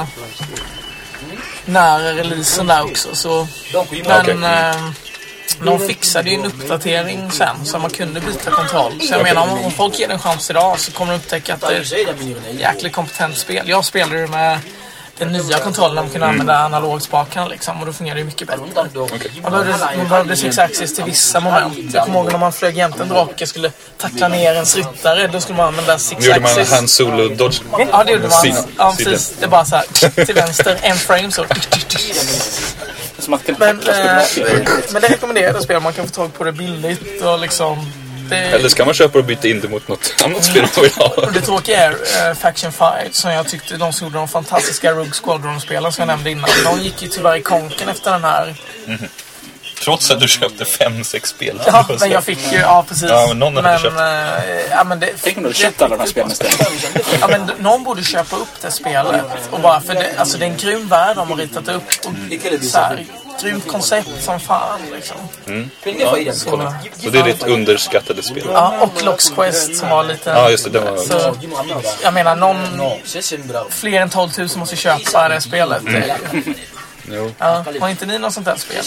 nära releasen där också. Så. Men
Okej.
eh, de fixade ju en uppdatering sen så man kunde byta kontroll. Så jag menar om, om folk ger det en chans idag så kommer de upptäcka att det är ett jäkligt kompetent spel. Jag spelade ju med den nya kontrollen man kunde använda
Mm.
analogspakarna liksom, och då fungerar det mycket bättre. Man behövde, man behövde sexaxis till vissa moment. Jag kommer ihåg när man flög jämte en drake skulle tackla ner ens ryttare, då skulle man använda
Nu gjorde man
sexaxis.
Han Solo Dodge.
Ja, det gjorde man.
Sidan.
Ja, precis. Det är bara så här till vänster, en frame så.
Som att kunna
Men,
tacklas med
eh,
bra grejer.
men det rekommenderar spel. Man kan få tag på det billigt och liksom...
Eller
Det,
ska man köpa och byta in det mot något annat spel man vill ha?
och det tråkiga är eh, Faction 5 som jag tyckte de som gjorde de fantastiska Rogue Squadron-spelen som jag nämnde innan. De gick ju tyvärr i konken efter den här.
Trots att du köpte fem, sex spel.
Ja, men jag fick ju... Ja, precis.
Ja, men någon hade
men,
köpt.
eh, ja, men det,
Tänk om du hade köpt alla de här spelen istället.
Ja, men d- någon borde köpa upp det spelet. Och bara för det, alltså, det är en grym värld de har ritat upp. Och
Mm.
så här, grymt koncept som fan liksom. Så,
Så det är ditt underskattade spel.
ja, och Locks Quest som var lite...
Ja, just det. Den var...
så, jag menar, någon... Fler än 12 000 måste köpa det spelet.
Mm.
Ja, har inte ni något sånt där spel?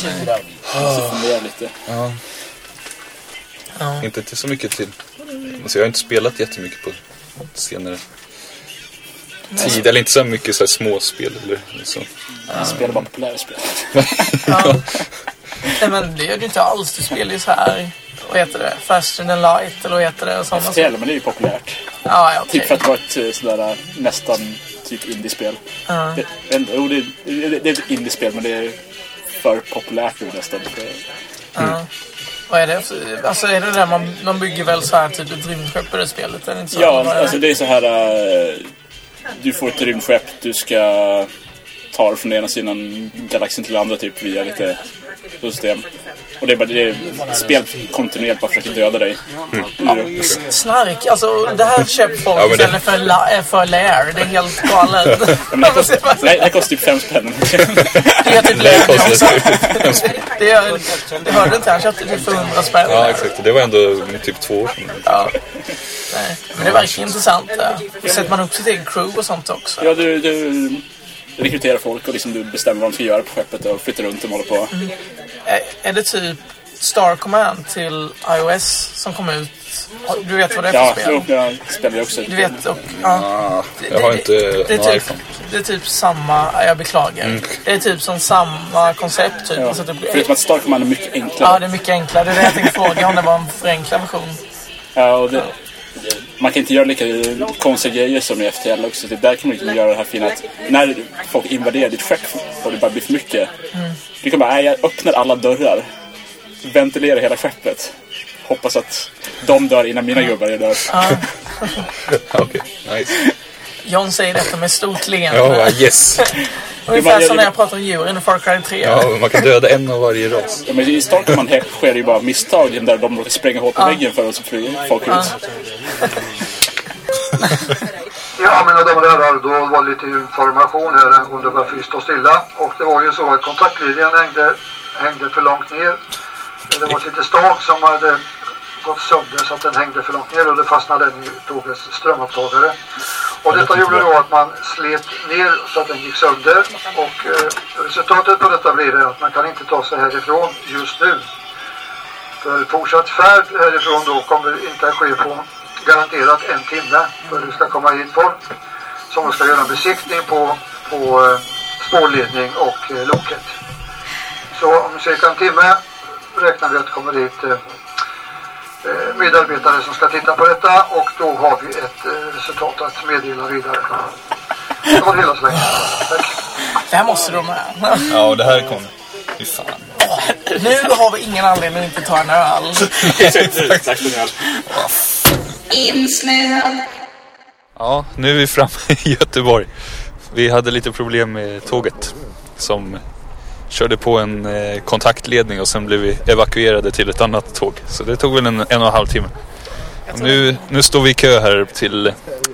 Fundera lite.
Inte till så mycket till. Alltså jag har inte spelat jättemycket på senare tid. Eller inte så mycket så här småspel eller så.
Spela bara populära spel.
Nej, men det gör du inte alls. Du spelar ju så här... Vad heter det? Faster than light eller vad heter det? Sådana
Fjäll, men det Alltså, är ju populärt.
Ja, ja, okej.
Typ för att vara ett eh, sådär nästan typ indiespel. Uh. Det, jag vet inte, jo, det, det, det är ett indiespel men det är för populärt nu nästan. Det-
Vad är det? för- Alltså är det där man, man bygger väl så här typ ett rymdskepp i det spelet? Är det inte så?
Ja,
Vad är
alltså det är så här. eh, Du får ett rymdskepp, du ska ta dig från ena sidan galaxen till andra typ via lite system. Och det är bara det är spel kontinuerligt bara försöker döda dig. Ja.
Snark, alltså det här köper folk
Ja, men det-
istället för, la, eh, för lair. Det är helt galet.
Men det, kostar, nej, det här kostar typ fem spänn.
det är typ
Det
lair det också.
kostade
Det, är- det hörde inte han köpte det för 100 spänn.
Ja, exakt. Det var ändå typ två år sedan.
Nej, Men det verkar intressant. det. Och sätter man upp sitt eget crew och sånt också.
Ja, du, du rekryterar folk och liksom du bestämmer vad de ska göra på skeppet och flyttar runt dem och håller på.
Mm, Är, är det typ Star Command till iOS som kom ut? Du vet vad det är för
Ja,
spel?
jo, jag spelar ju också.
Du vet och... Ja.
jag har inte
det, det,
någon
är typ,
iPhone. Mm.
det är typ samma... ja, Jag beklagar. Det är typ som samma koncept typ.
Ja.
Så det,
Förutom att Star Command är mycket
ja,
enklare.
det är mycket enklare. Det är det jag tänkte fråga om det var en förenklad version.
Ja, och det, man kan inte göra lika konstiga grejer som i FTL också. Det där kan man inte göra det här fina att när folk invaderar ditt skepp och det bara blir för mycket.
Mm.
Du kan bara, nej, jag öppnar alla dörrar. Ventilerar hela skeppet. Hoppas att de dör innan mina
Mm.
gubbar är där.
Ja, Okej, nice.
John säger detta med stort leende.
Ja, va, yes.
Ungefär
det-
som när jag pratar om djuren i Far Cry 3.
Ja, man kan döda en av varje ras.
Ja, men I Star Command här sker det ju bara misstag där de råkar spränga hål på väggen för och så flyger folk ut.
Ja, mina damer och herrar, då var det lite information här om det var fryst och stilla. Och det var ju så att kontaktlinjen hängde, hängde för långt ner. Det var ett litet stag som hade gått sönder så att den hängde för långt ner och det fastnade den i tågets strömupptagare. Och detta gjorde då att man slet ner så att den gick sönder. Och eh, resultatet på detta blir det att man kan inte ta sig härifrån just nu. För fortsatt färd härifrån då kommer inte att ske på garanterat en timme. För det ska komma hit folk som ska göra en besiktning på, på eh, spårledning och eh, loket. Så om cirka en timme räknar vi att det kommer hit eh, eh, medarbetare som ska titta på detta och då har vi ett eh, resultat att meddela vidare. Det var det hela så länge. Tack.
Det här måste de med.
Ja, och det här kom... Fy fan.
Nu har vi ingen anledning att inte ta en öl.
insnöad,
Ja, nu är vi framme i Göteborg. Vi hade lite problem med tåget som körde på en eh, kontaktledning och sen blev vi evakuerade till ett annat tåg. Så det tog väl en, en och en halv timme. Och nu, nu står vi i kö här till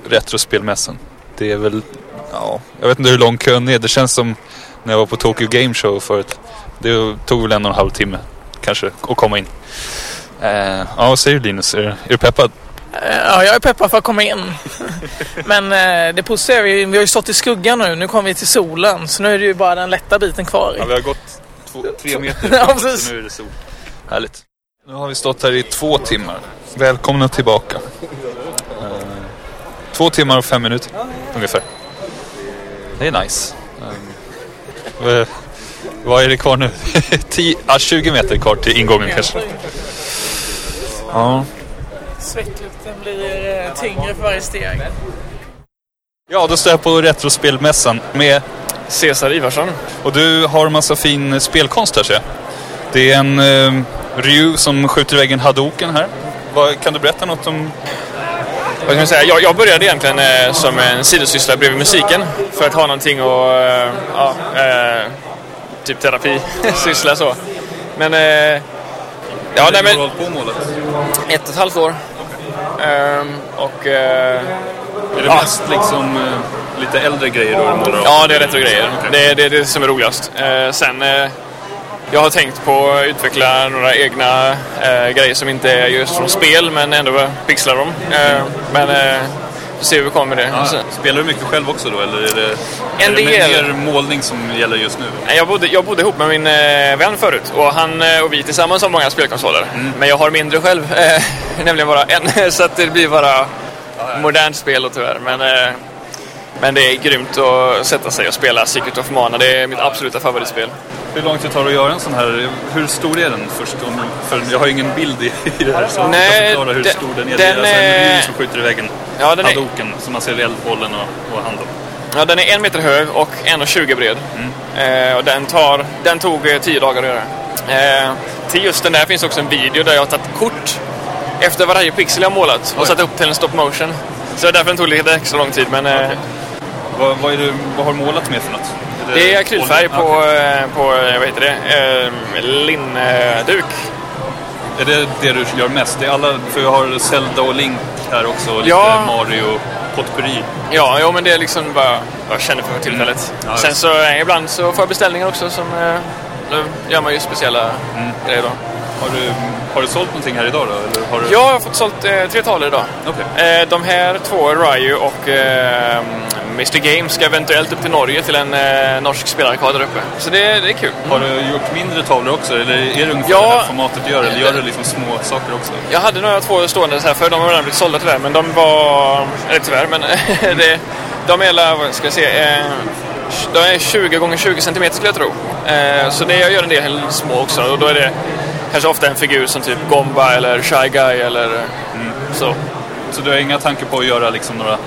Retrospelmässan. Det är väl, ja, jag vet inte hur lång kön är. Det känns som när jag var på Tokyo Game Show förut. Det tog väl en och en halv timme kanske att komma in. Eh, ja, vad säger du Linus? Är, du- är du peppad?
Ja, jag är peppad för att komma in. Men eh, det positiva är vi, vi har ju stått i skuggan nu. Nu kommer vi till solen. Så nu är det ju bara den lätta biten kvar.
vi har gått tre meter.
Ja, precis.
är det sol. Härligt. Nu har vi stått här i två timmar. Välkomna tillbaka. Eh, Två timmar och fem minuter ungefär. Det är nice. Eh, Vad är det kvar nu? 10, ah, 20 meter kvar till ingången kanske. Ja.
Svettlukten blir eh, tyngre för varje steg.
ja, då står jag på Retrospelmässan med...
Cesar Ivarsson.
Och du har en massa fin spelkonst här ser jag. Det är en eh, Ryu som skjuter i väggen Hadoken här. Vad, kan du berätta något om...
Vad kan man säga? Jag, jag började egentligen eh, som en sidosyssla bredvid musiken för att ha någonting och eh, ja, eh, typ terapisyssla så. Men eh, ja, nej, men
på målet?
ett och ett halvt år. Ehm, och eh,
Är det
Ja.
mest liksom eh, lite äldre grejer du målar av?
ja, det är rätt och grejer. Det, är- det är det som är roligast. Eh, sen eh, jag har tänkt på att utveckla några egna eh, grejer som inte är just från spel men ändå pixlar dem. Eh, men eh, vi ser hur vi kommer med det.
Ja,
Sen-
Spelar du mycket själv också då eller är det,
En
är det
del.
mer målning som gäller just nu?
Nej, Jag bodde, jag bodde ihop med min eh, vän förut och han eh, och vi tillsammans har många spelkonsoler. Men jag har mindre själv, eh, nämligen bara en. Så att det blir bara modernt spel då tyvärr. Men, eh, men det är grymt att sätta sig och spela Secret of Mana. Det är mitt absoluta favoritspel.
Hur långt det tar att göra en sån här, hur stor är den först? Om, för jag har ingen bild i, i det här så
Nej,
jag kan förklara hur
den-
stor den är. det är
den
alltså en
är-
rymd som skjuter i väggen.
Ja, den är-
Hadoken, så man ser eldbollen och, och handen.
Ja, den är en meter hög och 1,20 bred. Eh, och den, tar, den tog eh, tio dagar att göra. Eh, till just den där finns också en video där jag har tagit kort efter varje pixel jag målat och satt upp till en stop motion. Så det är därför den tog lite extra lång tid. Men, eh,
Vad, vad, är det, vad har du målat med för något? Ah,
Det är akrylfärg på,
Okej.
eh, på eh, vad heter det, eh, linnduk.
Är det det du gör mest? Det är alla, för jag har Zelda och Link här också och lite
Ja.
Mario potpurri.
Ja, jo, men det är liksom bara vad jag känner för tillfället.
Mm. Ja, just.
Sen så eh, ibland så får jag beställningar också som eh, då gör man ju speciella
Mm.
grejer då.
Har du, har du sålt någonting här idag då? Eller har du...
Jag har fått sålt eh, tre tavlor idag.
Okej.
Eh, de här två, Ryu och eh, Mr Game, ska eventuellt upp till Norge till en eh, norsk spelarkad där uppe. Så det, det är kul.
Har du gjort mindre tavlor också? Eller är det ungefär
Ja.
det här formatet du gör? Eller gör du liksom små saker också?
Jag hade några två stående så här för de har redan blivit sålda tyvärr, men de var... Eller tyvärr, men det, de är alla, vad ska jag se, eh, de är 20 gånger 20 cm skulle jag tro. Eh, så det, jag gör en del små också och då är det kanske ofta en figur som typ Gomba eller Shy Guy eller mm, så.
Så du har inga tankar på att göra liksom några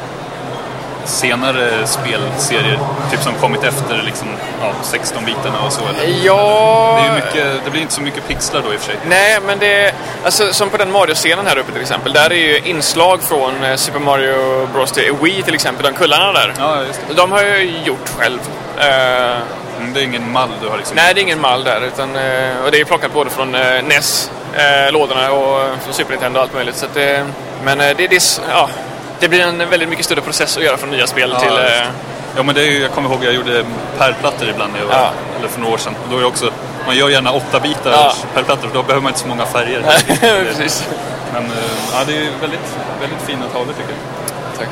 senare spelserier? Typ som kommit efter liksom, ja, 16-bitarna och så eller?
Ja...
Det, är ju mycket, det blir inte så mycket pixlar då i och för sig.
Nej, men det... Alltså, som på den Mario-scenen här uppe till exempel. Där är ju inslag från eh, Super Mario Bros. till Wii till exempel, de kullarna där.
Ja, just det.
De har jag ju gjort själv. Eh,
Mm, Det är ingen mall du har liksom?
Nej, det är ingen mall där. Utan, eh, och det är plockat både från eh, NES, eh, lådorna och eh, från Super Nintendo och allt möjligt. Så att, eh, men eh, det, det, är s- ja, det blir en väldigt mycket större process att göra från nya spel
Ja,
till...
just
Eh,
det. Ja, men det är ju, jag kommer ihåg jag gjorde pärlplattor ibland när jag var,
Ja.
eller för några år sedan. Och Då är det också, man gör gärna åtta bitar
Ja.
pärlplattor för då behöver man inte så många färger.
eh, precis.
Men eh, ja, det är ju väldigt, väldigt fina tavlor tycker jag.
Tack.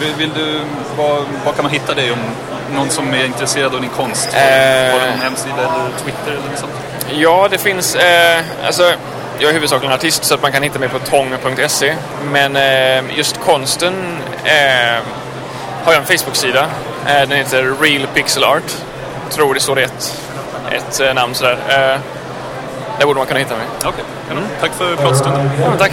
Vill, vill du, var, var kan man hitta dig om någon som är intresserad av din konst?
Eh.
Har du någon hemsida eller Twitter eller något sånt?
Ja, det finns... Eh, alltså, jag är huvudsakligen artist så att man kan hitta mig på tång.se. Men eh, just konsten eh, har jag en Facebook-sida. Eh, den heter Real Pixel Art. Tror det står ett, ett eh, namn sådär. Eh, där borde man kunna hitta mig.
Okej, kanon. Tack för pratstunden.
men tack.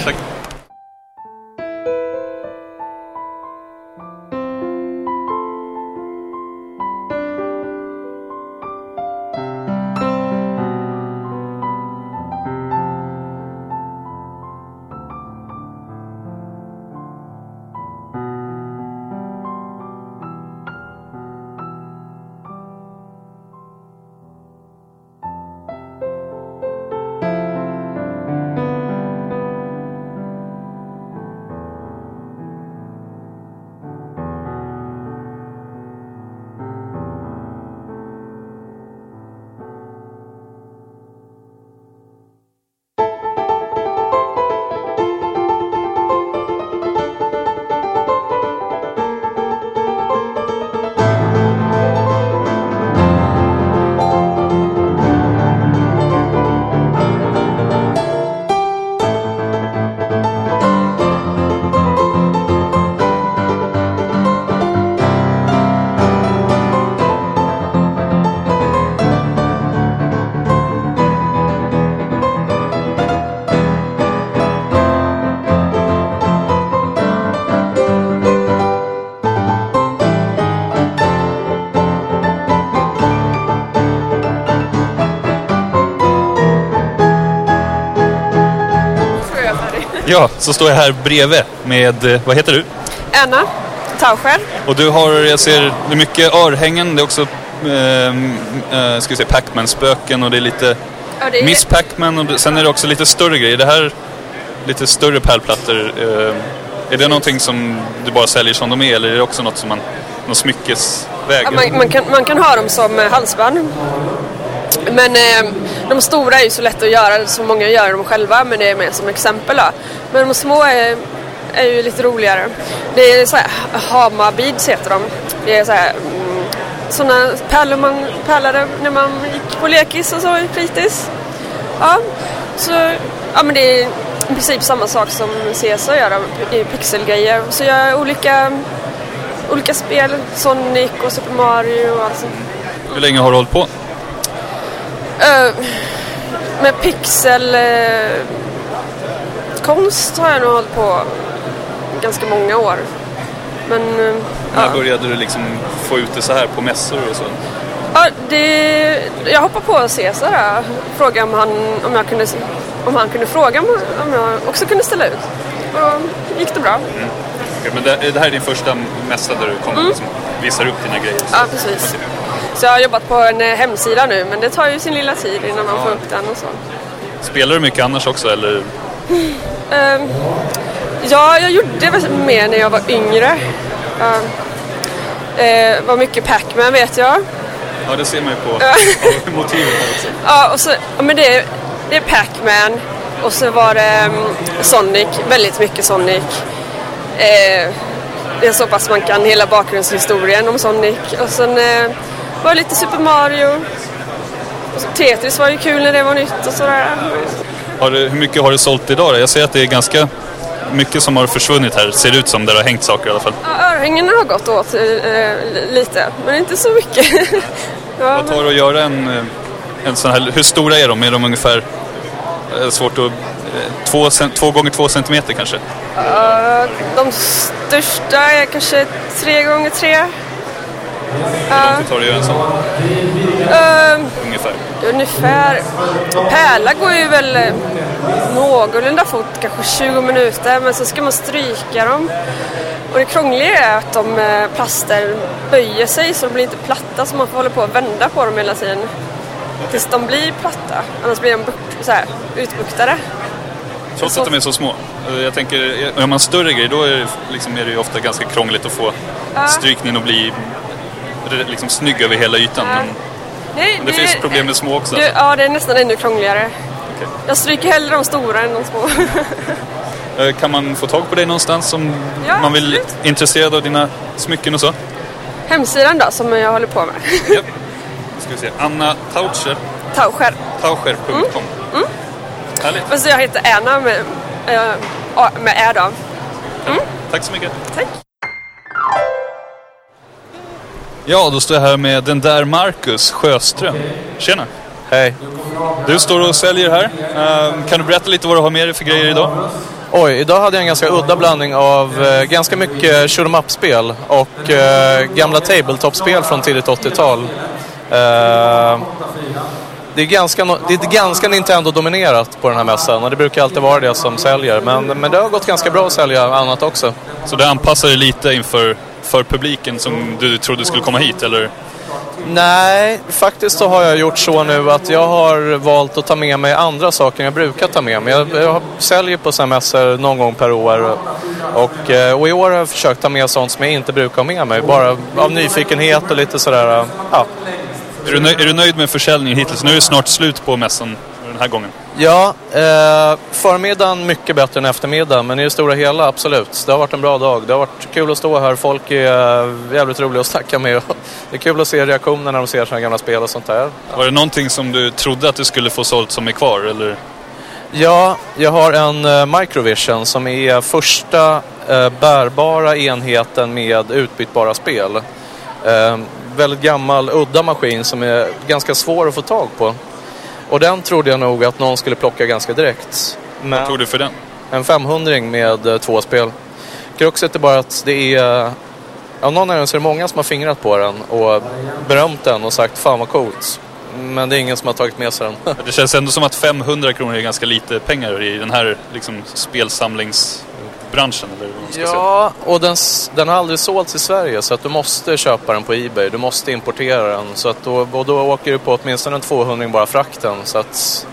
jag Mary.
Ja, så står jag här bredvid med, eh, vad heter du?
Anna Tauscher.
Och du har, jag ser, det är mycket örhängen, det är också, ehm, eh, ska vi säga, Pac-Man-spöken och det är lite
Ja, det är
Miss Pac-Man och det- sen är det också lite större grejer. Det här, lite större pärlplattor, eh, är det någonting som du bara säljer som de är eller är det också något som man, någon smyckesväg?
Ja, man, man, kan, man kan ha dem som eh, halsband. Men eh, de stora är ju så lätta att göra, så många gör dem själva, men det är mer som exempel då. Men de små är, är ju lite roligare. Det är så här, Hamabeads heter de. Det är så här, mm, såna pärlor man pärlade när man gick på lekis och så i fritids. Ja, så, ja men det är i princip samma sak som CSR gör i pixelgrejer. Så jag gör olika olika spel, Sonic och Super Mario och allt sånt.
Hur länge har du hållit på?
Eh, med pixel eh, konst har jag nog hållit på ganska många år. Men eh,
När
ja.
började du liksom få ut det så här på mässor och så?
Ja, det, jag hoppade på Cesar där. Frågade om han, om, jag kunde, om han kunde fråga om, om jag också kunde ställa ut. Och gick det bra.
Okej, men det, det här är din första mässa där du kommer och liksom, visar upp dina grejer.
Ja, precis. Så jag har jobbat på en eh, hemsida nu men det tar ju sin lilla tid innan man får upp den och så.
Spelar du mycket annars också eller?
Ehm, ja, jag gjorde väl mer när jag var yngre. Ja. Eh, var mycket Pac-Man vet jag.
Ja, det ser man ju på på motivet här också.
Ja, och så, ja, men det, det är Pac-Man och så var det mm, Sonic, väldigt mycket Sonic. Eh, det är så pass man kan hela bakgrundshistorien om Sonic. Och sen eh, var det lite Super Mario. Och så Tetris var ju kul när det var nytt och sådär.
Har du, hur mycket har du sålt idag då? Jag ser att det är ganska mycket som har försvunnit här. Ser det ut som där det har hängt saker i alla fall.
Ja, örhängena har gått åt eh, li- lite, men inte så mycket. ja,
Vad tar det att göra en, eh, en sån här, hur stora är de? Är de ungefär, eh, svårt att, eh, två, cent, två gånger två centimeter kanske?
de största är kanske tre gånger tre.
Hur långt tar det att göra en sån?
Ehm,
Ungefär.
Ungefär. Pärla går ju väl eh, någorlunda fort, kanske 20 minuter, men så ska man stryka dem. Och det krångliga är att de eh, plaster böjer sig så de blir inte platta så man får hålla på och vända på dem hela tiden. Tills de blir platta, annars blir de buk- så här, utbuktade.
Trots att de är så små. Eh, Jag tänker, eh, om man större grejer då är det, liksom, är det ju ofta ganska krångligt att få strykningen att bli eh, liksom, snygg över hela ytan.
Ja.
Men
Nej,
det finns problem med små också.
Du,
alltså.
ja, det är nästan ännu krångligare.
Okej.
Jag stryker hellre de stora än de små.
Eh, Kan man få tag på dig någonstans om
Ja,
man vill
absolut.
intresserad av dina smycken och så?
Hemsidan då, som jag håller på med.
Japp. Nu ska vi se. Anna Taucher,
Taucher.
taucher.com. Härligt.
Fast jag heter Anna med, eh, A- med Ä då.
Tack så mycket.
Tack.
Ja, då står jag här med den där Marcus Sjöström. Tjena.
Hej.
Du står och säljer här. Ehm, Kan du berätta lite vad du har med dig för grejer idag?
Oj, idag hade jag en ganska udda blandning av eh, ganska mycket shoot 'em up-spel och eh, gamla tabletop-spel från tidigt 80-tal. Eh, det är ganska, no- det är ganska Nintendo-dominerat på den här mässan och det brukar alltid vara det som säljer. Men, men det har gått ganska bra att sälja annat också.
Så det anpassar dig lite inför för publiken som du trodde skulle komma hit, eller?
Nej, faktiskt så har jag gjort så nu att jag har valt att ta med mig andra saker än jag brukar ta med mig. Jag, jag säljer på sådana mässor någon gång per år och, eh, och i år har jag försökt ta med sånt som jag inte brukar ha med mig. Bara av nyfikenhet och lite sådär, ja.
Är du, nöj- är du nöjd med försäljningen hittills? Nu är det snart slut på mässan den här gången.
Ja, eh, förmiddagen mycket bättre än eftermiddagen, men i det stora hela absolut. Det har varit en bra dag. Det har varit kul att stå här. Folk är eh, jävligt roliga att snacka med. Det är kul att se reaktioner när de ser sådana gamla spel och sånt där.
Var det någonting som du trodde att du skulle få sålt som är kvar, eller?
Ja, jag har en eh, Microvision som är första eh, bärbara enheten med utbytbara spel. Eh, väldigt gammal, udda maskin som är ganska svår att få tag på. Och den trodde jag nog att någon skulle plocka ganska direkt. Men
Tog du för den?
en 500 med eh, två spel. Kruxet är bara att det är... eh, Av någon anledning så är det många som har fingrat på den och berömt den och sagt fan vad coolt. Men det är ingen som har tagit med sig den.
Det känns ändå som att 500 kronor är ganska lite pengar i den här liksom, spelsamlingsbranschen. Eller vad man ska säga.
Ja, och den, s- den har aldrig sålts i Sverige så att du måste köpa den på Ebay. Du måste importera den. Så att då, och då åker du på åtminstone en 200 bara frakten. Så att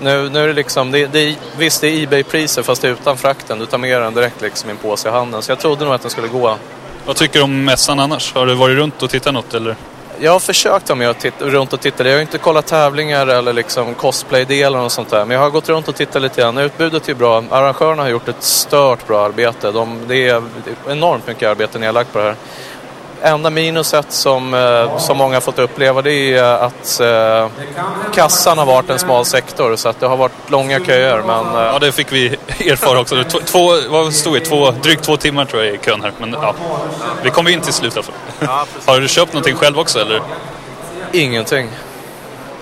nu, nu är det liksom, det, det, är- visst det är Ebay-priser fast det är utan frakten. Du tar med den direkt liksom i en påse i handen. Så jag trodde nog att den skulle gå.
Vad tycker du om mässan annars? Har du varit runt och tittat något eller?
Jag har försökt om jag titt, runt och tittade. Jag har ju inte kollat tävlingar eller liksom cosplay-delen och sånt där. Men jag har gått runt och tittat lite grann. Utbudet är ju bra. Arrangörerna har gjort ett stört bra arbete. De, det, är, det är enormt mycket arbete nedlagt på det här. Enda minuset som, eh, som många har fått uppleva det är att eh, kassan har varit en smal sektor. Så att det har varit långa köer. Men, eh,
Ja, det fick vi erfara också. Två, två, vad stod det? Två, drygt två timmar tror jag i kön här. Men ja, vi kom ju in till slut i alla fall. Har du köpt någonting själv också eller?
ingenting.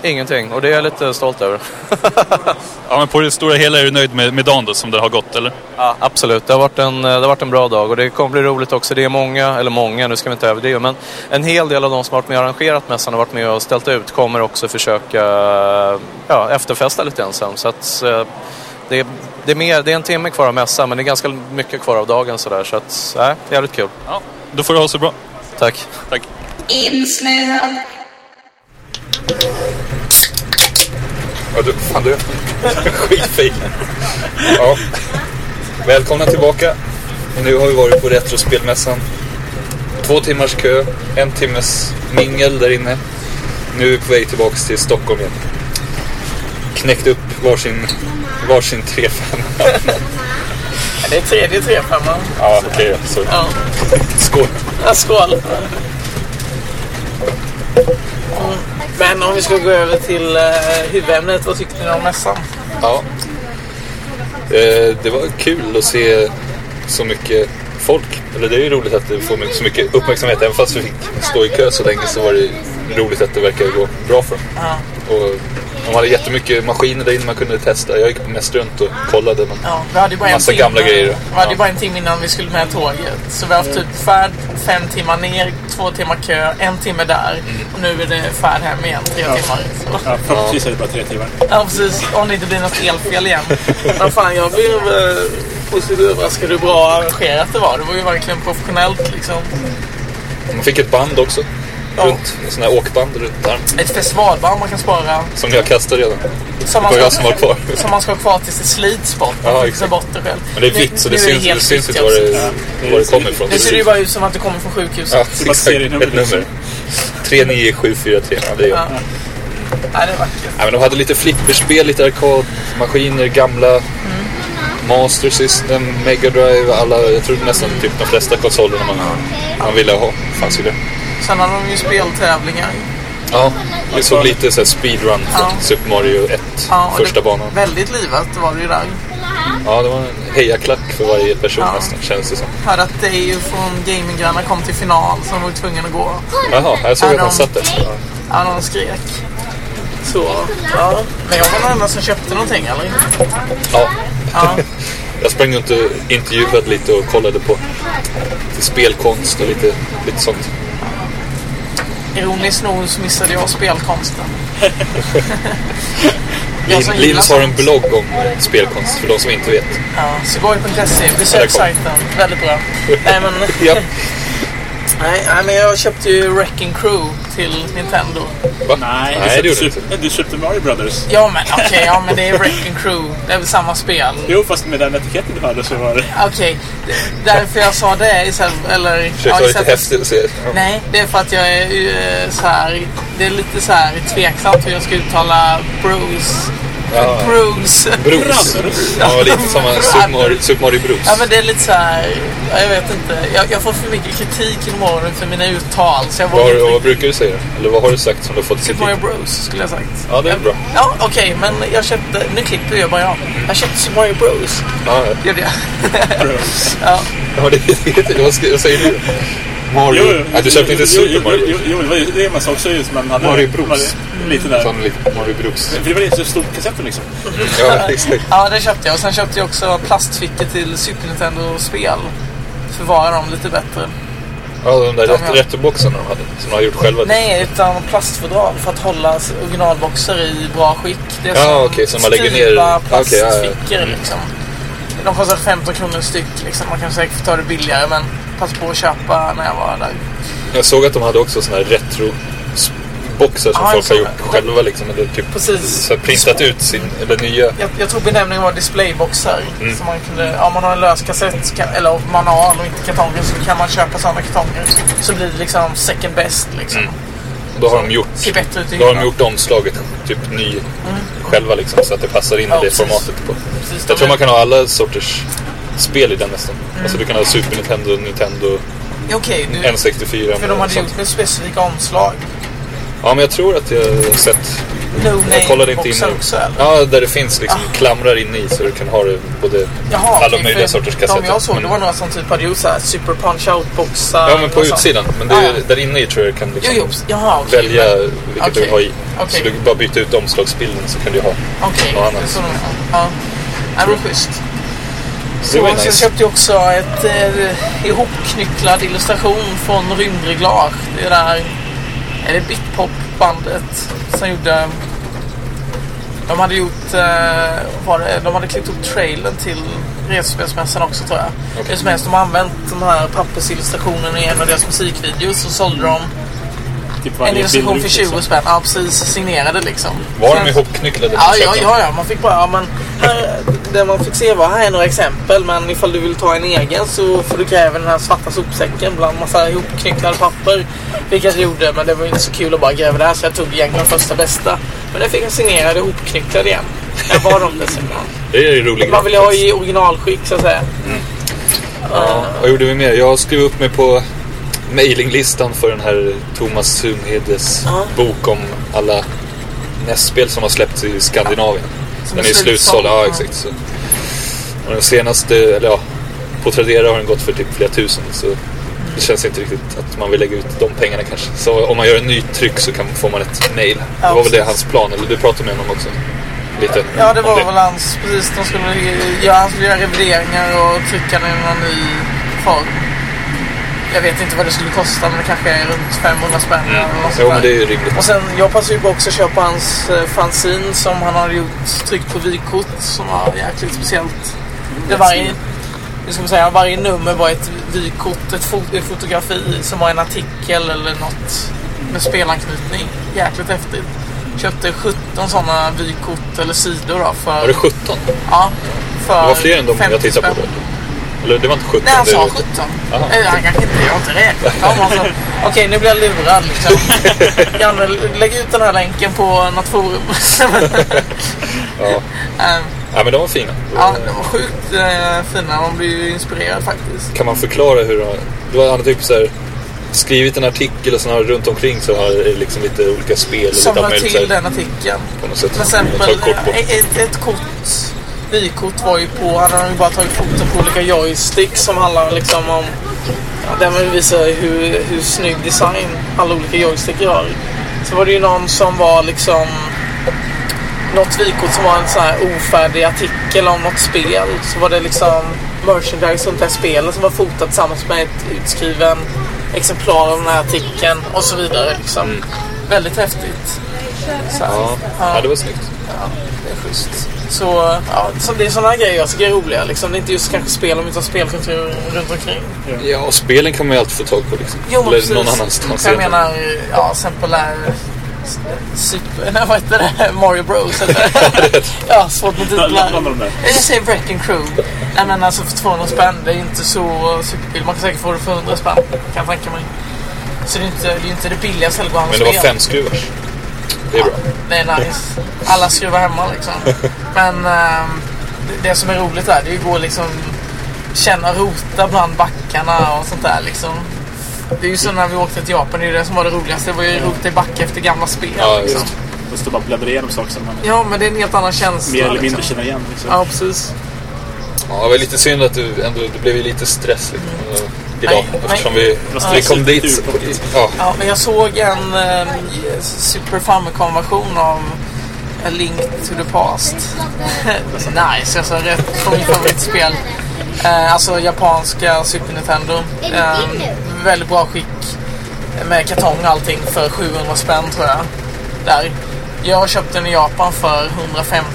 Ingenting. Och det är jag lite stolt över.
Ja, men på det stora hela är du nöjd med, med dagen då, som det har gått eller?
Ja, absolut. Det har, varit en, eh, det har varit en bra dag och det kommer bli roligt också. Det är många, eller många, nu ska vi inte överdriva, men en hel del av de som har varit med och arrangerat mässan och varit med och ställt ut kommer också försöka eh, ja, efterfesta lite grann sen. Så att, eh, det, är, det, är mer, det är en timme kvar av mässan men det är ganska mycket kvar av dagen sådär. Så att, nej, jävligt kul.
Ja, då får du ha så bra.
Tack.
Tack.
insnöad,
Ja, du, fan du. Skitfin. Ja. Välkomna tillbaka. Nu har vi varit på Retrospelmässan. Två timmars kö, en timmes mingel där inne. Nu är vi på väg tillbaks till Stockholm igen. Knäckt upp varsin, varsin 3-5.
Det är tredje trefemman.
Ja, okej. så
Ja.
skål.
Ja, skål! Mm. Men om vi ska gå över till eh, huvudämnet, vad tyckte ni om mässan?
Ja. Eh, Det var kul att se så mycket folk. Eller det är ju roligt att det får så mycket uppmärksamhet. Även fast vi fick stå i kö så länge så var det roligt att det verkar gå bra för dem. Och de hade jättemycket maskiner där inne man kunde testa. Jag gick mest runt och kollade. Men
Ja, vi hade ju bara
Massa
en
gamla
timme.
grejer.
Vi hade ju
Ja. Mm.
bara en timme innan vi skulle med tåget. Så vi har haft typ färd fem timmar ner, två timmar kö, en timme där.
Mm.
Och nu är det färd hem igen, tre timmar. Så.
Ja, förhoppningsvis är det bara tre timmar.
Ja, precis. Om det inte blir något elfel igen. Men fan, jag blev eh, positivt överraskad hur bra arrangerat det var. Det var ju verkligen professionellt liksom.
man fick ett band också.
Ja.
Runt, en sån här åkband runt armen.
Ett festivalband man kan spara.
Som jag kastade redan.
Som
Det var jag som var kvar.
som man ska ha kvar tills det slits bort.
Ja,
Man får
exakt.
fixa bort det själv.
Men det är vitt så
Nu-
det
nu är
syns, det
helt
syns
vitt,
inte
ja,
var
precis.
det, var det kommer ifrån.
Nu ser det ju bara ut som att det kommer från sjukhuset.
Ja,
bara
exakt. Ett
serienumret liksom.
nummer. 39743. Ja, det är jag.
Ja. Nej, det är vackert.
Nej, men de hade lite flipperspel, lite arkadmaskiner, gamla
Mm.
Master System, Mega Drive, alla, jag tror nästan typ de flesta konsolerna man, man ville ha fanns ju det.
Sen har de ju speltävlingar.
Ja, det såg lite så här speedrun från
Ja.
Super Mario 1,
Ja, och
första
det,
banan.
Väldigt livat var det ju där.
Ja, det var en hejaklack för varje person
Ja.
nästan, känns det som.
Hörde att det är ju från gaminggrannar kom till final som var tvungen att gå.
Jaha, jag såg
Ja,
att han
de-
satt där.
Ja, någon skrek. Så, ja. Men jag var den enda som köpte någonting, eller?
Ja,
Ja.
jag sprang runt och intervjuade lite och kollade på lite spelkonst och lite, lite sånt.
Ironiskt nog så missade jag spelkonsten. Jag som
Liv-
gillar
Linus har en
sånt.
blogg om spelkonst, för de som inte vet.
Ja, Sugoi.se, besök
Ja, det
sajten. Väldigt bra. Nej men,
Ja.
nej, nej, men jag köpte ju Wrecking Crew till Nintendo.
Va?
Nej,
Nej det gjorde
du
du
köpte
inte.
Super, du köpte Mario Brothers.
Ja men okej, ja men det är Wrecking Crew. Det är väl samma spel.
Jo, fast med den etiketten du hade så var det...
Okej, det- därför jag sa det istället, eller...
Försökte vara lite
istället-
häftig och se.
Nej, det är för att jag är eh, så här, det är lite så här tveksamt hur jag ska uttala Bruce.
Ja.
Bruce.
Bruce. Ja, lite som en Super Mario, Super Mario Bruce.
Ja men det är lite så här, ja, jag vet inte. Jag, jag får för mycket kritik i morgon för mina uttal så jag
vad, har,
vågar
du-
inte.
vad brukar du säga? Eller vad har du sagt som du har fått
Super
kritik?
Mario Bros skulle jag sagt.
Ja, det är bra.
Typ Ja, okej, men jag köpte... Nu klipper jag bara jag. Jag köpte Super Mario Bros.
Ja, ja.
Gjorde jag. ja.
ja det, det, det, vad, ska, vad säger du? Mario. Nej, du köpte inte Super Mario
Jo,
Bruce.
jo, jo, det var ju det man sa också just. Man hade,
Mario Bros.
man hade Lite där.
Som lite Mario Bruce.
För det var inte så stor kassetten liksom.
Ja, exakt.
ja, det köpte jag. Och sen köpte jag också plastfickor till Super Nintendo-spel. Förvara dem lite bättre.
Ja, de där
De
rätt,
här-
retroboxarna de hade. Som de har gjort själva.
Nej, utan plastfodral för att hålla s- originalboxer i bra skick. Det är
Ja, Ah, okej, så man lägger ner-
styva
okej, ja, ja.
plastfickor liksom. De kostar 15 kronor styck. Liksom. Man kan säkert ta det billigare men passa på att köpa när jag var där.
Jag såg att de hade också såna här retroboxar som
Ja, jag
folk har
såg
gjort
det.
själva. Liksom, eller typ
Precis.
så här printat ut sin, eller nya.
Jag, jag tror benämningen var displayboxar.
Mm.
Så man kunde, om man har en lös kassett ska- eller om man har och inte kartonger så kan man köpa sådana kartonger. Så blir det liksom second best liksom.
Mm. Då har de gjort,
Ser bättre ut i
då har de
hyllan.
gjort omslaget typ ny själva liksom, så att det passar in
Ja,
i det
precis.
formatet. På.
Precis, de
Jag tror
är-
man kan ha alla sorters spel i den nästan.
Mm.
Alltså du kan ha Super Nintendo, Nintendo,
Ja, Okej, du-
N64
för de
och
hade
sånt.
gjort ett specifika omslag.
Ja, men jag tror att jag har sett...
No
Jag kollade inte in
name-boxar också eller? Ah.
Ja, där det finns liksom klamrar inne i så du kan ha det både
Jaha,
alla
okej,
möjliga
för
sorters
De
kassetter.
jag såg, det
Men-
var några som typ hade gjort såhär Super Punch Out-boxar.
Ja, men på
och sånt.
utsidan. Men det är,
Ah, ja.
där inne i tror jag du kan liksom
Jo, jo, jaha, okej,
välja
men-
vilket du
okej,
vill ha i. Så
okej.
du bara byta ut omslagsbilden så kan du ha.
Okej,
Ja,
det är
men-
så de... Ja, Ja, det var schysst.
Det
Så,
var ju
så jag
nice.
köpte ju också ett eh, ihopknycklad illustration från Rymdreglage. Det där... Är det Bitpop-bandet som gjorde... De hade gjort... Eh, var det, de hade klippt upp trailern till resespelsmässan också tror jag. Hur som helst, de har använt de här pappersillustrationerna i en av deras musikvideos och sålde de
Typ
en
varje
illustration för
bildruta,
20 spänn. Ja, precis. Signerade liksom.
liksom. Var
Sen-
de ihopknycklade?
Ja, ja, ja, ja, man fick bara, ja, men här, det man fick se var här är några exempel men ifall du vill ta en egen så får du gräva den här svarta sopsäcken bland massa ihopknycklade papper. Vilket jag gjorde men det var ju inte så kul att bara gräva där så jag tog egentligen den första bästa. Men den fick jag signerad ihopknycklad igen. Jag var dem dessutom.
Det är ju roligt.
Man vill ju ha i originalskick så att säga.
Vad gjorde vi mer? Jag skrev upp mig på mailinglistan för den här Thomas Sumhedes bok om alla nästspel som har släppts i Skandinavien.
Som
Den
är
är slutsåld.
slutsåld.
Ja,
Ja.
exakt. Så. Och den senaste, eller ja, på Tradera har den gått för typ flera tusen. Så det känns inte riktigt att man vill lägga ut de pengarna kanske. Så om man gör en ny tryck så kan, får man ett mail.
Ja,
det var väl det
precis.
hans plan, eller du pratade med honom också? Lite
Ja det
om
var väl hans, precis de skulle göra, han skulle göra revideringar och trycka den i någon ny form. Jag vet inte vad det skulle kosta men det kanske är runt 500 spänn eller något
Mm.
sånt
Jo, men
där.
det är ju rimligt.
Och sen, jag passade ju på också att köpa hans eh, fanzine som han har gjort, tryckt på vykort som var jäkligt speciellt.
Mm,
Det varje, hur ska man säga, varje nummer var ett vykort, ett fot, ett fotografi som var en artikel eller något med spelanknytning. Jäkligt häftigt. Köpte 17 sådana vykort eller sidor då för...
Var det 17?
Ja, för
Det var fler än de jag
50
tittade på då.
spänn.
Eller det var inte 17?
Nej, han
det-
sa 17.
Jaha.
Nej, han kanske inte, jag har inte räknat. Han var så, Okej, nu blir jag lurad liksom. Janne, lägg ut den här länken på något forum.
Ja.
Ehm,
Ja, men de var fina.
ja, de var sjukt eh, fina. Man blir ju inspirerad faktiskt.
Kan man förklara hur de... Det var, han har typ så här, skrivit en artikel och sen har det runt omkring så har det liksom lite olika spel. och
Som
lite
la
allt möjligt så
till
här
den artikeln.
På något sätt.
Till
Ta
exempel
ett kort på.
eh, ett, ett kort, vykort var ju på, han hade ju bara tagit foton på olika joysticks som handlar liksom om, ja, där man visar hur, hur snygg design alla olika joystick gör. Så var det ju någon som var liksom, något vykort som var en sån här ofärdig artikel om något spel. Så var det liksom merchandise runt det här spelet som var fotat tillsammans med ett utskriven exemplar av den här artikeln och så vidare. Liksom.
Mm.
Väldigt häftigt. Så här.
Ja. ja, det var snyggt.
Det är schysst. Så ja, så det är sådana grejer jag tycker är roliga. Liksom. Det är inte just kanske spel utan spelkultur runt omkring.
Ja, och spelen kan man ju alltid få tag på liksom.
Jo, men
Eller
precis.
någon annanstans.
Jag
egentligen.
menar, ja, sempolär... Super... Nej, vad heter det? Mario Bros, eller? ja, svårt med titlar.
Bland de där.
Jag säger Wrecking Crew. Nej, men alltså för 200 spänn, det är inte så superbilligt. Man kan säkert få det för 100 spänn, kan jag tänka mig. Så det är inte det, är inte det billigaste eller
Men det var fem skruvars. Det är bra.
det är nice. Alla skruvar hemma liksom. Men ehm, det- det som är roligt där, det är ju att gå liksom känna rota bland backarna och sånt där liksom. Det är ju så när vi åkte till Japan, det är ju det som var det roligaste. Det var ju rota i backe efter gamla spel.
Ja,
liksom.
just.
Och stå bara och bläddra igenom saker som man
ja men det är en helt annan känsla.
mer eller mindre
liksom.
känner igen. Liksom.
Ja, precis.
Ja, det var lite synd att du ändå, det blev ju lite stress liksom, idag.
Mm. Nej,
eftersom
nej.
vi,
Ja.
vi kom dit. så- Ja,
Ja, men jag såg en eh, Super Famicom-version av Alltså, A Link to the Past. nice, jag sa rätt på mitt favoritspel. Eh, alltså japanska Super Nintendo. Eh, väldigt bra skick. Med kartong och allting för 700 spänn tror jag. Där. Jag köpte den i Japan för 150.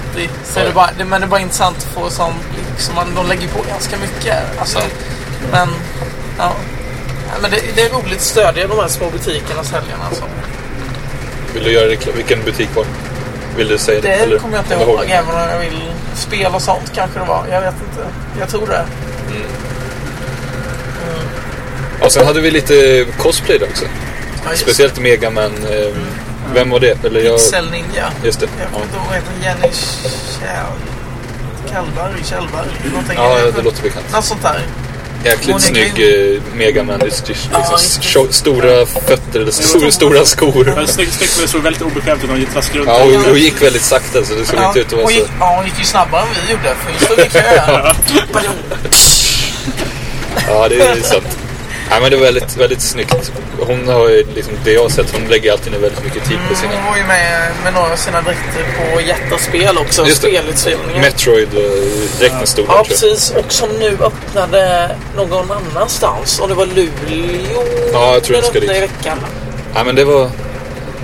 Så det är bara, det, men det är bara intressant att få som... Liksom, man, de lägger på ganska mycket. Alltså, Men, ja. Ja, men det, det är roligt att stödja de här små butikerna, säljarna. Alltså.
Vill du göra reklam? Vilken butik var det? Vill du säga det?
Det
eller
kommer jag inte
komma
ihåg, även om jag vill spela och sånt kanske det var. Jag vet inte. Jag tror det.
Och sen hade vi lite cosplay där också.
Ja, just-
Speciellt Mega Man. eh, Vem var det? Eller jag...
Pixel Ninja.
Just det.
Jag kommer inte ihåg vad heter hon. Jenny Kjell... Kallberg? Kjellberg? Någonting.
Ja, det låter bekant.
Något sånt där. Hon är
Jäkligt snygg eh, Mega Man. Liksom,
just det.
tjo- stora fötter eller stora, stora skor.
Snyggt, snyggt men det såg väldigt obekvämt ut när de traskade runt.
Ja, hon, hon gick väldigt sakta så det såg
Ja,
inte ut att vara
hon,
så...
gick, ja, hon gick ju snabbare än vi gjorde, för vi stod i kö. Pardon.
Ja, det är sant. Nej, men det var väldigt, väldigt snyggt. Hon har ju liksom, det jag har sett, hon lägger alltid ner väldigt mycket tid på
Mm, Hon
sina
var ju med med några av sina dräkter på jättespel också.
Just det.
Spelutsgivningen.
Metroid eh, och dräkten stod där,
Ja,
tror jag.
precis. Och som nu öppnade någon annanstans. Om det var Luleå.
Ja, jag tror
den
den ska
öppnade i
dit.
veckan.
Nej, men det var,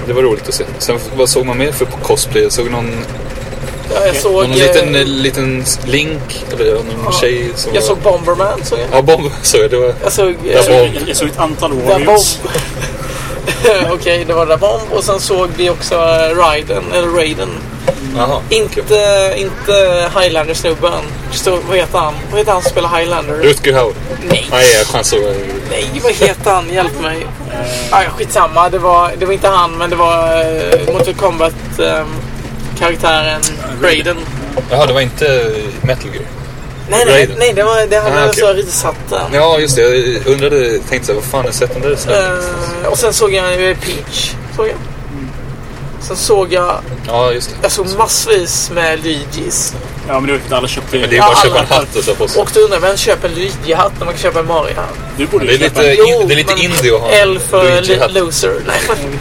det var roligt att se. Sen vad såg man mer för cosplay? Jag såg någon,
Ja, jag såg...
någon
eh,
liten, eh, liten Link, eller någon tjej som
Jag
var...
såg Bomberman, såg jag.
Ja, Bomb såg jag. Det var...
Jag såg... eh,
Där Bomb.
Jag, jag såg ett antal
Där Bomb.
Warriors.
Okej, det var där Bomb. Och sen såg vi också eh, Raiden, eller Raiden.
Jaha.
Inte, inte Highlander-snubben. Så, Vad heter han? Vad heter han som spelar Highlander?
Rutger Hauer.
Nej.
Nej, jag chansar.
Nej, vad heter han? Hjälp mig. Ah, ja, skitsamma, det var, det var inte han, men det var eh, Mortal Kombat-karaktären Raiden.
Jaha, det var inte eh, Metal Gear.
Nej, nej,
Raiden.
nej det, var, det hade
Ah,
ah,
okej.
okay. risatt där.
Ja, just det. Jag undrade, tänkte så här, vad fan har jag sett den där snubben?
Eh, och sen såg jag ju Peach. Såg jag. Sen såg jag,
Ja, just det.
jag såg massvis med Luigis.
Ja, men det var inte alla köpte.
Men det är
Ja,
bara att
alla
köpa en
hattar.
hatt och så på sig.
Och du undrar, vem köper en Luigi-hatt när man kan köpa en Mario-hatt?
Du borde
Det är
ju köpa
lite,
en.
eh, in, det är lite
men
indie att ha en
L för li-
Luigi-hatt.
loser. Nej, men-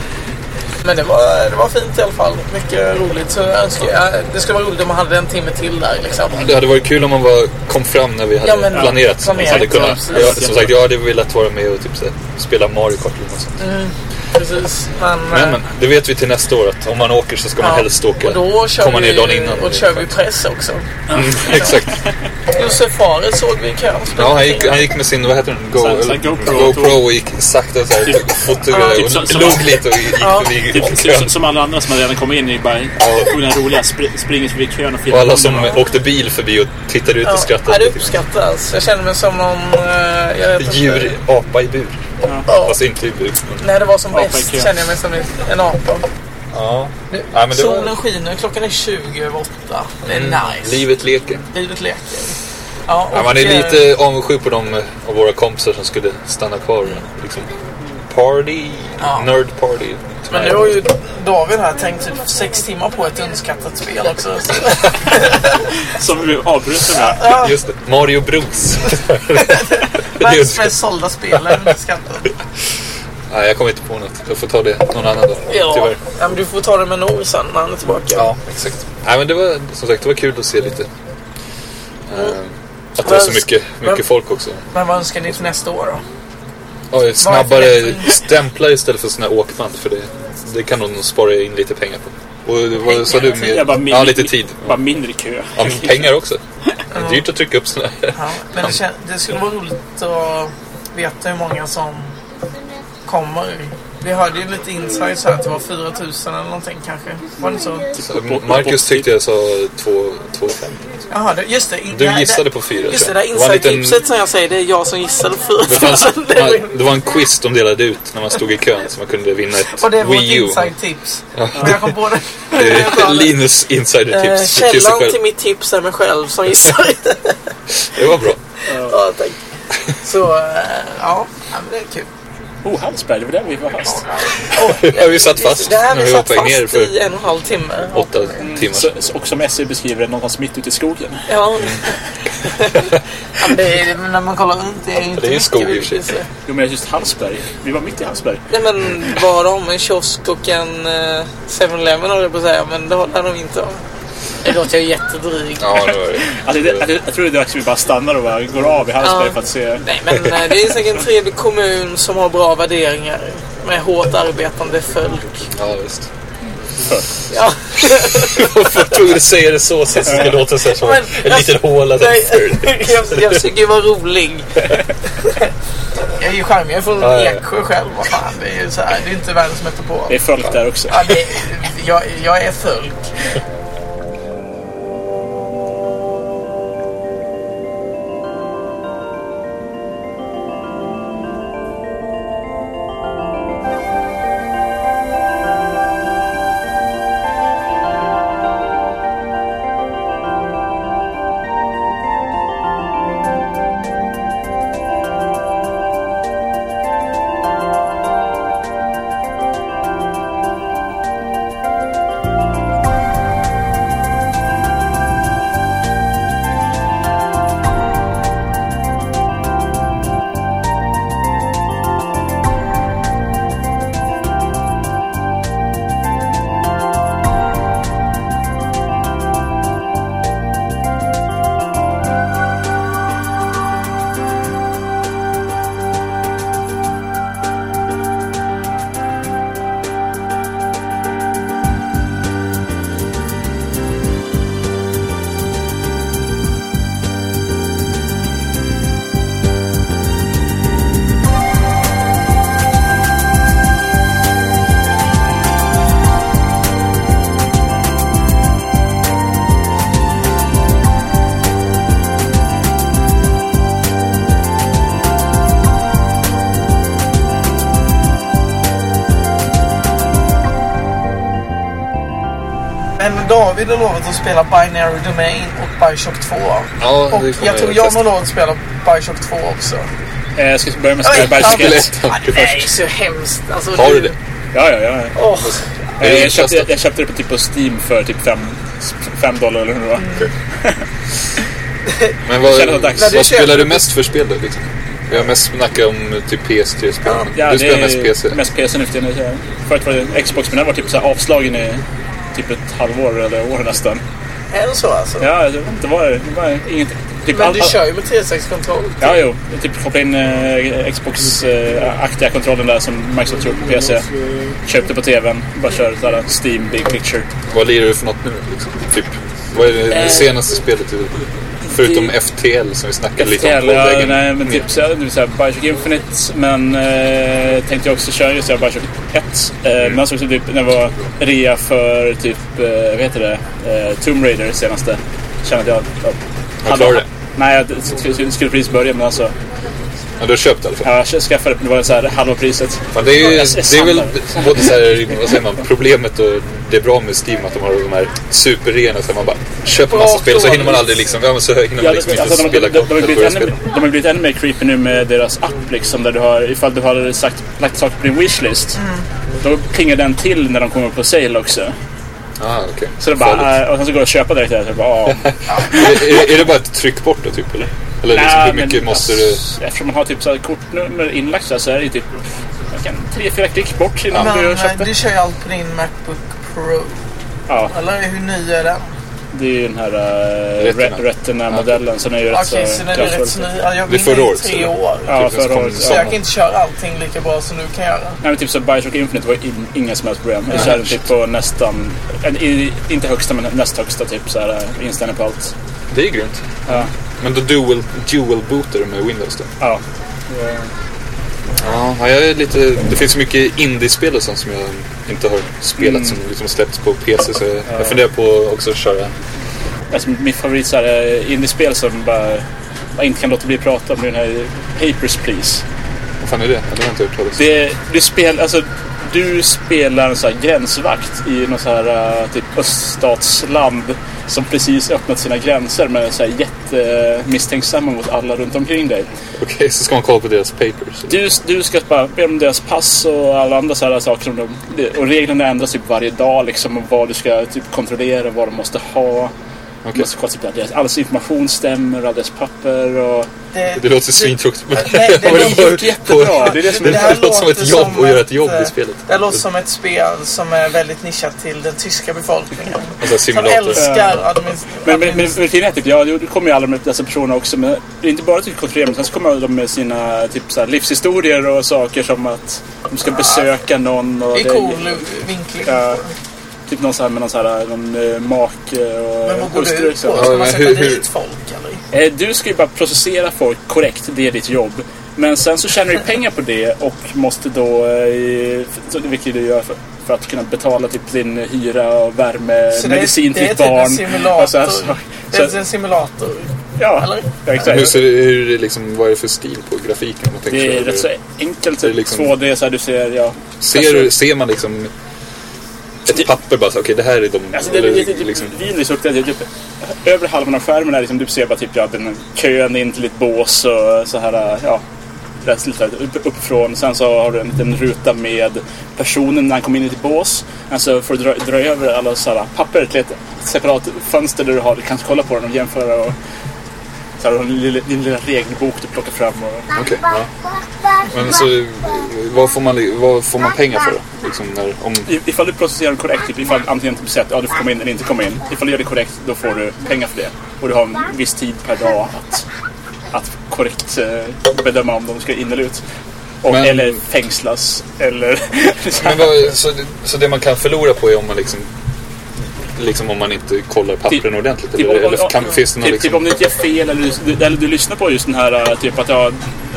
men det var, det var fint i alla fall. Mycket roligt. Så jag önskar, ja, det skulle vara roligt om man hade en timme till där. Liksom.
Det hade varit kul om man var, kom fram när vi hade
Ja, men- ja,
planerat. så man
planerat,
hade
ja,
kunnat,
precis.
jag, som sagt, jag hade velat vara med och typ, så här, spela Mario Kart eller något sånt.
Precis. Men,
Men,
eh,
men det vet vi till nästa år att om man åker så ska man
ja.
helst åka.
Och då kör
komma
vi,
ner dagen innan.
Och då kör vi press också.
Mm, Exakt.
Josef Fares såg vi i kön.
Ja, han gick, han gick med sin, vad heter den? Go,
Så- så
eller-
GoPro.
GoPro och gick sakta så här, fotograferade
Typ som-
och
som-
log lite och gick
Ja.
förbi
Typ,
och
typ
kön.
som- som alla andra som hade redan kommit in i bara tog den roliga spr springet förbi kön och
Och
filmade.
alla som åkte bil förbi och tittade ut och
Ja,
skrattade.
det
lite.
uppskattas. Jag känner mig som någon... eh, jag vet inte.
Djur, apa i bur.
Ja.
Fast inte i bur. men-
När det var som
Apa i
bäst
kö.
kände jag mig som en apa.
Ja. Nej, men det
Solen
var, Mm.
skiner, klockan är 20 över åtta. Det är nice.
livet leker.
Livet leker. Ja,
Ja,
och,
man är
eh,
lite avundsjuk på de av våra kompisar som skulle stanna kvar. och Liksom. Party,
Ja.
nerd party.
Men nu har ju David här tänkt typ sex timmar på ett underskattat spel också. Så
Som vi avbröt den här.
Just det, Mario Bros.
Världens mest sålda spel är underskattat.
Nej, jag kommer inte på något. Jag får ta det någon annan dag.
Ja.
Tyvärr.
ja, men du får ta det med Nour sen när han är tillbaka.
Ja, exakt. Nej, men det var som sagt det var kul att se lite.
Mm.
eh, att det var
Men-
så mycket, mycket
men-
folk också.
Men vad önskar ni till nästa år då?
Ja, snabbare
Varför?
stämplar istället för såna här åkband. För det, det kan nog spara in lite pengar på. Och vad sa du?
Jag bara
Med,
min-
ja, lite tid.
Bara mindre kö.
Ja, men pengar också. Det är dyrt att trycka upp såna här.
Ja, men det, kän- det skulle vara roligt att veta hur många som kommer. Vi hörde ju lite insights här att det var 4 000 eller någonting kanske. Var det så?
Marcus tyckte jag sa 2,5.
Jaha, det, just det. In-
Du
det här-
gissade
det-
på fyra,
Just det,
tror
det
jag.
där
Det var en liten-
insight-tipset som jag säger, det är jag som gissade på
Det, fanns,
4 000. Det är min-
det var en quiz de delade ut när man stod i kön så man kunde vinna ett
Och det är vårt
Wii U.
inside-tips. Men jag kom på det.
Eh,
Jag sa det.
Linus
Eh,
insidertips till sig
Källan
själv.
till mitt tips är mig själv som gissar.
Det var bra.
ja, tack. Så, eh, ja. ja men det är kul.
Oh, Hallsberg, det var där vi var fast.
Ja, vi satt fast
Det här
när
vi
vi var
satt
på väg ner
fast
för
i en och en halv timme.
åtta timmar
Så,
sedan.
och som SE beskriver det, någonstans mitt ute i skogen.
Ja.
Mm.
ja men det är, men när man kollar runt det är ju inte
Det är en
mycket
skog i och
vi
för sig.
ser.
Jo, men just Hallsberg. Vi var mitt i Hallsberg.
Nej men bara om en kiosk och en eh, 7-Eleven höll jag på att säga. Men det har där de inte. Det låter ju jättedryg.
Ja, det var det.
Alltså, det, jag, jag tror det är dags att vi bara stannar och bara går av i Hallsberg
Ja.
för att se.
Nej, men eh, det är säkert en trevlig kommun som har bra värderingar. Med hårt arbetande folk.
Ja, visst.
Ja,
Varför tog du säga det så så att det ska låta så här som
Men,
en
alltså,
liten håla där.
nej, jag, jag försöker vara rolig. Jag är ju charmig. Jag är från
Ja, ja.
Eksjö själv. Vad fan, det är ju så här. Det är inte världens metropol.
Det är folk där också.
Ja, det, jag, jag är folk. Men David har lovat att spela Binary Domain och Bioshock 2.
Ja,
och
det kommer
jag tror
jag
John
testa.
har lovat att spela Bioshock 2 också.
Eh, jag ska börja med
Oj,
Skyberg
ja,
Skelett.
Ja, det är ju så hemskt. Alltså,
Har du det?
Ja, ja, ja.
Åh,
Eh,
det
Jag köpte,
intressant?
jag köpte det på, typ på Steam för typ 5 dollar eller hur det var.
Mm.
Men
Känner det
vad,
dags.
vad
När du
spelar
köper-
du mest för spel då? Liksom? Vi har mest snackat om typ PS3-spel.
Ja,
du
det
spelar
är
mest PC.
Mest PC nu för tiden. ja. Förut var det Xbox, men den var typ så här avslagen i typ ett halvår eller år nästan.
är det så alltså?
Ja, jag vet inte vad det det var. Inget, typ
Men
all-
du
all-
kör ju med 360-kontroll.
Ja, jo. Typ koppla in eh, Xbox-aktiga kontrollen där som Microsoft gjort på PC. Köpte på TVn. Bara kör sådär Steam Big Picture.
Vad lirar du för något nu? Liksom? Typ, vad är det,
Eh,
det senaste spelet du... Förutom FTL som vi snackade lite om på
Eller,
vägen
nej, men
ner.
typ så här, det vill säga Bioshock Infinite. Men eh, tänkte jag också köra just det här Bioshock 1. Eh,
Mm.
Men jag såg också typ när det var rea för typ, eh, vad heter det, eh, Tomb Raider senaste. Kände att jag... jag
klarar det.
Nej, jag skulle, skulle precis börja men alltså.
Ja, du har köpt i alla fall.
Jag skaffade det, men det var så här halva priset.
Fan, det, är ju,
Ja, jag- jag
det är väl
samlar.
både så här, vad säger man, problemet och det är bra med Steam att de har de här superreorna så man bara köper massa spel och så hinner man aldrig liksom, ja, men så hinner man
Ja, det-
liksom
alltså,
inte
de,
spela
de, de,
klart
de, har
eller
blivit
börja
ännu,
spela.
de har blivit ännu mer creepy nu med deras app liksom. Där du har, ifall du har sagt, lagt saker på din wishlist.
Mm.
Då plingar den till när de kommer på sale också.
Ah, okej.
Så det bara, äh, och sen så går det att köpa direkt. där, Typ,
Är,
ah.
är, är det bara ett tryck bort då typ eller? Eller liksom,
Nej,
hur mycket
men,
måste
alltså,
du...
Eftersom man har typ så här kortnummer inlagt så här, så är det ju typ man kan, tre, fyra klick bort innan
Men
du har
eh,
köpt
du
det.
kör ju allt på din Macbook Pro.
Ja,
Eller hur ny är den?
det är ju den här
Retina.
uh, Retina-modellen. Så den är ju
Okej,
rätt
eh,
så den är rätt så
kraftfull.
ny. Ja, jag
Det är
vinner
förra
i
året,
tre
eller?
år.
Ja,
Typ, så
förra
kommer
året.
det
Så
ja.
jag kan inte köra allting lika bra som du kan göra.
Nej men typ så Bioshock Infinite var in, inga som helst problem. Jag körde typ på nästan, en- i, inte högsta men näst högsta typ så här eh, inställning på allt.
Det är ju grymt.
Ja.
Men då dual, dual bootar du med Windows då?
Ja.
Ja, jag är lite... Det finns så mycket indiespel och sånt som jag inte har spelat
Mm.
som liksom släppts på PC så jag, jag funderar på också att köra.
Alltså, mitt favorit så här eh, indiespel som bara, man inte kan låta bli att prata om det är den här Papers Please.
Vad fan är det? Ja, Det har jag inte hört talas om.
Det, du spelar, alltså du spelar en så här gränsvakt i någon så här eh, typ öststatsland som precis öppnat sina gränser men är så här jättemisstänksamma mot alla runt omkring dig.
Okej, så ska man kolla på deras papers.
Du, du ska bara be om deras pass och alla andra sådana saker. Som de, och reglerna ändras typ varje dag liksom. Och vad du ska typ kontrollera, vad de måste ha. Man måste kolla på att all information stämmer och adresspapper och...
Det,
Det låter svintråkigt. men-
nej, det
men
är gjort jättebra.
Det, är det, som
Men
är-
det här
det låter som
låter
ett jobb
som
att göra ett jobb
att,
i spelet.
Det här låter som ett spel som är väldigt nischat till den tyska befolkningen.
Alltså
Som
simulator.
älskar administ-
Men, men, men, men fina är typ, ja, det kommer ju alla med dessa personerna också. Men det är inte bara typ kontrollerar, men sen så kommer de med sina typ, så här, livshistorier och saker som att de ska besöka någon. Och
Det är cool vinkling.
Ja, typ någon så här med någon, så här, någon eh, make och
Men vad går det
hustru. liksom.
ut
Så.
på? Ska
Ja,
man
men
sätta
hur- hur-
dit folk eller?
Eh, Du ska ju bara processera folk korrekt, det är ditt jobb. Men sen så tjänar du pengar på det och måste då, eh, så- vilket du gör för, för att kunna betala typ din hyra och värme,
Så det är-
medicin till
det är
ditt
typ en
barn. Alltså,
simulator.
Och så här, så,
Det är
Alltså,
så,
en simulator.
ja,
eller?
ja,
Hur
exakt.
ser det, hur är det liksom, vad är det för stil på grafiken? Om man tänker
Det är
så,
rätt så enkelt.
Det är liksom-
2D, så här, du ser, ja. Alltså-
ser, du- ser man liksom ett papper bara så, okej det här är de...
Alltså det är
eller
lite typ
liksom,
Venus upp till typ, övre halvan av skärmen är liksom, du ser bara typ ja, den kön in till ditt bås och så här ja. Det är lite upp, uppifrån. Sen så har du en liten ruta med personen när han kommer in i ditt bås. Alltså får du dra, dra över alla så här, papper till ett separat fönster där du har, du kan kolla på den och jämföra och så här, och din, lilla, din lilla regelbok du plockar fram. Och,
okej, ja. Men så, vad får man, vad får man pengar för då? Liksom när, om,
i- ifall du processerar den korrekt, typ, ifall antingen typ säger att ja, du får komma in eller inte komma in. Ifall du gör det korrekt, då får du pengar för det. Och du har en viss tid per dag att, att korrekt eh, bedöma om de ska in eller ut. Och,
Men-
Eller fängslas. Eller...
men vad, så, så det man kan förlora på är om man liksom, liksom om man inte kollar pappren ordentligt?
Typ,
Eller,
om- om-
eller kan, finns det någon
typ, typ om
liksom...
du inte gör fel eller du, eller du lyssnar på just den här eh, typ att ja,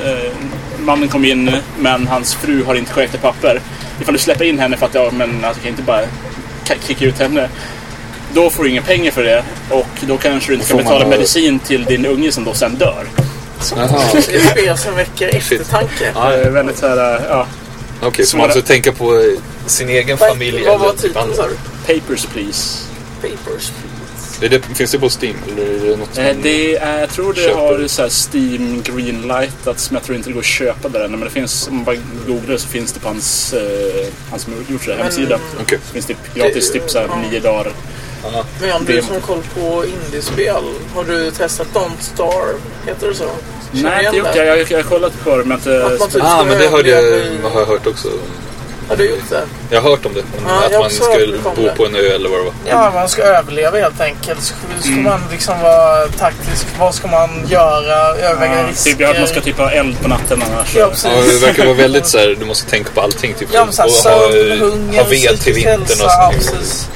eh, mannen kom in men hans fru har inte korrekta papper. Ifall du släpper in henne för att ja, men alltså, kan jag inte bara ka- kicka ut henne. Då får du inga pengar för det och då kanske du inte
Då
kan
får man
betala
ha-
medicin till din unge som då sen dör.
Aha,
Det är ett spel som väcker eftertanke.
Ja, det är väldigt så här, eh, ja,
Okej, så man måste tänka på eh, sin egen familj
Vad var
eller typ
titeln
andra.
sa du?
papers please.
Papers.
Är det, finns det på Steam? Eller är det något
Eh,
man-
Det är, jag tror det
Köper.
har så här Steam greenlightats men jag tror inte det går att köpa där än. Men det finns, om man bara googlar så finns det på hans, eh, hans som har gjort det här hemsida.
Okej.
Det finns typ gratis typ så här nio dagar.
Men om du
Det-
som har koll på indiespel, har du testat Don't Starve? Heter det så? Känner
Nej,
igen
inte gjort. Jag, jag, jag har kollat på det men inte...
Att man typ
Ah,
ska
men det hörde jag,
överleva i-
har jag hört också.
Har du gjort det?
Jag har hört om det. Om
Ja,
att
jag
man
också har
skulle
hört om
bo
det.
på en ö eller vad det var.
Ja, man ska överleva helt enkelt. Så ska
Mm.
man liksom vara taktisk. Vad ska man göra? Överväga
Ja,
risker.
typ, ja, att man ska typ ha eld på natten annars.
Ja,
Ja, det
precis.
verkar vara väldigt så här, du måste tänka på allting. Typ,
Ja, men såhär
eh,
sömn, hunger,
ha ved till
psykisk
vintern och
hälsa. Ja,
sånt.
precis.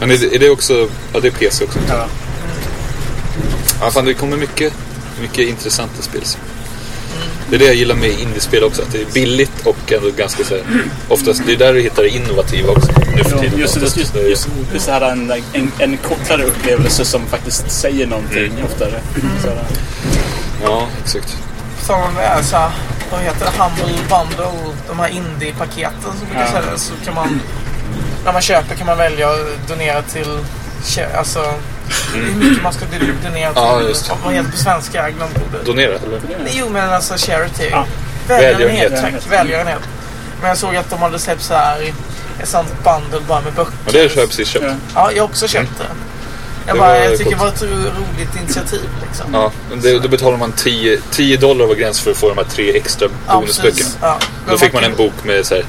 Men är det, är det också, ja det är PC också.
Ja.
Ja, fan, det kommer mycket, mycket intressanta spel. så.
Mm.
Det är det jag gillar med indiespel också, att det är billigt och ändå ganska så här, oftast, det är där du hittar det innovativa också nu för
Ja,
tiden.
Just, just,
Oftast,
just,
eh,
just, just det här en, en, en kortare upplevelse som faktiskt säger någonting oftare. Så här,
Ja, exakt.
Som med så här, vad heter det, Humble Bundle, de här indie-paketen som brukar säljas. Så kan man, när man köper kan man välja att donera till, kä- alltså
Mm.
hur mycket man ska donera till.
Ja, just det.
Vad heter det på svenska? Jag glömde ordet.
Donera, eller?
Jo men alltså charity.
Ja.
Välgörenhet,
Välgörenhet.
tack. Välgörenhet. Men jag såg att de hade släppt så här ett sånt bundle bara med böcker.
Ja, det har jag precis köpt.
Ja.
Ja, jag har också köpt det. Jag,
Det
bara,
var
jag tycker det var
coolt.
ett roligt initiativ liksom.
Ja, men det, då betalar man 10, 10 dollar var gräns för att få de här tre extra
Ja,
bonusböckerna.
precis. Ja. Men
Då fick man
kan-
en bok med så här,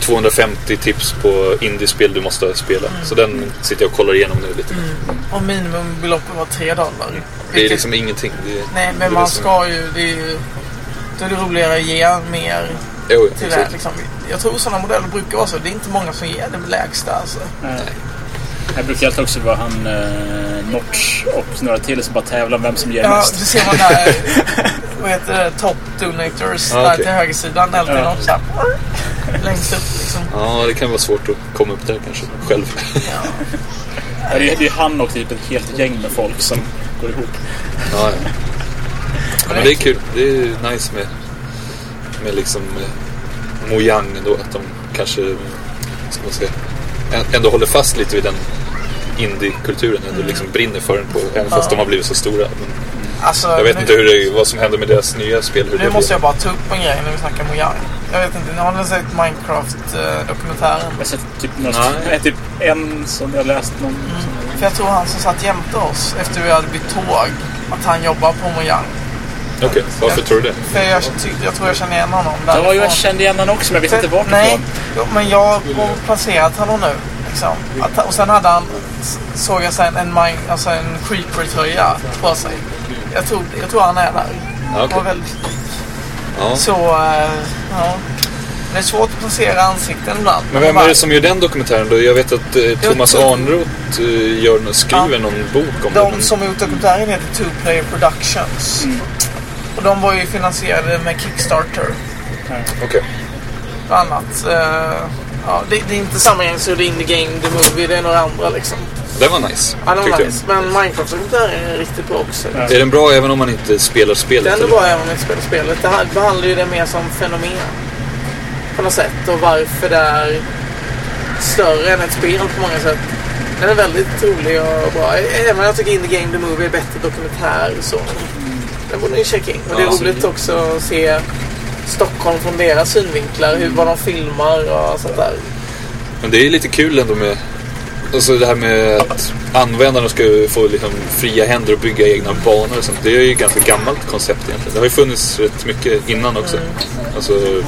250 tips på indiespel du måste spela.
Mm.
Så den sitter jag och kollar igenom nu lite.
Och minimumbeloppet var 3 dollar.
Det är
Vilket-
liksom ingenting. Det,
Nej,
det är
men man
liksom-
ska ju... Det är ju då är det roligare att ge mer
Jo,
till det.
exakt.
Liksom. Jag tror sådana modeller brukar vara så. Det är inte många som ger det lägsta. Alltså.
Här brukar alltid också vara han eh, Notch och några till som bara tävlar om vem som ger
Ja,
mest.
det ser man där. vad heter det? Top donators.
Ja,
där
okej.
till högersidan. Eller ja. något så här, Längst upp liksom.
Ja, det kan vara svårt att komma upp där kanske själv.
Ja, Det är, det är han och typ ett helt gäng med folk som går ihop.
ja, ja. ja, men det är kul. Det är nice med, med liksom eh, Mojang då. Att de kanske ska man säga, ä- ändå håller fast lite vid den indie-kulturen. Ändå liksom
Mm.
brinner för den, på, även fast de har blivit så stora. Men,
Alltså,
Jag vet
nu,
inte hur det, vad som händer med deras nya spel. Hur
Nu
det
måste
blir.
jag bara ta upp en grej när vi snackar Mojang. Jag vet inte, har ni sett Minecraft-dokumentären?
Jag har sett typ, några,
Nej.
nej, typ en som jag läst någon. som-
För jag tror han som satt jämte oss efter vi hade bytt tåg, att han jobbar på Mojang.
Okej, varför tror du det?
För jag, ty- jag tror jag känner igen honom
Ja, jag kände igen honom också men jag vet inte vart det
Nej,
var.
jo, men jag har placerat honom nu. Liksom. Att, han- och sen hade han, s- såg jag sen, en, mine, alltså en creeper-tröja på sig. Jag tror, jag tror han är där.
Ja,
Det var
okej.
väldigt likt.
Ja.
Så, eh, ja. Det är svårt att placera ansikten ibland.
Men vem är det som gör den dokumentären då? Jag vet att eh, Thomas
tror-
Arnroth eh, gör, skriver
Ja.
någon bok om det.
De
men-
som har gjort dokumentären heter Two Player Productions. Och de var ju finansierade med Kickstarter.
Okej.
och annat. Eh, ja, det, det är inte samma gäng som gjorde Indie Game, The Movie, det är några andra liksom.
Den var nice.
Ja, de var
tyckte jag.
nice. Men Minecraft-dokumentären är riktigt bra också.
Är den bra även om man inte spelar spelet?
Den är
eller?
bra även om man inte spelar spelet. Det här behandlar ju det mer som fenomen. På något sätt och varför det är större än ett spel på många sätt. Den är väldigt rolig och bra. Även om jag tycker Indie Game The Movie är bättre dokumentär så. Den borde ni checka in. Och det är
Ja,
roligt också att se Stockholm från deras synvinklar. Hur, vad de filmar och sånt där.
Men det är lite kul ändå med alltså det här med att användarna ska få liksom fria händer och bygga egna banor och sånt. Det är ju ett ganska gammalt koncept egentligen. Det har ju funnits rätt mycket innan också. Alltså,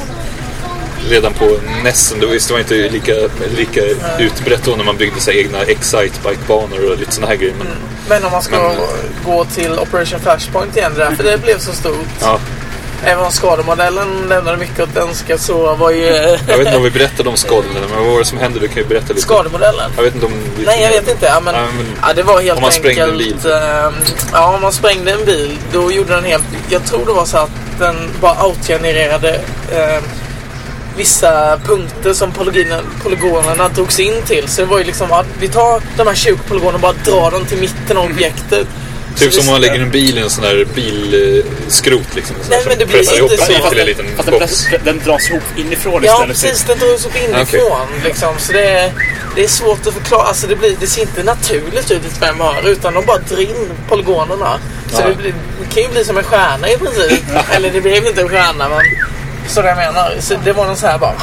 redan på Nessen, det var- visst, det var inte lika, lika utbrett då när man byggde sig egna Excite-bike-banor och lite sådana här grejer. Men,
Men om man ska
Men-
gå till Operation Flashpoint igen där, för det blev så stort.
ja,
Även om skademodellen lämnade mycket att önska så var ju eh,
jag vet inte om vi berättade om skadorna, men vad var det som hände? Du kan ju berätta lite.
skademodellen.
Jag vet inte om... vi-
Nej, jag vet inte. Ja, men,
Ja, men-
ja, det var helt
Om man
enkelt...
sprängde en bil.
ehm, ja, om man sprängde en bil, då gjorde den helt... Jag tror det var så att den bara outgenererade ehm, vissa punkter som polygonerna, polygonerna drogs in till. Så det var ju liksom att vi tar de här 20 polygonerna och bara drar dem till mitten av objektet. Så
Mhm. Typ som
det-
om man lägger en bil i en sån där bilskrot liksom.
Nej, men det blir
Pressar ihop
inte
den
så.
till en liten
Fast den,
box.
press, den dras ihop inifrån
Ja,
istället.
precis. Den drogs upp inifrån. Liksom. Så det är, det är svårt att förklara. Alltså, det, blir, det ser inte naturligt ut i ett fem öre utan de bara drar in polygonerna. Så det, blir, det kan ju bli som en stjärna i princip. Eller det blev inte en stjärna, men... Så jag menar. Så det var någon så här bara...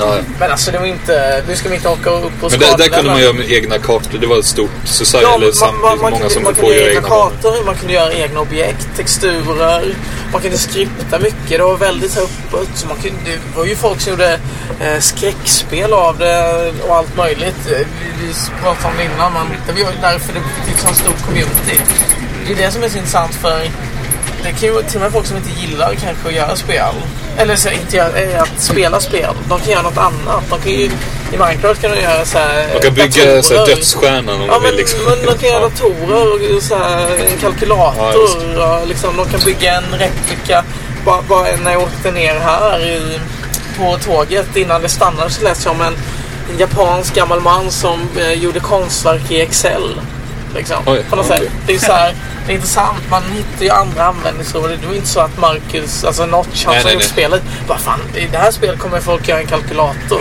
Ja, ja.
Men alltså, det var inte... Nu ska vi inte åka upp och
Men där, där
skadorna,
kunde man göra med egna kartor. Det var ett stort society.
Ja,
eller
man,
sam,
man, man,
många
kunde,
som
man
kom på
kunde
att göra
göra egna
egna banor.
kartor, man kunde göra egna objekt, texturer, man kunde skripta mycket. Det var väldigt öppet. Så man kunde, det var ju folk som gjorde eh, skräckspel av det och allt möjligt. Eh, Vi, vi pratade om det innan, men det var ju därför det fick sån stor community. Det är det som är så intressant för det kan ju till och med folk som inte gillar kanske att göra spel. Eller så inte göra, eh, att spela spel. De kan göra något annat. De kan ju, I Minecraft kan de göra så här...
Man kan bygga så här,
datorer.
dödsstjärnan om
Ja,
man
men,
vill. Liksom.
men de kan göra datorer och så här, en
Ja,
kalkylator.
just
och liksom, de kan bygga en replika. Bara, bara när jag åkte ner här i, på tåget innan det stannade så läste jag om en, en japansk gammal man som eh, gjorde konstverk i Excel. Liksom,
Oj,
på något
okej.
sätt. Det är så här, det är intressant. Man hittar ju andra användningsområden. Det var inte så att Marcus, alltså Notch, han
Nej,
som
nej,
gjort
nej.
spelet, bara fan, i det här spelet kommer folk göra en kalkylator.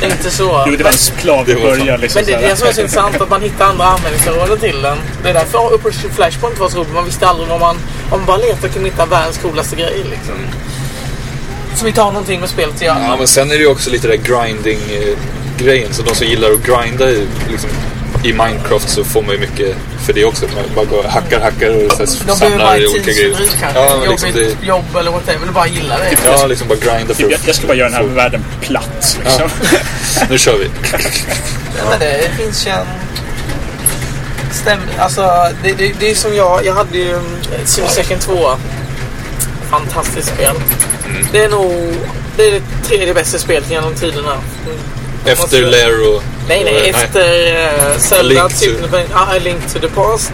det är inte så.
Jo, det var klart
Det
i
var fan-
början. Liksom,
Men det är det som är så intressant, att man hittar andra användningsområden till den. Det är därför Operation Flashpoint var så roligt. Man visste aldrig om man, om man bara letar kunde hitta världens coolaste grej. Liksom. Som inte har någonting med spelet att göra.
Ja, men sen är det ju också lite det där grinding-grejen. Så de som gillar att grinda i, liksom, i Minecraft så får man ju mycket för det också. Man bara går och hackar, hackar och så här,
De behöver bara
samlar
ett
olika grejer.
tidsfördriv kanske.
Ja, men liksom det,
Jobbigt jobb eller whatever. Eller bara gilla det.
ja, liksom bara grinda för
Typ, Jag, jag
att...
ska bara göra den här världen platt. Liksom.
Nu kör vi.
Men det finns ju en stämning. Alltså, det, det, det är som jag. Jag hade ju eh, Civilization 2. Fantastiskt spel.
Mm.
Det är nog det, är det tredje bästa spelet genom tiderna.
Efter Lair och...
Nej, nej.
och-
Efter uh, Zelda,
Link
Link
to-
to... A Link to the Past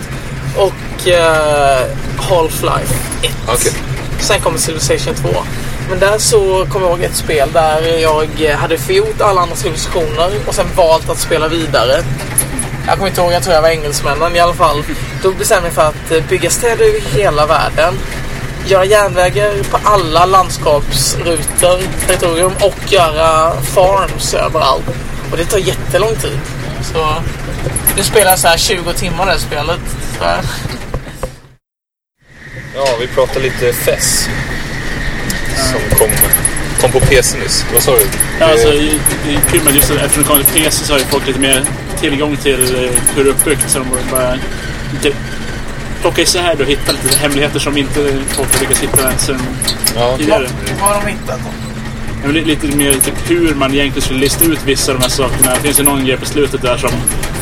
och eh, Half-Life 1.
Okej.
Sen kom Civilization 2. Men där så kom jag ihåg ett spel där jag hade förgjort alla andra civilisationer och sen valt att spela vidare. Jag kommer inte ihåg, jag tror jag var engelsmännen i alla fall. Då bestämde jag mig för att eh, bygga städer över hela världen. Göra järnvägar på alla landskapsrutor, territorium och göra farms överallt. Och det tar jättelång tid. Så det spelar så här 20 timmar det här spelet. Så här.
Ja, vi pratar lite FES. Som kom, kom på PC nyss. Vad sa du? alltså,
Ja, alltså, i- i- kul med just eftersom det kom till PC så har ju folk lite mer tillgång till eh, hur det är uppbyggt så de borde bara de- plocka isär det och hitta lite hemligheter som inte folk har lyckats hitta ens sen tidigare.
Vad har de hittat då?
Jag vill lite mer typ hur man egentligen skulle lista ut vissa av de här sakerna. Det finns ju någon grej på slutet där som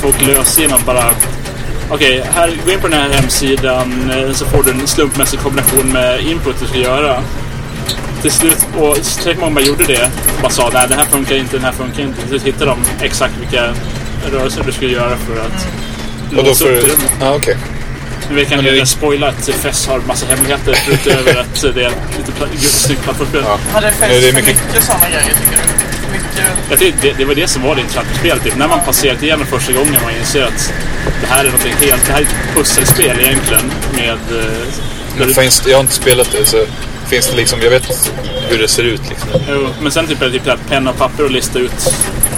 folk löser genom bara... Okej, här gå in på den här hemsidan eh, så får du en slumpmässig kombination med input du ska göra. Till slut, och tillräckligt många bara gjorde det. Bara sa nej, den här funkar inte, den här funkar inte. Till slut hittade de exakt vilka rörelser du skulle göra för att låsa upp rummet.
Ja, okej.
Men vi kan ju redan spoila att FES har massa hemligheter utöver att det är ett lite pla- snyggt plattformsspel.
Hade fäst
Nej, det är
för mycket,
mycket-
sådana grejer tycker du? Mycket...
Jag tyckte det, det var det som var det intressanta med spelet. Typ. När man passerat igenom första gången man inser att det här är något helt... Det här är ett pusselspel egentligen. Med... eh,
Men finns det, jag har inte spelat det så finns det liksom, jag vet hur det ser ut liksom.
jo, men sen typ är det typ det här penna och papper och lista ut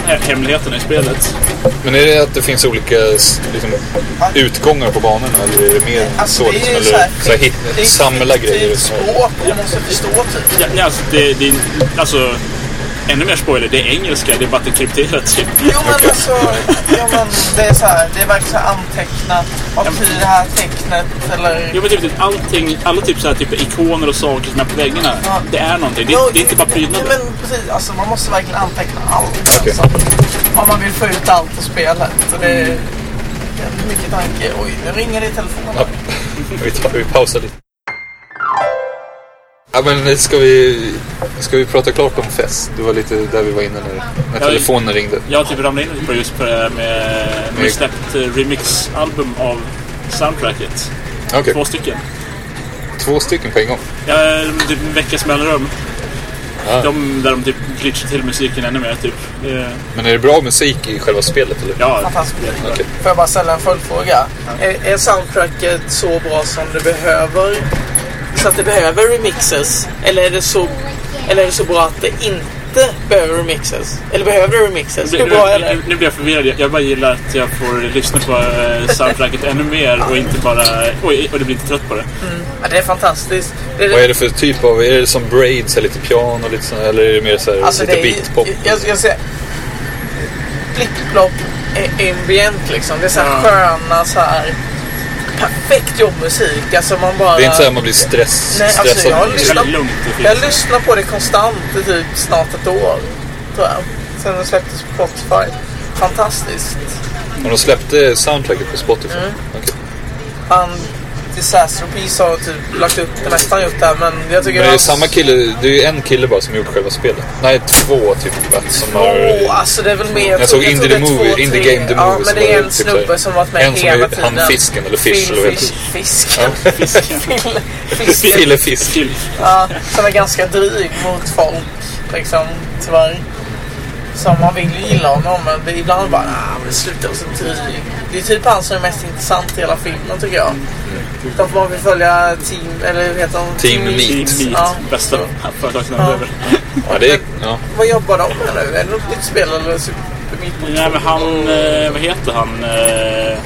he- hemligheterna i spelet.
Men är det att det finns olika s- liksom, utgångar på banorna eller är det mer
Alltså,
så?
det är
Liksom,
ju
eller
så här-
så här, hit,
Det är
samla grejer?
effektivt
som-
språk och måste förstå typ.
Ja, ja, alltså, det, det, alltså, ännu mer spoiler. Det är engelska. Det är bara att det är krypterat. Typ.
Jo men alltså, jo, men det är så här, det är verkligen så här antecknat. Vad betyder det här tecknet eller...
Jo, men typ, typ allting, alla typ, så här, typ ikoner och saker som är på väggarna.
Ja.
Det är någonting. Det,
Jo,
det är inte bara prydnader.
Men precis, alltså man måste verkligen anteckna allt.
Okej.
Alltså, om man vill få ut allt ur spelet. Så det är jävligt mycket tanke. Oj, nu ringer det i telefonen.
Ja, vi, tar, vi pausar lite. Ja, men ska vi, ska vi prata klart om fest? Det var lite där vi var inne när, när
Ja,
telefonen ringde.
Jag typ ramlade in på just på det här med... De har
Mm.
släppt eh, remix-album av soundtracket.
Okej,
Två stycken.
två stycken på en gång.
Ja, eh, typ en veckas mellanrum. De, där de typ glitchar till musiken ännu mer. Typ. Eh,
Men är det bra musik i själva spelet eller?
Ja,
Fantastiskt.
Okej.
Får jag bara ställa en följdfråga? Är, är soundtracket så bra som det behöver? Så att det behöver remixes? Eller är det så, eller är det så bra att det inte behöver remixes? Eller behöver det remixes?
nu,
Hur bra är det?
nu, nu blir jag förvirrad. Jag, jag bara gillar att jag får lyssna på eh, soundtracket ännu mer och inte bara... Oj, och det blir inte trött på det.
Ja, det är fantastiskt. Det är
Vad är det för typ av, är det som braids eller lite piano lite sådär, eller är det mer såhär
Alltså
lite
det är,
beatpop?
Jag, jag ser blipplopp ambient liksom. Det är så här sköna så här perfekt jobbmusik. Alltså man bara...
Det är inte såhär man blir stress,
Nej, alltså,
stressad.
jag
Det är
Lyssna-
väldigt lugnt och
Jag
fint.
lyssnar på det konstant i typ snart ett år. Tror jag. Sen det släpptes på Spotify. Fantastiskt.
Men de släppte soundtracket på Spotify.
Mm.
Okej.
Han Disaster Piece har typ lagt upp det mesta han gjort där. Men jag tycker
Men det är ju
hans-
samma kille, det är ju en kille bara som gjort själva spelet. Nej, två typ va? Som har...
Åh, alltså det är väl mer.
Jag såg
tror-
Indie
tror
the
det är
Movie,
två,
Indie
tre-
Game the
Ja,
Movie
men
som
det är
var
en
typ
snubbe
såhär-
som varit med
en som är
hela
han
tiden.
fisken, eller fish, eller vad heter
Fish- Fisken. Fill- Fisken.
Fille Fisk.
Till-
Ja, som är ganska dryg mot folk. Liksom, tyvärr. Som man vill ju gilla honom, men det är ibland bara ah, men sluta vara så dryg. Det är typ han som är mest intressant i hela filmen tycker jag. Utan man vill följa Team, eller hur heter de?
Team Meat.
till Meat.
Ja.
Bästa företagsnamn
Ja.
över.
Ja, det är... Ja.
Vad jobbar de med nu? Är det typ något nytt spel eller Super Meat Boy?
Nej, men han... eh, Vad heter han? Eh,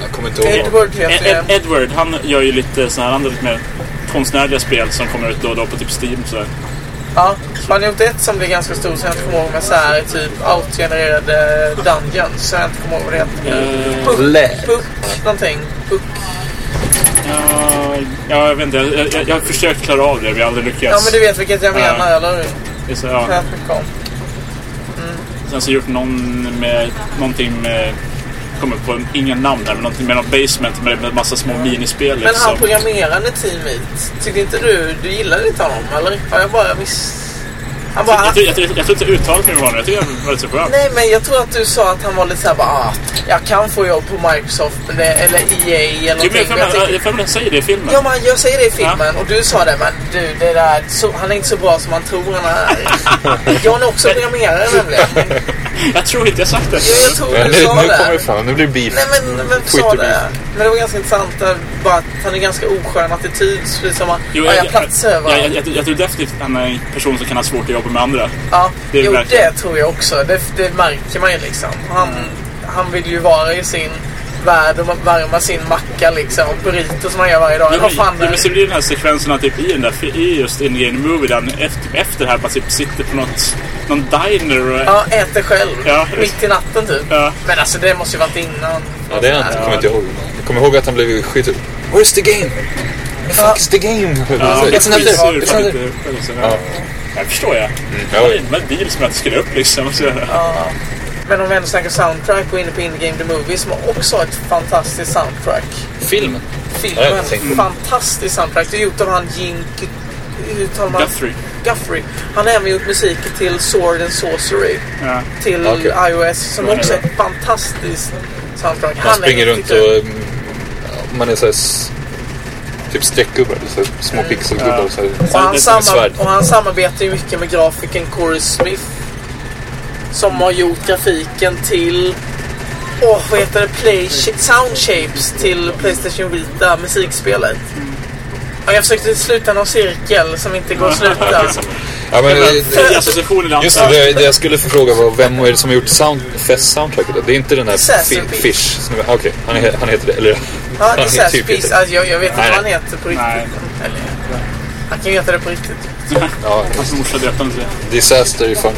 Jag kommer inte ihåg.
Edward heter
Ed,
det.
Edward, han gör ju lite sådana här andra lite mer konstnärliga spel som kommer ut då och då på typ Steam. Så.
Ja, han har gjort ett som blev ganska stort som jag inte kommer ihåg med så här typ outgenererade dungeons. Så jag inte kommer ihåg vad det heter.
Eh,
Puck, puck någonting. Puck.
ja, ja, jag vet inte. Jag, jag, jag har försökt klara av det, men jag har aldrig lyckats.
Ja, men du vet vilket jag menar,
Ja.
eller hur?
Det är så, ja.
Rätt mycket om.
Sen så har jag gjort någon med någonting med... jag Kommer på inga namn här, men någonting med någon basement med en massa små minispel.
Men han
liksom.
programmerande teamet, tyckte inte du, du gillade inte honom eller? Har jag bara miss... Han bara,
jag, tror- jag, tror- jag tror inte uttalet kan vara det. Jag tycker det var rätt så skönt.
nej men jag tror att du sa att han var lite såhär bara, ah, jag kan få jobb på Microsoft men det, eller EA eller
Jo,
någonting. Men
men Jag
jag
får
tycker-
jag får väl säga det i filmen.
Ja men jag säger det i filmen och du sa det men du det där, så, han är inte så bra som man tror han är. John är också programmerare nämligen.
Jag tror inte jag sagt det.
Jo, jag tror
Ja,
du
nu,
sa
nu kommer det
det.
fram, nu blir det beef.
Nej men vem sa
Twitterbeef.
det? Men det var ganska intressant eh, bara att han är ganska oskön attityd. Precis som att
Jo,
ja, jag platsar
jag,
överallt.
jag, jag, jag tror definitivt att han är en person som kan ha svårt att jobba med andra.
Ja,
Det är
jo,
verkligen- Mm.
det tror jag också. Det, det märker man ju liksom. Han, han vill ju vara i sin värld och man värmar sin macka liksom. Och burrito som man gör varje dag.
Ja,
Eller vad fan
men,
det
ja,
är.
men så blir det den här sekvensen att typ i, den där, fi- i just Indian Movie där han efter, typ efter det här bara typ sitter på något, någon diner och...
Ja, äter själv.
Ja.
Mitt i natten typ.
Ja.
Men alltså det måste ju varit innan.
Ja, det är han. Jag kommer inte ihåg. Jag kommer ihåg att han blev skit... Where's the game? The fuck is the game?
Ja,
It's
skitsur,
another...
fan,
It's another...
lite- liksom, ja. Jag förstår jag.
ja.
Det var en bil som jag skulle upp liksom. Så,
Men om vi ändå snackar soundtrack och är inne på Indie Game The Movie som också har ett fantastiskt soundtrack.
Filmen. Ja,
Filmen.
jag tänkte-
fantastiskt soundtrack. Det är gjort av han Jink... Hur talar man?
Guthrie.
Guthrie. Han har även gjort musik till Sword and Sorcery.
Ja.
Till
Okej.
iOS som också är ett fantastiskt soundtrack.
Han
är
springer runt
riktigt
och...
kul.
mm, ja, Man är såhär... Typ streckgubbar. så här Små pixelgubbar. Så
Och
här,
han,
med svärd.
samar- och han samarbetar ju mycket med grafiken Corey Smith. Som har gjort grafiken till... Åh, vad heter det? Play Sound Shapes till Playstation Vita, musikspelet. Ja, jag försökte sluta någon cirkel som inte går att sluta.
Ja, men, eh,
Fri association i
Just det, det, det jag skulle fråga var vem är det som har gjort sound, Fest-soundtracket? Det är inte den där
Assassin
fi, Fish. som- ah, Okej, han, he- han heter det. Eller
Ja,
han
Disaster
typ
Piece.
heter det.
Alltså, jag, jag vet inte
Nej,
vad han
nej.
heter på riktigt.
Nej.
Eller, han kan ju heta det på riktigt.
Ja,
Hans morsa döpte honom till
Disaster ifrån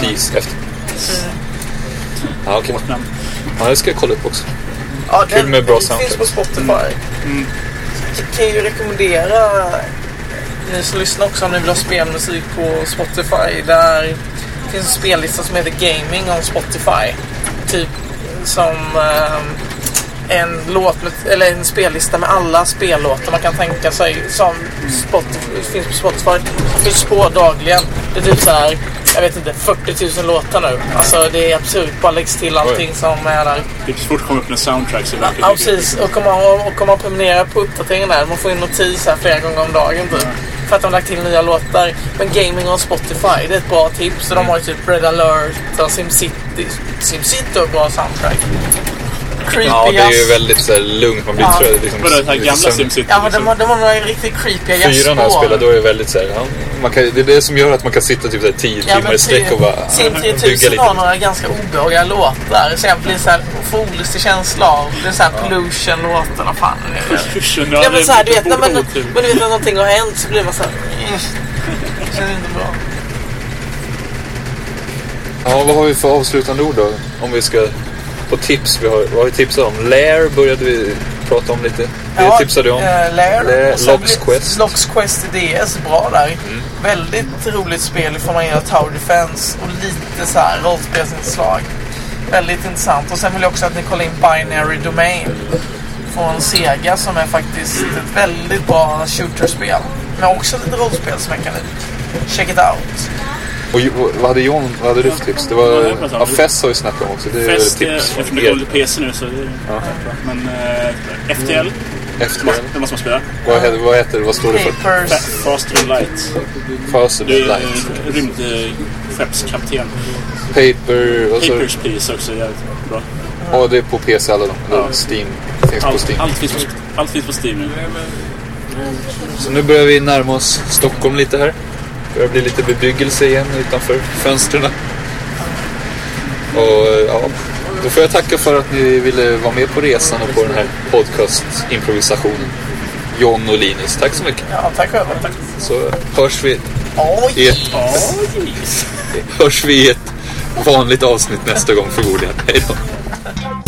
Peace efter.
Mm.
Ja, okej.
det.
Ja, det ska jag kolla upp också.
Ja,
Kul
den,
med bra
den
soundtrack.
finns på Spotify. Jag kan ju rekommendera ni som lyssnar också om ni vill ha spelmusik på Spotify. Där finns en spellista som heter Gaming on Spotify. Typ som eh, en, låt med, eller en spellista med alla spellåtar man kan tänka sig som Spotify, finns på Spotify. Det finns på dagligen. Det är typ så här, jag vet inte, 40 000 låtar nu. Alltså det är absurt. Bara läggs till allting som är där.
Typ så fort det kommer upp en soundtrack så
Ja, precis. Och kommer man, och kommer man prenumerera på uppdateringen där. Man får in notis här flera gånger om dagen typ. För att de har lagt till nya låtar. Men gaming on Spotify, det är ett bra tips. Så de har ju typ Red Alert och SimCity. SimCity har bra soundtrack. Creepy
Ja, det är ju
ass-
väldigt så här, lugnt. Man blir
Ja.
trött. Liksom,
Vadå, det här
lite
gamla liksom-
sömn-
SimCity?
Ja, men de har, de har några riktigt creepy
Fyran när jag
jazzspår.
spelar, då är det väldigt så här, ja, man kan, Det är det som gör att man kan sitta typ så här, tio
Ja,
timmar i
men typ.
sträck och bara äh,
Sim
bygga
3000
lite.
har några ganska obehagliga låtar. Så jag blir såhär, får olustig känsla av. Det är såhär pollution-låtarna. Fan, det är-
Kursen,
Ja men såhär, du vet när man,
typ.
typ
men du vet när någonting har hänt så blir man såhär... "Mm, det Känns inte bra.
Ja, vad har vi för avslutande ord då? Om vi ska... På tips, vi har, vad har vi tipsat om? Lair började vi prata om lite. Det tipsade du om.
eh,
Lair,
Lair. Och sen
Locks
blir-
Quest.
Locks Quest i DS, bra där.
Mm.
Väldigt roligt spel ifall man gillar Tower Defense och lite så här rollspelsinslag. Väldigt intressant. Och sen vill jag också att ni kollar in Binary Domain från Sega som är faktiskt ett väldigt bra shooterspel. Men också lite rollspelsmekanik. Check it out.
Och, ju- och vad hade John, vad hade du för tips? Det var,
Ja, jag pratade om-
ja, Fess har vi snackat om också. Det är
Fest, eh,
tips
eftersom
från
det går
er.
till PC nu så det är Men eh, FTL,
Efter,
det måste man spela.
vad, heter, vad heter det? Vad står det för?
Papers.
Fa- Faster and Light.
Fast
Du är
Light.
eh, rymdskeppskapten.
Paper. Och, så,
Papers, Please också är jävligt bra.
och det är på PC alla de.
Ja.
Steam. Finns på
Allt,
Steam.
allt, finns på, allt finns på Steam nu.
Så nu börjar vi närma oss Stockholm lite här. Det börjar bli lite bebyggelse igen utanför fönstren. Och eh, ja, då får jag tacka för att ni ville vara med på resan och på den här podcast-improvisationen. John och Linus, tack så mycket.
Ja, tack själva. Tack.
Så hörs vi
Oj!
i ett, hörs vi i ett vanligt avsnitt nästa gång förmodligen. Hej då.